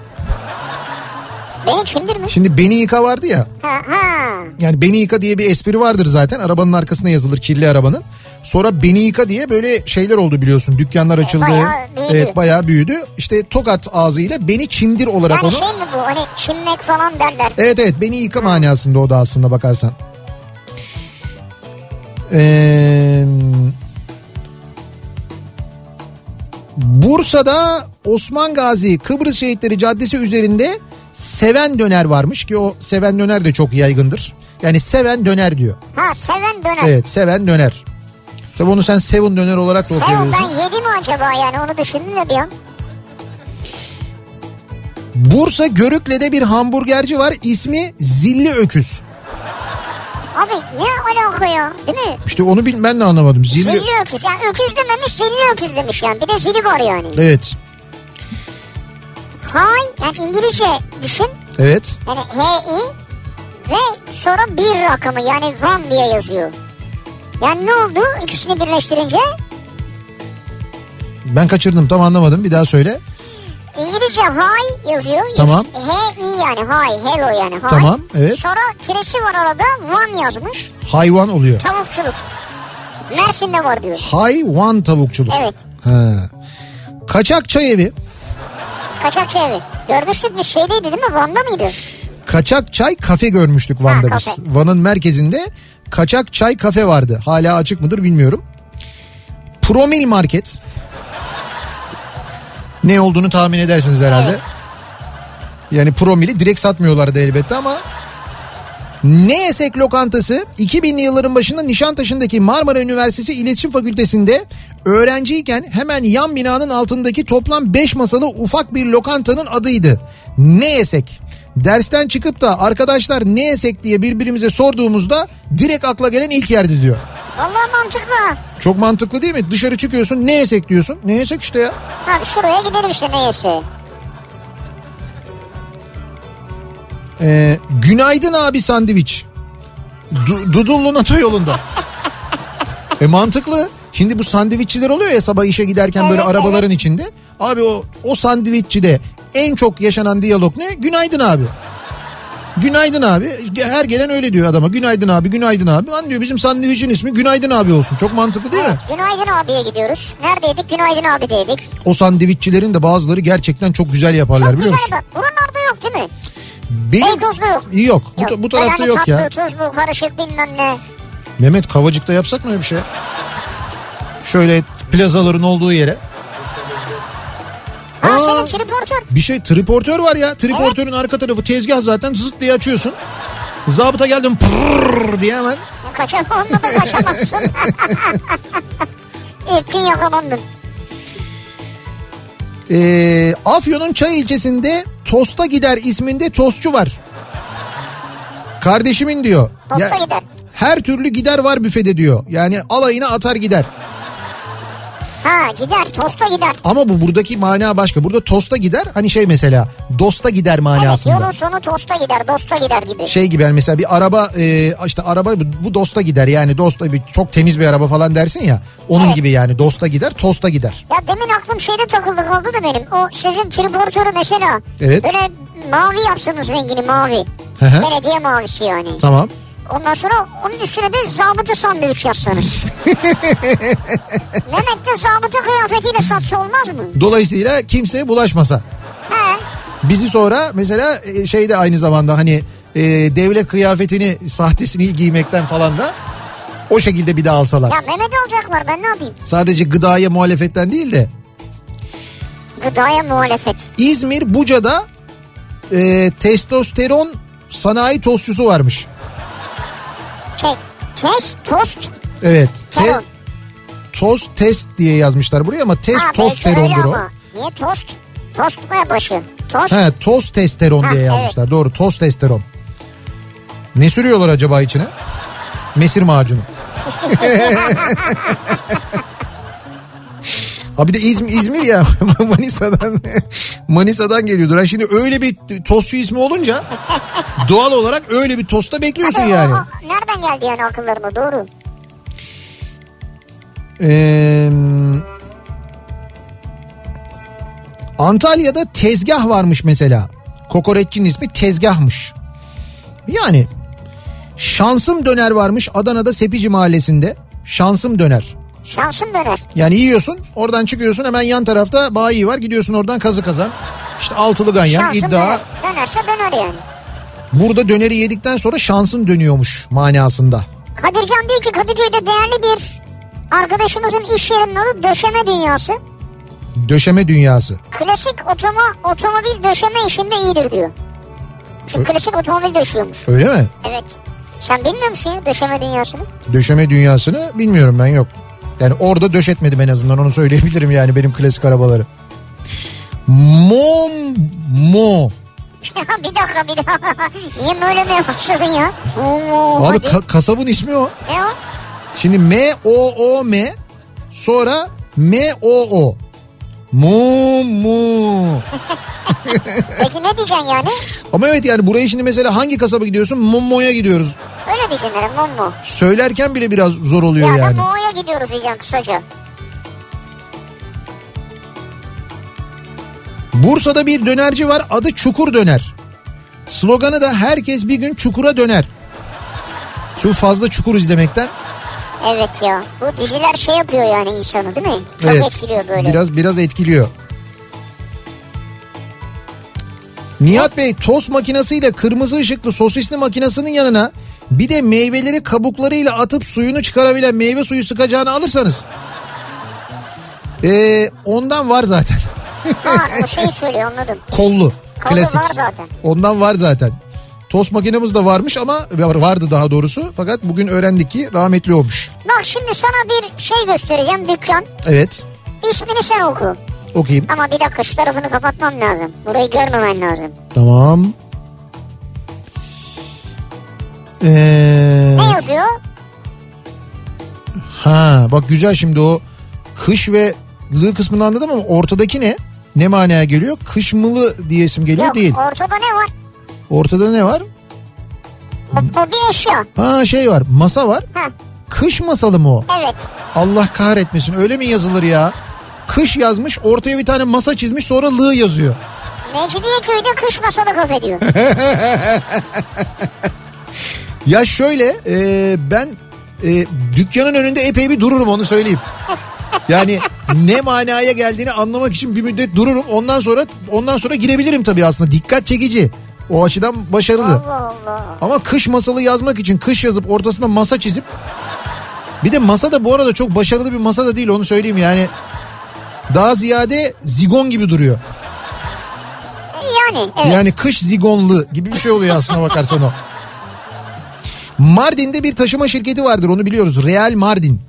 Speaker 3: Beni çimdirmiş.
Speaker 2: Şimdi Beni Yıka vardı ya.
Speaker 3: Ha, ha.
Speaker 2: Yani beni yıka diye bir espri vardır zaten. Arabanın arkasına yazılır kirli arabanın. Sonra beni yıka diye böyle şeyler oldu biliyorsun. Dükkanlar açıldı.
Speaker 3: bayağı büyüdü.
Speaker 2: Evet bayağı büyüdü. İşte tokat ağzıyla beni çimdir olarak
Speaker 3: Yani
Speaker 2: onu.
Speaker 3: şey mi bu hani çimmek falan derler.
Speaker 2: Evet evet beni yıka manasında o da aslında bakarsan. Ee, Bursa'da Osman Gazi Kıbrıs Şehitleri Caddesi üzerinde seven döner varmış ki o seven döner de çok yaygındır. Yani seven döner diyor.
Speaker 3: Ha seven döner.
Speaker 2: Evet seven döner. Tabi onu sen seven döner olarak da
Speaker 3: Seven
Speaker 2: okuyabilirsin.
Speaker 3: ben yedi mi acaba yani onu düşündüm de bir an.
Speaker 2: Bursa Görükle'de bir hamburgerci var ismi Zilli Öküz.
Speaker 3: Abi ne alaka ya değil mi?
Speaker 2: İşte onu bil, ben de anlamadım. Zilli,
Speaker 3: Zilli öküz. Yani öküz dememiş zilli öküz demiş yani. Bir de zili var yani.
Speaker 2: Evet.
Speaker 3: Hay yani İngilizce düşün.
Speaker 2: Evet.
Speaker 3: Yani H-I ve sonra bir rakamı yani one diye yazıyor. Yani ne oldu ikisini birleştirince?
Speaker 2: Ben kaçırdım tam anlamadım. Bir daha söyle.
Speaker 3: İngilizce hi yazıyor.
Speaker 2: Tamam.
Speaker 3: H-I yani hi, hello yani hi.
Speaker 2: Tamam, evet.
Speaker 3: Sonra kiresi var arada one yazmış.
Speaker 2: Hayvan oluyor.
Speaker 3: Tavukçuluk. Mersin'de var diyor.
Speaker 2: Hayvan tavukçuluk.
Speaker 3: Evet.
Speaker 2: Ha. Kaçak çay evi.
Speaker 3: Kaçak çevre. Görmüştük bir şeydeydi değil mi? Van'da mıydı?
Speaker 2: Kaçak çay kafe görmüştük Van'da
Speaker 3: Ha,
Speaker 2: biz.
Speaker 3: kafe.
Speaker 2: Van'ın merkezinde kaçak çay kafe vardı. Hala açık mıdır bilmiyorum. Promil market. Ne olduğunu tahmin edersiniz herhalde. Yani promili direkt satmıyorlardı elbette ama... Ne Yesek Lokantası 2000'li yılların başında Nişantaşı'ndaki Marmara Üniversitesi İletişim Fakültesi'nde öğrenciyken hemen yan binanın altındaki toplam 5 masalı ufak bir lokantanın adıydı. Ne Yesek? Dersten çıkıp da arkadaşlar ne yesek diye birbirimize sorduğumuzda direkt akla gelen ilk yerdi diyor.
Speaker 3: Vallahi mantıklı. ha.
Speaker 2: Çok mantıklı değil mi? Dışarı çıkıyorsun ne yesek diyorsun. Ne yesek işte ya.
Speaker 3: Abi şuraya gidelim işte neyse.
Speaker 2: Ee, günaydın abi sandviç. Du- Dudullu NATO yolunda. e mantıklı. Şimdi bu sandviççiler oluyor ya sabah işe giderken böyle
Speaker 3: Evet,
Speaker 2: arabaların içinde. Abi o o sandviççide en çok yaşanan diyalog ne? Günaydın abi. Günaydın abi. Her gelen öyle diyor adama. Günaydın abi, günaydın abi. Lan diyor bizim sandviçin ismi Günaydın abi olsun. Çok mantıklı değil mi?
Speaker 3: Günaydın abiye gidiyoruz. Neredeydik? Günaydın abi dedik.
Speaker 2: O sandviççilerin de bazıları gerçekten çok güzel yaparlar
Speaker 3: Çok
Speaker 2: biliyor
Speaker 3: güzel
Speaker 2: musun?
Speaker 3: bak. Buralarda yok değil mi?
Speaker 2: Benim...
Speaker 3: Beykoz'da yok.
Speaker 2: Yok. Bu, ta- bu tarafta
Speaker 3: Böyle hani
Speaker 2: yok ya.
Speaker 3: Tatlı, tuzlu, karışık bilmem ne.
Speaker 2: Mehmet Kavacık'ta yapsak mı öyle bir şey? Şöyle plazaların olduğu yere.
Speaker 3: Ha
Speaker 2: Aa!
Speaker 3: senin triportör.
Speaker 2: Bir şey triportör var ya. Triportörün arka tarafı tezgah zaten zıt diye açıyorsun. Zabıta geldim pırrrr diye hemen.
Speaker 3: Ya Kaçam, onunla da kaçamazsın. İlk gün yakalandın.
Speaker 2: Ee, Afyon'un Çay ilçesinde Tosta Gider isminde tostçu var. Kardeşimin diyor.
Speaker 3: Tosta Gider.
Speaker 2: Her türlü gider var büfede diyor. Yani alayına atar gider.
Speaker 3: Ha gider tosta gider.
Speaker 2: Ama bu buradaki mana başka. Burada tosta gider hani şey mesela dosta gider
Speaker 3: Evet
Speaker 2: manasında.
Speaker 3: yolun sonu tosta gider dosta gider gibi.
Speaker 2: şey gibi yani mesela bir araba e, işte araba bu- bu dosta gider yani dosta bir çok temiz bir araba falan dersin ya onun
Speaker 3: Evet.
Speaker 2: gibi yani dosta gider tosta gider.
Speaker 3: Ya demin aklım şeyde takıldı kaldı da benim. O sizin triportörü mesela.
Speaker 2: Evet.
Speaker 3: Böyle mavi yapsanız rengini mavi.
Speaker 2: Hı hı.
Speaker 3: Belediye mavisi yani.
Speaker 2: Tamam.
Speaker 3: Ondan sonra onun üstüne de zabıta sandviç yapsanız. Mehmet de zabıta kıyafetiyle satsa olmaz mı?
Speaker 2: Dolayısıyla kimseye bulaşmasa.
Speaker 3: He.
Speaker 2: Bizi sonra mesela e, şey de aynı zamanda hani e, devlet kıyafetini sahtesini giymekten falan da o şekilde bir daha alsalar.
Speaker 3: Ya Mehmet alacaklar ben ne yapayım?
Speaker 2: Sadece gıdaya muhalefetten değil de
Speaker 3: Gıdaya muhalefet.
Speaker 2: İzmir Buca'da e, testosteron sanayi tostçusu varmış.
Speaker 3: Şey, kes, tost.
Speaker 2: Evet. Te-
Speaker 3: Tamam.
Speaker 2: toz test diye yazmışlar buraya ama test
Speaker 3: Ha,
Speaker 2: toz
Speaker 3: belki öyle
Speaker 2: terondur o.
Speaker 3: ama. Niye tost? Tost mu başı? Tost.
Speaker 2: He, toz testeron
Speaker 3: Ha,
Speaker 2: diye
Speaker 3: evet.
Speaker 2: yazmışlar. Doğru toz testeron. Ne sürüyorlar acaba içine? Mesir macunu. Ha bir de İzmir, İzmir ya Manisa'dan Manisa'dan geliyordur. Ha şimdi öyle bir tostçu ismi olunca doğal olarak öyle bir tosta bekliyorsun
Speaker 3: Tabii o-
Speaker 2: yani.
Speaker 3: o- nereden geldi yani akıllarına doğru.
Speaker 2: Ee, Antalya'da tezgah varmış mesela. Kokoreççinin ismi tezgahmış. Yani şansım döner varmış Adana'da Sepici mahallesinde. Şansım döner.
Speaker 3: Şansın döner.
Speaker 2: Yani yiyorsun oradan çıkıyorsun hemen yan tarafta bayi var gidiyorsun oradan kazı kazan. İşte altılı ganyan
Speaker 3: Şansın
Speaker 2: E iddia.
Speaker 3: döner. Dönerse döner yani.
Speaker 2: Burada döneri yedikten sonra şansın dönüyormuş manasında.
Speaker 3: Kadircan diyor ki Kadıköy'de değerli bir arkadaşımızın iş yerinin adı döşeme dünyası.
Speaker 2: Döşeme dünyası.
Speaker 3: Klasik otoma, otomobil döşeme işinde iyidir diyor. Çünkü klasik otomobil döşüyormuş.
Speaker 2: Öyle mi?
Speaker 3: Evet. Sen bilmiyor musun ya döşeme dünyasını?
Speaker 2: Döşeme dünyasını bilmiyorum ben yok. Yani orada döşetmedim en azından onu söyleyebilirim yani benim klasik arabaları. Mom mo.
Speaker 3: Ya bir dakika bir dakika. Niye böyle mi başladın ya? Oo,
Speaker 2: Abi
Speaker 3: hadi.
Speaker 2: ka- kasabın ismi o.
Speaker 3: Ne o?
Speaker 2: Şimdi M O O M sonra M O O. Mu mu.
Speaker 3: Peki ne diyeceksin yani?
Speaker 2: Ama evet yani buraya şimdi mesela hangi kasaba gidiyorsun? Momo'ya gidiyoruz.
Speaker 3: Öyle diyeceksin herhalde mum mu?
Speaker 2: Söylerken bile biraz zor oluyor
Speaker 3: Ya da
Speaker 2: yani.
Speaker 3: Moğol'a gidiyoruz diyeceğim kısaca.
Speaker 2: Bursa'da bir dönerci var adı Çukur Döner. Sloganı da herkes bir gün çukura döner. Şu fazla çukur izlemekten
Speaker 3: Evet ya. Bu diziler şey yapıyor yani insanı değil mi? Çok
Speaker 2: evet,
Speaker 3: etkiliyor böyle.
Speaker 2: biraz biraz etkiliyor. Nihat Bey tost makinesiyle kırmızı ışıklı sosisli makinesinin yanına bir de meyveleri kabuklarıyla atıp suyunu çıkarabilen meyve suyu sıkacağını alırsanız. Ee, ondan var zaten.
Speaker 3: Ha, bu şeyi söylüyor anladım.
Speaker 2: Kollu.
Speaker 3: Kollu
Speaker 2: klasik.
Speaker 3: var zaten.
Speaker 2: Ondan var zaten. Tost makinemiz de varmış ama vardı daha doğrusu. Fakat bugün öğrendik ki rahmetli olmuş.
Speaker 3: Bak şimdi sana bir şey göstereceğim dükkan.
Speaker 2: Evet.
Speaker 3: İsmini sen oku.
Speaker 2: Okuyayım.
Speaker 3: Ama bir dakika şu tarafını kapatmam lazım. Burayı görmemen lazım.
Speaker 2: Tamam. Ee,
Speaker 3: Ne yazıyor?
Speaker 2: ha bak güzel şimdi o kış ve lı kısmını anladım ama ortadaki ne? Ne manaya geliyor? Kışmılı diyesim geliyor
Speaker 3: Yok
Speaker 2: değil.
Speaker 3: ortada ne var?
Speaker 2: Ortada ne var?
Speaker 3: O, o bir eşya.
Speaker 2: Ha şey var. Masa var.
Speaker 3: Ha,
Speaker 2: Kış masalı mı o?
Speaker 3: evet.
Speaker 2: Allah kahretmesin öyle mi yazılır ya? Kış yazmış ortaya bir tane masa çizmiş sonra lığ yazıyor.
Speaker 3: Mecidiyeköy'de kış masalı kafe diyor.
Speaker 2: Ya şöyle e, ben e, dükkanın önünde epey bir dururum onu söyleyeyim. Yani ne manaya geldiğini anlamak için bir müddet dururum. Ondan sonra ondan sonra girebilirim tabii aslında. Dikkat çekici. O açıdan başarılı.
Speaker 3: Allah Allah.
Speaker 2: Ama kış masalı yazmak için kış yazıp ortasına masa çizip bir de masa da bu arada çok başarılı bir masa da değil onu söyleyeyim yani. Daha ziyade zigon gibi duruyor.
Speaker 3: E, Yani evet.
Speaker 2: Yani kış zigonlu gibi bir şey oluyor aslına bakarsan o. Mardin'de bir taşıma şirketi vardır onu biliyoruz. Real Mardin.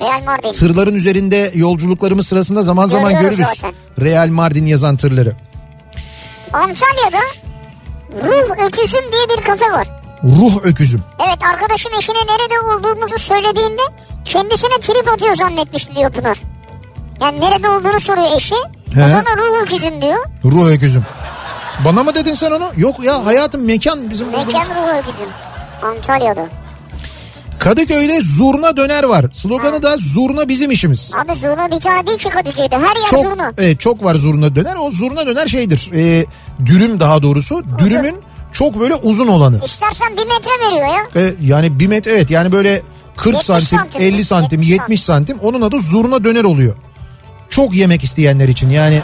Speaker 3: Real Mardin.
Speaker 2: Tırların üzerinde yolculuklarımız sırasında zaman zaman
Speaker 3: Görüyoruz
Speaker 2: görürüz.
Speaker 3: zaten.
Speaker 2: Real Mardin yazan tırları.
Speaker 3: Antalya'da Ruh Öküzüm diye bir kafe var.
Speaker 2: Ruh öküzüm.
Speaker 3: Evet arkadaşım eşine nerede olduğumuzu söylediğinde kendisine trip atıyor zannetmişti diyor Pınar. Yani nerede olduğunu soruyor eşi.
Speaker 2: He.
Speaker 3: O Bana ruh öküzüm diyor.
Speaker 2: Ruh öküzüm. Bana mı dedin sen onu? Yok ya hayatım mekan bizim olduğumuz-
Speaker 3: Mekan ruh öküzüm. Antalya'da.
Speaker 2: Kadıköy'de zurna döner var. Sloganı da zurna bizim işimiz.
Speaker 3: Abi zurna bir tane değil ki Kadıköy'de. Her yer
Speaker 2: Çok
Speaker 3: zurna.
Speaker 2: evet, çok var zurna döner. O zurna döner şeydir. E, dürüm daha doğrusu. Dürümün çok böyle uzun olanı.
Speaker 3: İstersen bir metre veriyor ya.
Speaker 2: E, yani bir metre evet yani böyle 40
Speaker 3: 70
Speaker 2: santim,
Speaker 3: santim,
Speaker 2: 50 santim,
Speaker 3: 70
Speaker 2: 70 santim onun adı zurna döner oluyor. Çok yemek isteyenler için yani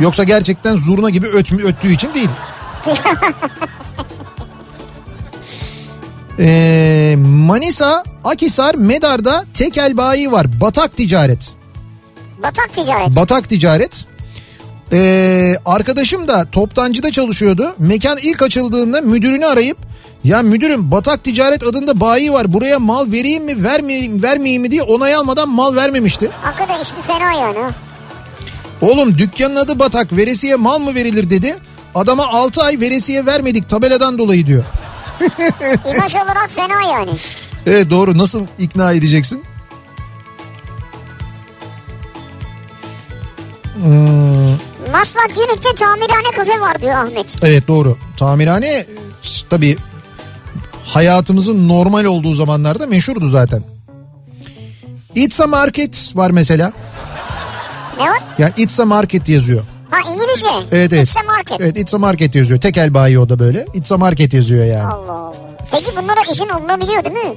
Speaker 2: yoksa gerçekten zurna gibi ötmü öttüğü için değil. E, Manisa, Akisar, Medar'da tekel bayi var. Batak ticaret.
Speaker 3: Batak ticaret.
Speaker 2: Batak ticaret. Ee, arkadaşım da toptancıda çalışıyordu. Mekan ilk açıldığında müdürünü arayıp ya müdürüm Batak Ticaret adında bayi var buraya mal vereyim mi vermeyeyim, vermeyeyim mi diye onay almadan mal vermemişti.
Speaker 3: Hakikaten ismi fena yani. ha.
Speaker 2: Oğlum dükkanın adı batak veresiye mal mı verilir dedi. Adama 6 ay veresiye vermedik tabeladan dolayı diyor.
Speaker 3: İmaj olarak fena yani.
Speaker 2: Evet doğru nasıl ikna edeceksin?
Speaker 3: Maslak Yünük'te tamirhane kafe var diyor Ahmet.
Speaker 2: Evet doğru. Tamirhane e, tabii hayatımızın normal olduğu zamanlarda meşhurdu zaten. Itza Market var mesela.
Speaker 3: Ne var?
Speaker 2: Yani Itza Market yazıyor.
Speaker 3: Ha İngilizce.
Speaker 2: Evet evet.
Speaker 3: It's a market.
Speaker 2: Evet Itza Market yazıyor. Tekel bayi o da böyle. Itza Market yazıyor yani.
Speaker 3: Allah Allah. Peki bunlara izin alınabiliyor değil mi?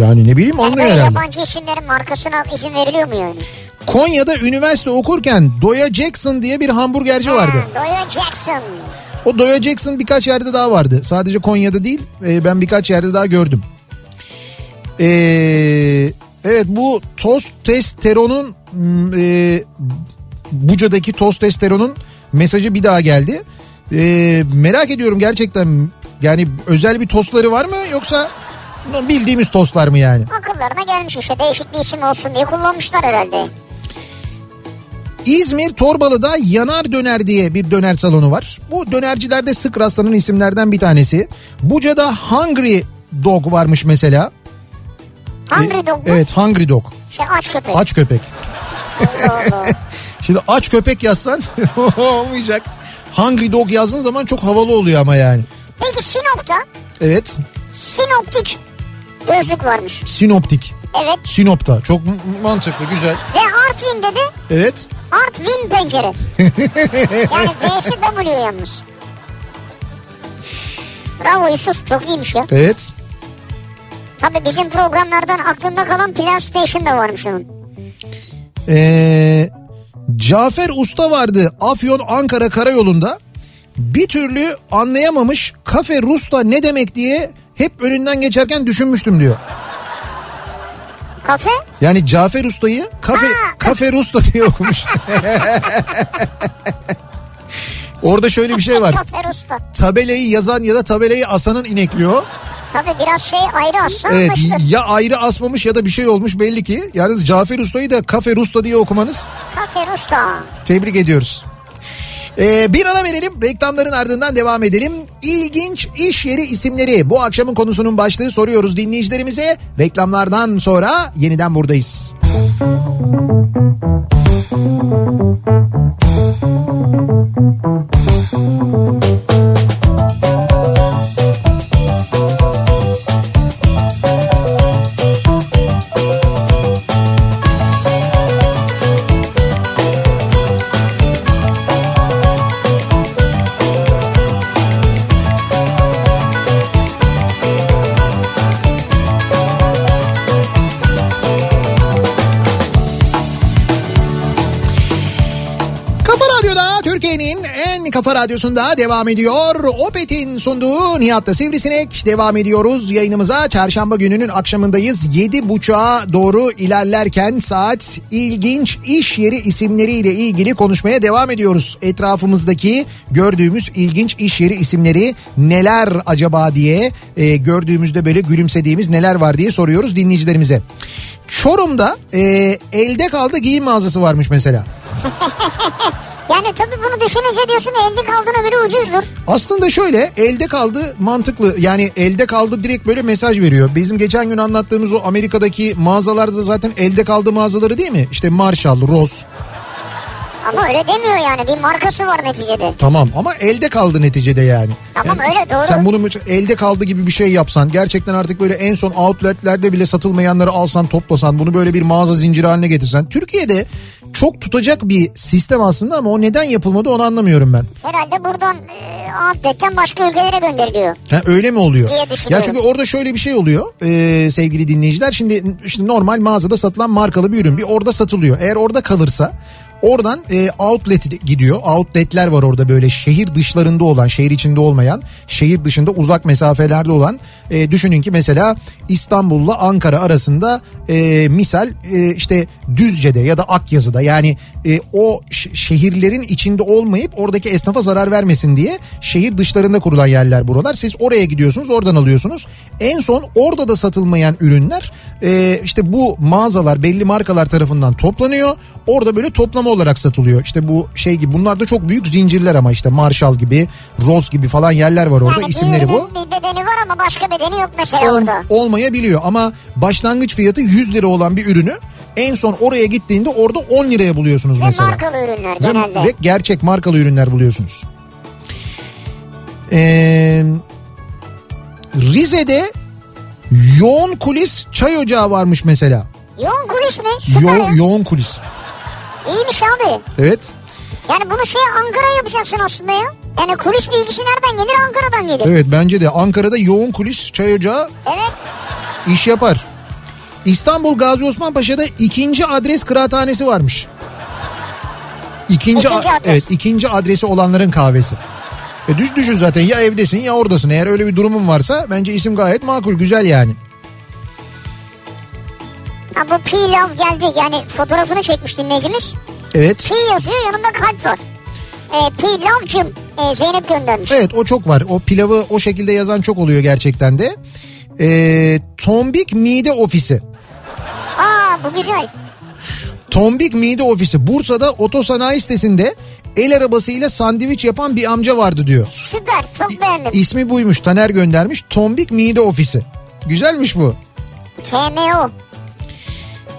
Speaker 2: Yani ne bileyim
Speaker 3: Yani
Speaker 2: anlıyor
Speaker 3: böyle
Speaker 2: herhalde.
Speaker 3: yabancı isimlerin markasına izin veriliyor mu yani?
Speaker 2: Konya'da üniversite okurken Doya Jackson diye bir hamburgerci vardı.
Speaker 3: Ha, Doya Jackson.
Speaker 2: O Doya Jackson birkaç yerde daha vardı. Sadece Konya'da değil e, ben birkaç yerde daha gördüm. Ee, evet bu toz testosteronun mm, e, Buca'daki toz testosteronun mesajı bir daha geldi. Ee, merak ediyorum gerçekten yani özel bir tostları var mı yoksa bildiğimiz tostlar mı yani?
Speaker 3: Akıllarına gelmiş işte değişik bir isim olsun diye kullanmışlar herhalde.
Speaker 2: İzmir Torbalı'da Yanar Döner diye bir döner salonu var. Bu dönercilerde sık rastlanan isimlerden bir tanesi. Buca'da Hungry Dog varmış mesela.
Speaker 3: Hungry Dog mu?
Speaker 2: E, Evet Hungry Dog.
Speaker 3: Şey aç köpek.
Speaker 2: Aç köpek.
Speaker 3: Allah Allah.
Speaker 2: Şimdi aç köpek yazsan olmayacak. Hungry Dog yazdığın zaman çok havalı oluyor ama yani.
Speaker 3: Peki Sinop'ta
Speaker 2: Evet
Speaker 3: Sinoptik gözlük varmış.
Speaker 2: Sinoptik.
Speaker 3: Evet.
Speaker 2: Sinop'ta çok m- mantıklı güzel.
Speaker 3: Ve Artvin'de de
Speaker 2: Evet.
Speaker 3: Artvin pencere. yani V'si W yalnız. Bravo Yusuf çok iyiymiş ya.
Speaker 2: Evet.
Speaker 3: Tabii bizim programlardan aklında kalan Plan Station da varmış onun.
Speaker 2: Ee, Cafer Usta vardı Afyon Ankara Karayolu'nda. Bir türlü anlayamamış kafe Rusta ne demek diye hep önünden geçerken düşünmüştüm diyor.
Speaker 3: Kafe?
Speaker 2: Yani Cafer Usta'yı kafe
Speaker 3: Ha.
Speaker 2: kafe Rusta diye okumuş. Orada şöyle bir şey var.
Speaker 3: Kafer usta.
Speaker 2: Tabelayı yazan ya da tabelayı asanın inekliği o.
Speaker 3: Tabii biraz şey ayrı asla
Speaker 2: Evet
Speaker 3: anlaşılır.
Speaker 2: ya ayrı asmamış ya da bir şey olmuş belli ki. Yalnız Cafer Usta'yı da kafe Rusta diye okumanız
Speaker 3: Kafer usta.
Speaker 2: Tebrik ediyoruz. Ee, bir ara verelim reklamların ardından devam edelim. İlginç iş yeri isimleri bu akşamın konusunun başlığı soruyoruz dinleyicilerimize. Reklamlardan sonra yeniden buradayız. Kafa Radyo'da Türkiye'nin en kafa radyosunda devam ediyor. Opet'in sunduğu Nihat'ta Sivrisinek devam ediyoruz. Yayınımıza çarşamba gününün akşamındayız. Yedi buçuğa doğru ilerlerken saat ilginç iş yeri isimleriyle ilgili konuşmaya devam ediyoruz. Etrafımızdaki gördüğümüz ilginç iş yeri isimleri neler acaba diye e, gördüğümüzde böyle gülümsediğimiz neler var diye soruyoruz dinleyicilerimize. Çorum'da e, elde kaldı giyim mağazası varmış mesela.
Speaker 3: Yani tabii bunu düşününce diyorsun elde kaldığına göre ucuzdur.
Speaker 2: Aslında şöyle elde kaldı mantıklı yani elde kaldı direkt böyle mesaj veriyor. Bizim geçen gün anlattığımız o Amerika'daki mağazalarda zaten elde kaldı mağazaları değil mi? İşte Marshall, Ross
Speaker 3: Ama öyle demiyor yani bir markası var neticede.
Speaker 2: tamam ama elde kaldı neticede yani.
Speaker 3: Tamam,
Speaker 2: Yani
Speaker 3: öyle doğru.
Speaker 2: Sen bunu mü- elde kaldı gibi bir şey yapsan gerçekten artık böyle en son outletlerde bile satılmayanları alsan toplasan bunu böyle bir mağaza zinciri haline getirsen. Türkiye'de çok tutacak bir sistem aslında ama o neden yapılmadı onu anlamıyorum ben.
Speaker 3: Herhalde buradan e, outlet'ten başka ülkelere gönderiliyor.
Speaker 2: Ha, öyle mi oluyor?
Speaker 3: Diye
Speaker 2: ya
Speaker 3: düşünüyorum.
Speaker 2: çünkü orada şöyle bir şey oluyor e, sevgili dinleyiciler. Şimdi işte normal mağazada satılan markalı bir ürün bir orada satılıyor. Eğer orada kalırsa oradan e, outlet gidiyor. Outletler var orada böyle şehir dışlarında olan, şehir içinde olmayan, şehir dışında uzak mesafelerde olan. E, düşünün ki mesela İstanbul'la Ankara arasında e, misal e, işte Düzce'de ya da Akyazı'da yani e, o ş- şehirlerin içinde olmayıp oradaki esnafa zarar vermesin diye şehir dışlarında kurulan yerler buralar. Siz oraya gidiyorsunuz oradan alıyorsunuz. En son orada da satılmayan ürünler e, işte bu mağazalar belli markalar tarafından toplanıyor. Orada böyle toplama olarak satılıyor. İşte bu şey gibi bunlar da çok büyük zincirler ama işte Marshall gibi, Rose gibi falan yerler var orada
Speaker 3: yani
Speaker 2: isimleri bu.
Speaker 3: birinin Bir bedeni var ama başka bedeni yok mesela
Speaker 2: Ol-
Speaker 3: orada.
Speaker 2: olmayabiliyor ama başlangıç fiyatı 100 lira olan bir ürünü en son oraya gittiğinde orada 10 liraya buluyorsunuz
Speaker 3: Ve
Speaker 2: mesela.
Speaker 3: markalı ürünler
Speaker 2: Ve-
Speaker 3: genelde.
Speaker 2: Ve gerçek markalı ürünler buluyorsunuz. Ee, Rize'de yoğun kulis çay ocağı varmış mesela.
Speaker 3: Yoğun kulis mi? Süper
Speaker 2: Yo,
Speaker 3: ya.
Speaker 2: yoğun kulis.
Speaker 3: İyiymiş abi.
Speaker 2: Evet.
Speaker 3: Yani bunu şey Ankara yapacaksın aslında ya. Yani kulis bilgisi nereden gelir? Ankara'dan gelir. Evet.
Speaker 2: Evet bence de Ankara'da yoğun kulis çay ocağı iş yapar. İstanbul Gazi Osman Paşa'da ikinci adres kıraathanesi varmış. İkinci,
Speaker 3: İkinci
Speaker 2: a-
Speaker 3: adres.
Speaker 2: evet ikinci adresi olanların kahvesi. E düş düşün zaten ya evdesin ya oradasın. Eğer öyle bir durumun varsa bence isim gayet makul güzel yani.
Speaker 3: Ha, bu pilav geldi. Yani fotoğrafını çekmiş dinleyicimiz.
Speaker 2: Evet.
Speaker 3: Pi yazıyor yanında kalp var. E, pilavcım e, Zeynep göndermiş.
Speaker 2: Evet o çok var. O pilavı o şekilde yazan çok oluyor gerçekten de. E, tombik Mide Ofisi.
Speaker 3: Aa bu güzel.
Speaker 2: Tombik Mide Ofisi Bursa'da otosanayi sitesinde el arabasıyla sandviç yapan bir amca vardı diyor.
Speaker 3: Süper. Çok beğendim.
Speaker 2: İsmi buymuş Taner göndermiş. Tombik Mide Ofisi. Güzelmiş bu.
Speaker 3: TMO.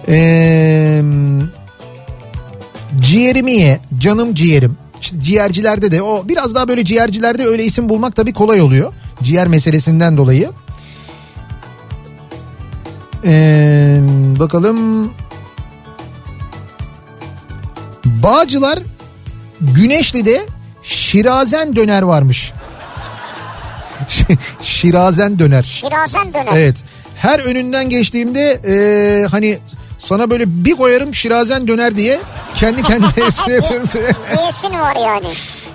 Speaker 2: Ee, ciğerimiye, canım ciğerim. İşte ciğercilerde de o biraz daha böyle ciğercilerde öyle isim bulmak tabii kolay oluyor. Ciğer meselesinden dolayı. Ee, bakalım. Bağcılar Güneşli'de Şirazen döner varmış. Şirazen döner.
Speaker 3: Kirazen döner.
Speaker 2: Evet. Her önünden geçtiğimde e, hani sana böyle bir koyarım şirazen döner diye kendi kendime espri yapıyorum.
Speaker 3: Diyesin var yani.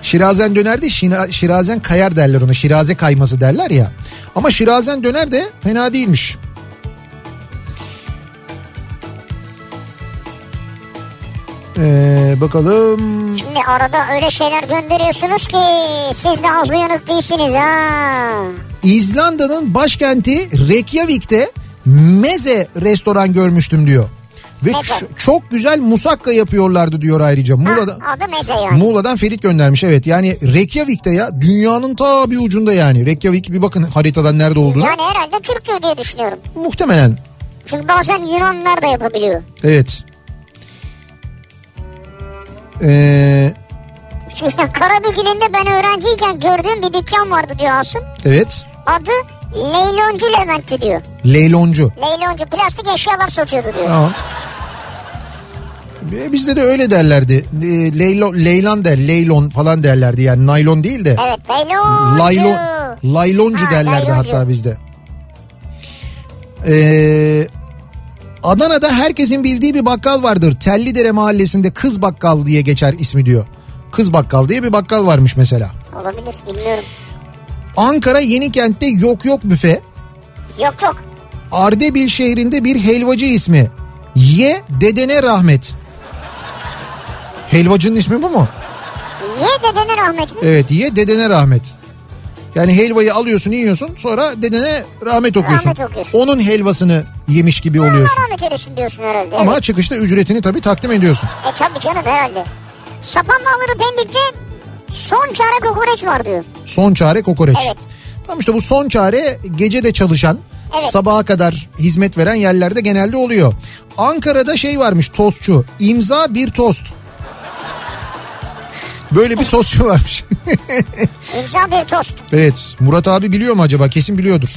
Speaker 2: şirazen döner de şina- şirazen kayar derler ona. Şiraze kayması derler ya. Ama şirazen döner de fena değilmiş. Ee, bakalım.
Speaker 3: Şimdi arada öyle şeyler gönderiyorsunuz ki siz de ağzı yanık değilsiniz ha.
Speaker 2: İzlanda'nın başkenti Reykjavik'te meze restoran görmüştüm diyor. Ve
Speaker 3: Meze.
Speaker 2: ç- çok güzel musakka yapıyorlardı diyor ayrıca.
Speaker 3: Ha,
Speaker 2: Muğla'da,
Speaker 3: adı meze yani.
Speaker 2: Muğla'dan Ferit göndermiş evet. Yani Reykjavik'te ya dünyanın ta bir ucunda yani. Reykjavik bir bakın haritadan nerede olduğunu.
Speaker 3: yani herhalde Türktür diye düşünüyorum.
Speaker 2: Muhtemelen
Speaker 3: Çünkü bazen Yunanlar da yapabiliyor.
Speaker 2: evet. Ee,
Speaker 3: Karabük'ün de ben öğrenciyken gördüğüm bir dükkan vardı diyor Asım.
Speaker 2: evet.
Speaker 3: Adı Leyloncu Levent'i diyor.
Speaker 2: Leyloncu.
Speaker 3: Leyloncu plastik eşyalar satıyordu diyor.
Speaker 2: Tamam. E, Bizde de öyle derlerdi. E, Leylo, leylan der, leylon falan derlerdi yani naylon değil de.
Speaker 3: Evet Leyloncu.
Speaker 2: Laylon, layloncu
Speaker 3: Ha,
Speaker 2: derlerdi
Speaker 3: layloncu.
Speaker 2: hatta bizde. Ee, Adana'da herkesin bildiği bir bakkal vardır. Tellidere mahallesinde Kız Bakkal diye geçer ismi diyor. Kız Bakkal diye bir bakkal varmış mesela.
Speaker 3: Olabilir bilmiyorum.
Speaker 2: Ankara Yenikent'te Yok Yok Büfe.
Speaker 3: Yok yok.
Speaker 2: Ardebil şehrinde bir helvacı ismi. Ye dedene rahmet. Helvacının ismi bu mu?
Speaker 3: Ye dedene rahmet mi?
Speaker 2: Evet ye dedene rahmet. Yani helvayı alıyorsun yiyorsun sonra dedene rahmet okuyorsun.
Speaker 3: Rahmet okuyorsun.
Speaker 2: Onun helvasını yemiş gibi oluyorsun.
Speaker 3: Rahmet eylesin diyorsun herhalde.
Speaker 2: Ama çıkışta ücretini tabii takdim ediyorsun.
Speaker 3: E tabii canım herhalde. Sapan malları pendikçe son çare kokoreç var diyor.
Speaker 2: Son çare kokoreç.
Speaker 3: Evet.
Speaker 2: Tamam işte bu son çare gece de çalışan
Speaker 3: Evet.
Speaker 2: sabaha kadar hizmet veren yerlerde genelde oluyor. Ankara'da şey varmış tostçu imza bir tost. Böyle bir tostçu varmış.
Speaker 3: İmza bir tost.
Speaker 2: evet Murat abi biliyor mu acaba kesin biliyordur.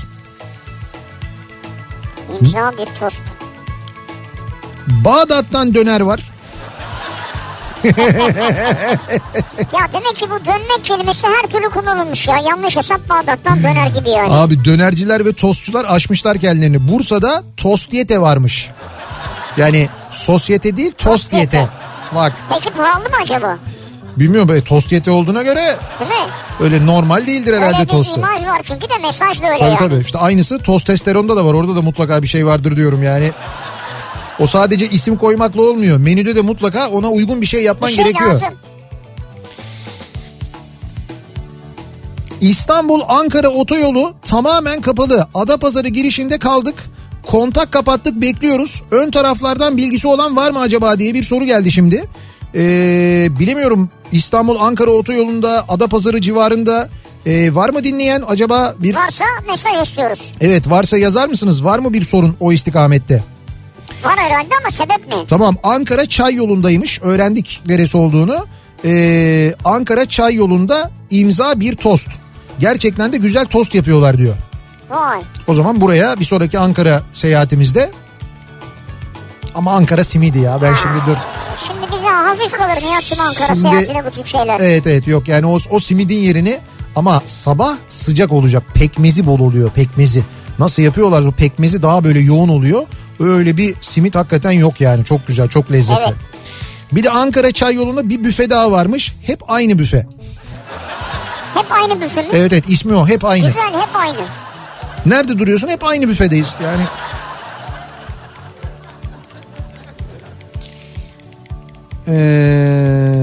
Speaker 3: İmza bir tost.
Speaker 2: Bağdat'tan döner var.
Speaker 3: Ya demek ki bu dönmek kelimesi her türlü kullanılmış ya. Yanlış hesap Bağdat'tan döner gibi yani.
Speaker 2: Abi dönerciler ve tostçular aşmışlar kendilerini. Bursa'da tostyete varmış. Yani sosyete değil tostyete. Bak
Speaker 3: Peki pahalı mı acaba?
Speaker 2: bilmiyorum be tostyete olduğuna göre
Speaker 3: Değil mi?
Speaker 2: öyle normal değildir herhalde
Speaker 3: öyle bir
Speaker 2: tostu.
Speaker 3: imaj var çünkü de mesaj da öyle
Speaker 2: Tabii
Speaker 3: yani.
Speaker 2: tabii işte aynısı tostestoronda da var orada da mutlaka bir şey vardır diyorum yani. O sadece isim koymakla olmuyor. Menüde de mutlaka ona uygun bir şey
Speaker 3: Bir
Speaker 2: yapman
Speaker 3: şey
Speaker 2: gerekiyor.
Speaker 3: lazım.
Speaker 2: İstanbul Ankara otoyolu tamamen kapalı. Adapazarı girişinde kaldık. Kontak kapattık bekliyoruz. Ön taraflardan bilgisi olan var mı acaba diye bir soru geldi şimdi. Ee, bilemiyorum İstanbul-Ankara otoyolunda Adapazarı civarında ee, var mı dinleyen acaba bir...
Speaker 3: Varsa mesaj istiyoruz.
Speaker 2: Evet varsa yazar mısınız? Var mı bir sorun o istikamette?
Speaker 3: Var herhalde ama sebep ne?
Speaker 2: Tamam Ankara Çay yolundaymış. Öğrendik neresi olduğunu. Ee, Ankara Çay yolunda imza bir tost. Gerçekten de güzel tost yapıyorlar diyor.
Speaker 3: Vay.
Speaker 2: O zaman buraya bir sonraki Ankara seyahatimizde ama Ankara simidi ya ben şimdi dur.
Speaker 3: Şimdi bize hafif kalır Nihat'cığım Ankara
Speaker 2: Şimdi-
Speaker 3: seyahatine bu tip şeyler.
Speaker 2: Evet evet yok yani o, o simidin yerini ama sabah sıcak olacak pekmezi bol oluyor pekmezi. Nasıl yapıyorlar o pekmezi daha böyle yoğun oluyor. Öyle bir simit hakikaten yok yani çok güzel çok lezzetli.
Speaker 3: Evet.
Speaker 2: Bir de Ankara Çay yolunda bir büfe daha varmış. Hep aynı büfe.
Speaker 3: Hep aynı büfe mi?
Speaker 2: Evet evet ismi o hep aynı.
Speaker 3: Güzel hep aynı.
Speaker 2: Nerede duruyorsun hep aynı büfedeyiz yani. Ee,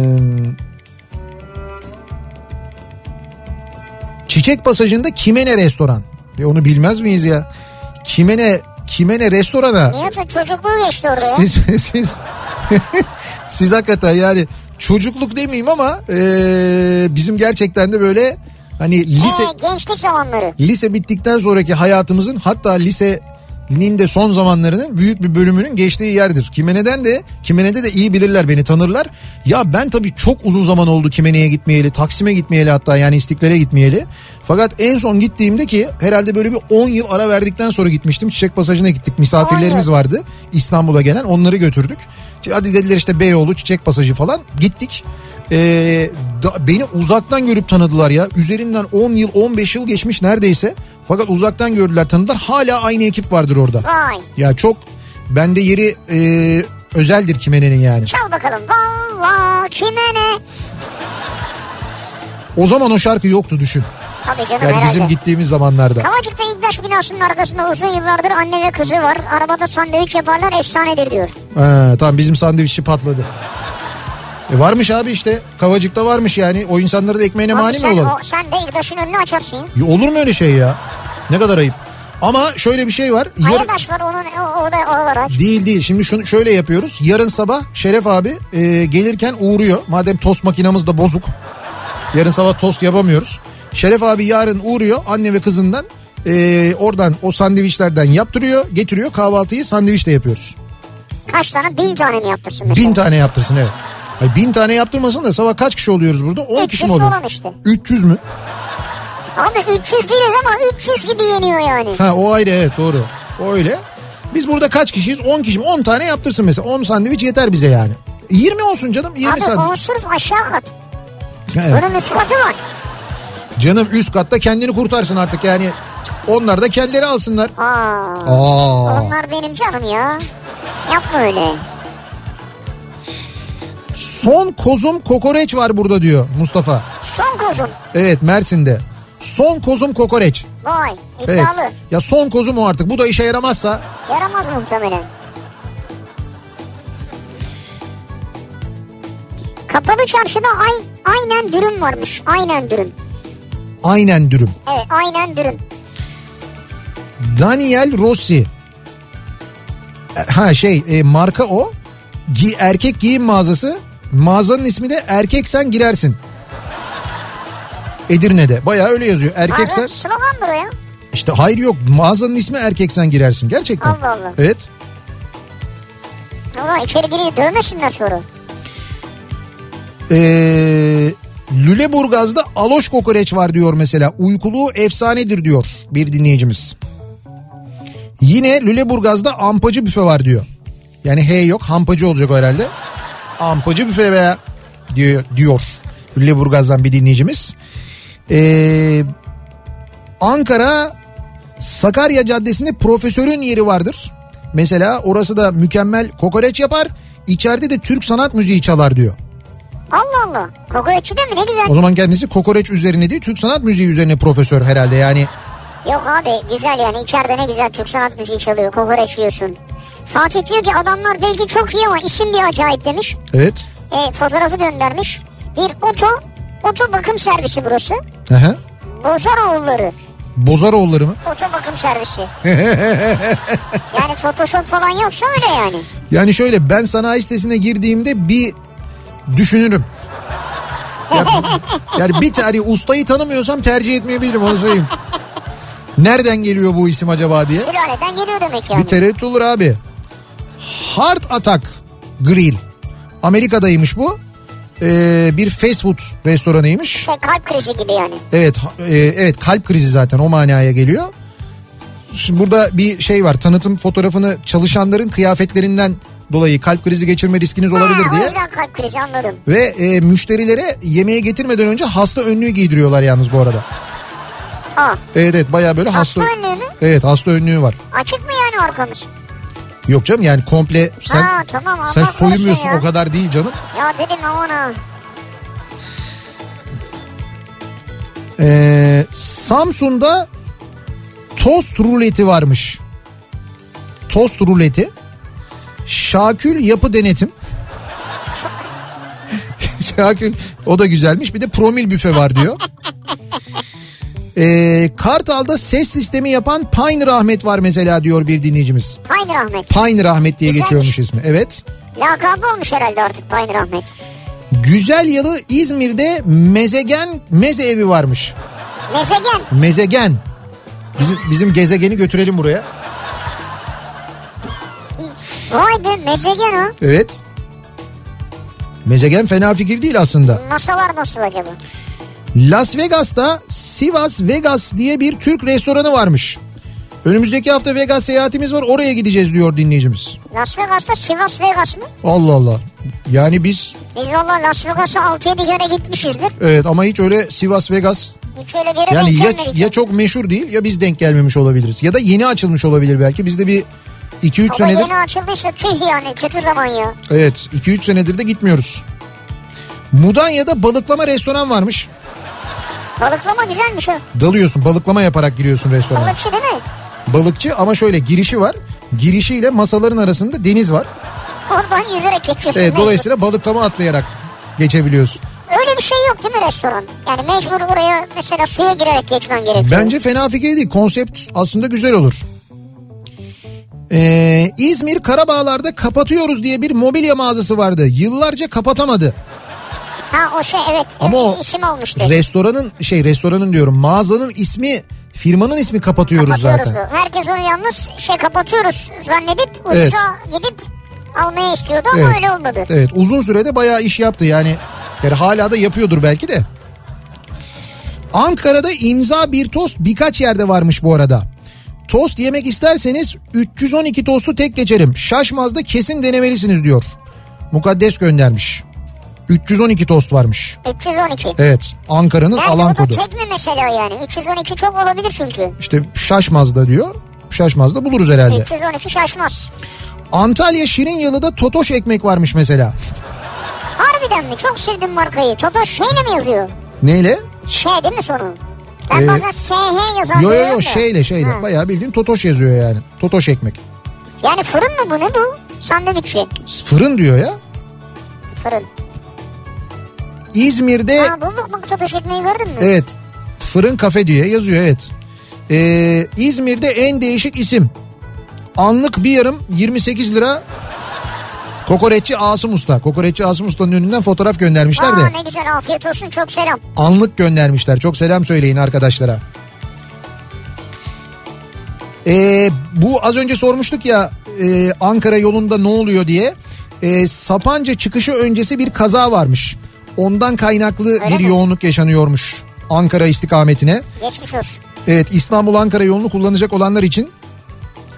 Speaker 2: Çiçek Pasajı'nda Kimene Restoran. Ya onu bilmez miyiz ya? Kimene Kimene Restoran'a
Speaker 3: Nihat'ın çocukluğu geçti orada ya.
Speaker 2: siz siz siz hakikaten yani çocukluk demeyeyim ama ee, bizim gerçekten de böyle hani lise
Speaker 3: Ee, gençlik zamanları.
Speaker 2: lise bittikten sonraki hayatımızın hatta lisenin de son zamanlarının büyük bir bölümünün geçtiği yerdir. Kimene'den de Kimene'de de iyi bilirler beni tanırlar. Ya ben tabii çok uzun zaman oldu Kimene'ye gitmeyeli Taksim'e gitmeyeli hatta yani İstiklal'e gitmeyeli. Fakat en son gittiğimde ki herhalde böyle bir 10 yıl ara verdikten sonra gitmiştim. Çiçek Pasajı'na gittik misafirlerimiz
Speaker 3: Aynen.
Speaker 2: vardı İstanbul'a gelen onları götürdük. Hadi dediler işte Beyoğlu Çiçek Pasajı falan gittik. Ee, da- beni uzaktan görüp tanıdılar ya. Üzerinden 10 yıl 15 yıl geçmiş neredeyse. Fakat uzaktan gördüler tanıdılar. Hala aynı ekip vardır orada.
Speaker 3: Vay.
Speaker 2: Ya çok bende yeri e, özeldir Kimene'nin yani.
Speaker 3: Çal bakalım. Valla kime ne?
Speaker 2: O zaman o şarkı yoktu düşün.
Speaker 3: Tabii canım
Speaker 2: Yani
Speaker 3: herhalde.
Speaker 2: bizim gittiğimiz zamanlarda.
Speaker 3: Kavacık'ta İgdaş binasının arkasında uzun yıllardır anne ve kızı var. Arabada sandviç yaparlar efsanedir diyor.
Speaker 2: Ha, tamam bizim sandviççi patladı. E varmış abi işte. Kavacık'ta varmış yani. O insanları da ekmeğine
Speaker 3: Abi
Speaker 2: mani mi
Speaker 3: sen,
Speaker 2: olalım?
Speaker 3: o, sen de İgdaş'ın önünü açarsın. ya.
Speaker 2: Ya olur mu öyle şey ya? Ne kadar ayıp. Ama şöyle bir şey var. Yar-
Speaker 3: Ayadaş var onun o- orada oralar aç.
Speaker 2: değil değil. Şimdi şunu şöyle yapıyoruz. Yarın sabah Şeref abi e, gelirken uğruyor. Madem tost makinamız da bozuk. Yarın sabah tost yapamıyoruz. Şeref abi yarın uğruyor anne ve kızından. e, oradan o sandviçlerden yaptırıyor, getiriyor. Kahvaltıyı sandviçle yapıyoruz.
Speaker 3: Kaç tane? Bin tane mi yapmışsın mesela?
Speaker 2: Bin tane yaptırsın evet. Hayır, bin tane yaptırmasın da sabah kaç kişi oluyoruz burada? 10 kişi mi
Speaker 3: 300
Speaker 2: oluyoruz?
Speaker 3: falan işte.
Speaker 2: 300 mü?
Speaker 3: Abi 300 değiliz ama 300 gibi yeniyor yani.
Speaker 2: Ha o ayrı evet doğru. O öyle. Biz burada kaç kişiyiz? 10 kişi mi? 10 tane yaptırsın mesela. 10 sandviç yeter bize yani. 20 olsun canım 20
Speaker 3: Abi
Speaker 2: sandviç.
Speaker 3: o sırf aşağı kat.
Speaker 2: Evet.
Speaker 3: Bunun üst katı var.
Speaker 2: Canım üst katta kendini kurtarsın artık yani. Onlar da kendileri alsınlar.
Speaker 3: Aa,
Speaker 2: Aa.
Speaker 3: Onlar benim canım ya. Yapma öyle.
Speaker 2: Son kozum kokoreç var burada diyor Mustafa.
Speaker 3: Son kozum.
Speaker 2: Evet Mersin'de. Son kozum kokoreç.
Speaker 3: Vay
Speaker 2: Evet.
Speaker 3: iddialı.
Speaker 2: Ya son kozum o artık. Bu da işe yaramazsa
Speaker 3: Yaramaz muhtemelen. Kapalı çarşıda ay, aynen dürüm varmış. Aynen dürüm.
Speaker 2: aynen dürüm.
Speaker 3: Evet aynen dürüm.
Speaker 2: Daniel Rossi. E, Ha şey e, marka o. Gi, erkek giyim mağazası. Mağazanın ismi de Erkeksen Girersin. Edirne'de. Bayağı öyle yazıyor. Erkeksen.
Speaker 3: Abi slogandır o ya.
Speaker 2: İşte hayır yok. Mağazanın ismi Erkeksen Girersin. Gerçekten.
Speaker 3: Allah Allah.
Speaker 2: Evet.
Speaker 3: Valla içeri girince dövmesinler sonra.
Speaker 2: Ee, Lüleburgaz'da aloş kokoreç var diyor mesela. Uykuluğu efsanedir diyor bir dinleyicimiz. Yine Lüleburgaz'da ampacı büfe var diyor. Yani H yok hampacı olacak o herhalde. Ampacı büfe veya diyor, diyor Lüleburgaz'dan bir dinleyicimiz. Ee, Ankara Sakarya Caddesi'nde profesörün yeri vardır. Mesela orası da mükemmel kokoreç yapar. İçeride de Türk sanat müziği çalar diyor.
Speaker 3: Allah Allah. Kokoreççi de mi ne güzel.
Speaker 2: O zaman kendisi kokoreç üzerine değil Türk sanat müziği üzerine profesör herhalde yani.
Speaker 3: Yok abi güzel yani içeride ne güzel Türk sanat müziği çalıyor. Kokoreç yiyorsun. Fatih diyor ki adamlar belki çok iyi ama isim bir acayip demiş.
Speaker 2: Evet.
Speaker 3: E, fotoğrafı göndermiş. Bir oto, oto bakım servisi burası.
Speaker 2: Aha.
Speaker 3: Bozaroğulları
Speaker 2: Bozaroğulları mı?
Speaker 3: oto bakım servisi. yani Photoshop falan yoksa öyle yani.
Speaker 2: Yani şöyle ben sanayi sitesine girdiğimde bir düşünürüm. Ya- yani bir tane ustayı tanımıyorsam tercih etmeyebilirim onu söyleyeyim. Nereden geliyor bu isim acaba diye.
Speaker 3: Sülaleden geliyor demek yani.
Speaker 2: Bir tereddüt olur abi. Heart Attack Grill. Amerika'daymış bu. Ee, bir fast food restoranıymış.
Speaker 3: Şey, kalp krizi gibi yani.
Speaker 2: Evet ha- e, evet kalp krizi zaten o manaya geliyor. Şimdi burada bir şey var tanıtım fotoğrafını çalışanların kıyafetlerinden dolayı kalp krizi geçirme riskiniz olabilir
Speaker 3: Ha, O
Speaker 2: diye.
Speaker 3: yüzden kalp krizi anladım.
Speaker 2: Ve e, müşterilere yemeğe getirmeden önce hasta önlüğü giydiriyorlar yalnız bu arada.
Speaker 3: Aa,
Speaker 2: Evet evet baya böyle hasta...
Speaker 3: hasta önlüğü mü?
Speaker 2: Evet hasta önlüğü var.
Speaker 3: Açık mı yani arkamız?
Speaker 2: Yok canım yani komple sen,
Speaker 3: Ha, tamam, Allah
Speaker 2: sen
Speaker 3: korusun
Speaker 2: soyunmuyorsun
Speaker 3: şey ya.
Speaker 2: o kadar değil canım.
Speaker 3: Ya dedim aman ha.
Speaker 2: Ee, Samsun'da tost ruleti varmış. Tost ruleti. Şakül yapı denetim. Şakül o da güzelmiş. Bir de promil büfe var diyor. Ee, Kartal'da ses sistemi yapan Pine Rahmet var mesela diyor bir dinleyicimiz.
Speaker 3: Payın Rahmet.
Speaker 2: Pine Rahmet diye
Speaker 3: Güzelmiş.
Speaker 2: geçiyormuş ismi. Evet.
Speaker 3: Lakabı olmuş herhalde artık Payın Rahmet.
Speaker 2: Güzel yalı İzmir'de Mezegen Meze Evi varmış.
Speaker 3: Mezegen.
Speaker 2: Mezegen. Bizim, bizim gezegeni götürelim buraya.
Speaker 3: Vay be mezegen o.
Speaker 2: Evet. Mezegen fena fikir değil aslında.
Speaker 3: Masalar nasıl acaba?
Speaker 2: Las Vegas'ta Sivas Vegas diye bir Türk restoranı varmış. Önümüzdeki hafta Vegas seyahatimiz var oraya gideceğiz diyor dinleyicimiz.
Speaker 3: Las Vegas'ta Sivas Vegas mı?
Speaker 2: Allah Allah. Yani biz
Speaker 3: Biz valla Las Vegas'a 6-7 kere gitmişizdir.
Speaker 2: evet ama hiç öyle Sivas Vegas
Speaker 3: Hiç öyle bir yere
Speaker 2: yani
Speaker 3: denk
Speaker 2: ya,
Speaker 3: gelmedik.
Speaker 2: ya çok meşhur değil ya biz denk gelmemiş olabiliriz. Ya da yeni açılmış olabilir belki bizde bir 2-3
Speaker 3: Ama
Speaker 2: senedir.
Speaker 3: yeni açıldıysa tüh yani kötü zaman ya.
Speaker 2: Evet 2-3 senedir de gitmiyoruz. Mudanya'da balıklama restoran varmış.
Speaker 3: Balıklama güzelmiş o.
Speaker 2: Dalıyorsun balıklama yaparak giriyorsun restorana.
Speaker 3: Balıkçı değil mi?
Speaker 2: balıkçı ama şöyle girişi var. Girişiyle masaların arasında deniz var.
Speaker 3: Oradan yüzerek geçiyorsun.
Speaker 2: Evet,
Speaker 3: mecbur.
Speaker 2: dolayısıyla balıklama atlayarak geçebiliyorsun.
Speaker 3: Öyle bir şey yok değil mi restoran? Yani mecbur oraya mesela suya girerek geçmen gerekiyor.
Speaker 2: Bence fena fikir değil. Konsept aslında güzel olur. Ee, İzmir Karabağlar'da kapatıyoruz diye bir mobilya mağazası vardı. Yıllarca kapatamadı.
Speaker 3: Ha o şey evet.
Speaker 2: Ama o
Speaker 3: isim olmuştu.
Speaker 2: restoranın şey restoranın diyorum mağazanın ismi firmanın ismi kapatıyoruz,
Speaker 3: Kapatıyoruz
Speaker 2: zaten.
Speaker 3: diyor. Herkes onu yalnız şey kapatıyoruz zannedip ucuza
Speaker 2: Evet.
Speaker 3: gidip almaya istiyordu ama öyle olmadı.
Speaker 2: Evet uzun sürede bayağı iş yaptı yani. Yani hala da yapıyordur belki de. Ankara'da imza bir tost birkaç yerde varmış bu arada. Tost yemek isterseniz 312 tostu tek geçerim. Şaşmaz'da kesin denemelisiniz diyor. Mukaddes göndermiş. 312 tost varmış.
Speaker 3: 312.
Speaker 2: Evet Ankara'nın
Speaker 3: Yani
Speaker 2: alan
Speaker 3: bu da
Speaker 2: kodu.
Speaker 3: tek mi mesela yani? 312 çok olabilir çünkü.
Speaker 2: İşte Şaşmaz'da diyor. Şaşmaz'da buluruz herhalde.
Speaker 3: 312 şaşmaz.
Speaker 2: Antalya Şirinyalı'da Totoş ekmek varmış mesela.
Speaker 3: Harbiden mi? Çok sevdim markayı. Totoş şeyle mi yazıyor?
Speaker 2: Neyle?
Speaker 3: Şey değil mi sonu? Ben
Speaker 2: Ee,
Speaker 3: bazen SH yazan
Speaker 2: Yo yo
Speaker 3: görüyorum
Speaker 2: yo şey
Speaker 3: da.
Speaker 2: şeyle şeyle.
Speaker 3: Ha.
Speaker 2: Bayağı bildiğin totoş yazıyor yani. Totoş ekmek.
Speaker 3: Yani fırın mı bu ne bu?
Speaker 2: Şey-
Speaker 3: Sandviççi.
Speaker 2: Fırın diyor ya.
Speaker 3: Fırın.
Speaker 2: İzmir'de
Speaker 3: Ha bulduk mu totoş ekmeği gördün mü?
Speaker 2: evet fırın kafe diye yazıyor evet. Ee, İzmir'de en değişik isim. Anlık bir yarım 28 lira. Kokoreççi Asım Usta. Kokoreççi Asım Usta'nın önünden fotoğraf göndermişler de.
Speaker 3: Aa ne güzel afiyet olsun çok selam.
Speaker 2: Anlık göndermişler. Çok selam söyleyin arkadaşlara. Ee, bu az önce sormuştuk ya e, Ankara yolunda ne oluyor diye. Ee, Sapanca çıkışı öncesi bir kaza varmış. Ondan kaynaklı bir
Speaker 3: mi?
Speaker 2: yoğunluk yaşanıyormuş Ankara istikametine.
Speaker 3: Geçmiş olsun.
Speaker 2: Evet İstanbul Ankara yolunu kullanacak olanlar için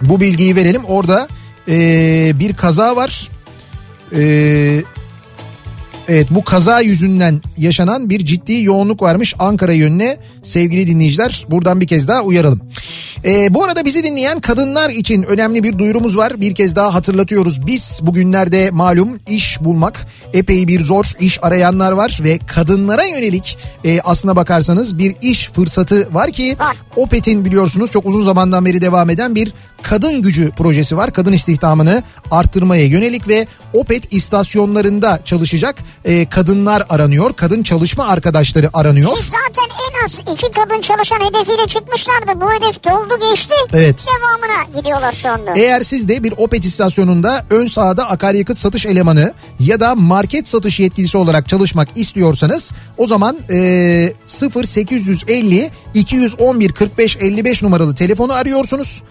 Speaker 2: bu bilgiyi verelim. Orada eee, bir kaza var. Eee, evet bu kaza yüzünden yaşanan bir ciddi yoğunluk varmış Ankara yönüne sevgili dinleyiciler. Buradan bir kez daha uyaralım. Eee, bu arada bizi dinleyen kadınlar için önemli bir duyurumuz var. Bir kez daha hatırlatıyoruz. Biz bugünlerde malum iş bulmak epey bir zor iş arayanlar var ve kadınlara yönelik eee, aslına bakarsanız bir iş fırsatı var ki
Speaker 3: Var.
Speaker 2: Opet'in biliyorsunuz çok uzun zamandan beri devam eden bir kadın gücü projesi var. Kadın istihdamını arttırmaya yönelik ve Opet istasyonlarında çalışacak e, kadınlar aranıyor. Kadın çalışma arkadaşları aranıyor.
Speaker 3: Biz zaten en az beyaz iki kadın çalışan hedefiyle çıkmışlardı. Bu hedef doldu geçti.
Speaker 2: Evet. Ee,
Speaker 3: Devamına gidiyorlar şu anda.
Speaker 2: Eğer siz de bir Opet istasyonunda ön sahada akaryakıt satış elemanı ya da market satış yetkilisi olarak çalışmak istiyorsanız o zaman eee 0850 211 45 55 numaralı telefonu arıyorsunuz.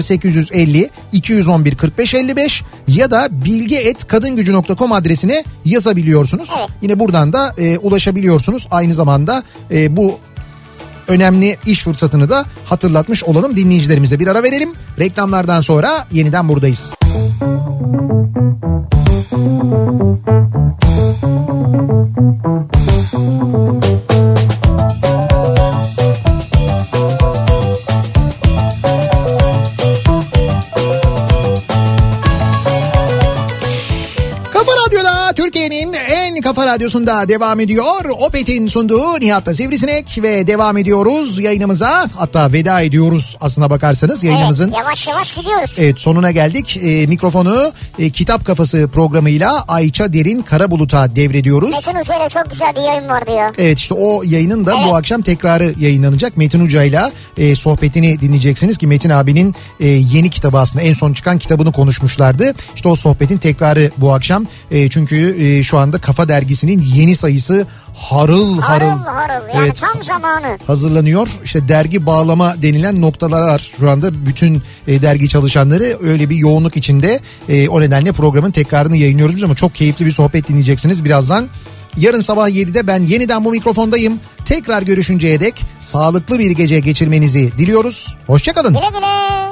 Speaker 2: 0850 211 45 55 ya da bilge@kadingucu.com adresine yazabiliyorsunuz.
Speaker 3: Evet.
Speaker 2: Yine buradan da eee, ulaşabiliyorsunuz. Aynı zamanda eee, bu önemli iş fırsatını da hatırlatmış olalım dinleyicilerimize. Bir ara verelim. Reklamlardan sonra yeniden buradayız. Kafa Radyo'da Türkiye'nin en kafa radyosunda devam ediyor. Opet'in sunduğu Nihat'ta Sivrisinek ve devam ediyoruz yayınımıza. Hatta veda ediyoruz aslına bakarsanız yayınımızın. Ee,
Speaker 3: Evet, yavaş yavaş gidiyoruz.
Speaker 2: Evet sonuna geldik. Ee, mikrofonu e, Kitap Kafası programıyla Ayça Derin Karabulut'a devrediyoruz.
Speaker 3: Metin Hoca ile çok güzel bir yayın vardı ya.
Speaker 2: Evet işte o yayının da
Speaker 3: Evet.
Speaker 2: bu akşam tekrarı yayınlanacak. Metin Hoca'yla e, sohbetini dinleyeceksiniz ki Metin abinin e, yeni kitabı aslında en son çıkan kitabını konuşmuşlardı. İşte o sohbetin tekrarı bu akşam. E, çünkü e, şu anda Kafa Dergisi'nin yeni sayısı harıl harıl.
Speaker 3: Harıl harıl yani
Speaker 2: Evet.
Speaker 3: tam zamanı.
Speaker 2: hazırlanıyor. İşte dergi bağlama denilen noktalar var şu anda bütün e, dergi çalışanları öyle bir yoğunluk içinde. E, o nedenle programın tekrarını yayınlıyoruz biz ama çok keyifli bir sohbet dinleyeceksiniz birazdan. Yarın sabah 7'de ben yeniden bu mikrofondayım. Tekrar görüşünceye dek sağlıklı bir gece geçirmenizi diliyoruz. Hoşçakalın.
Speaker 3: Güle güle.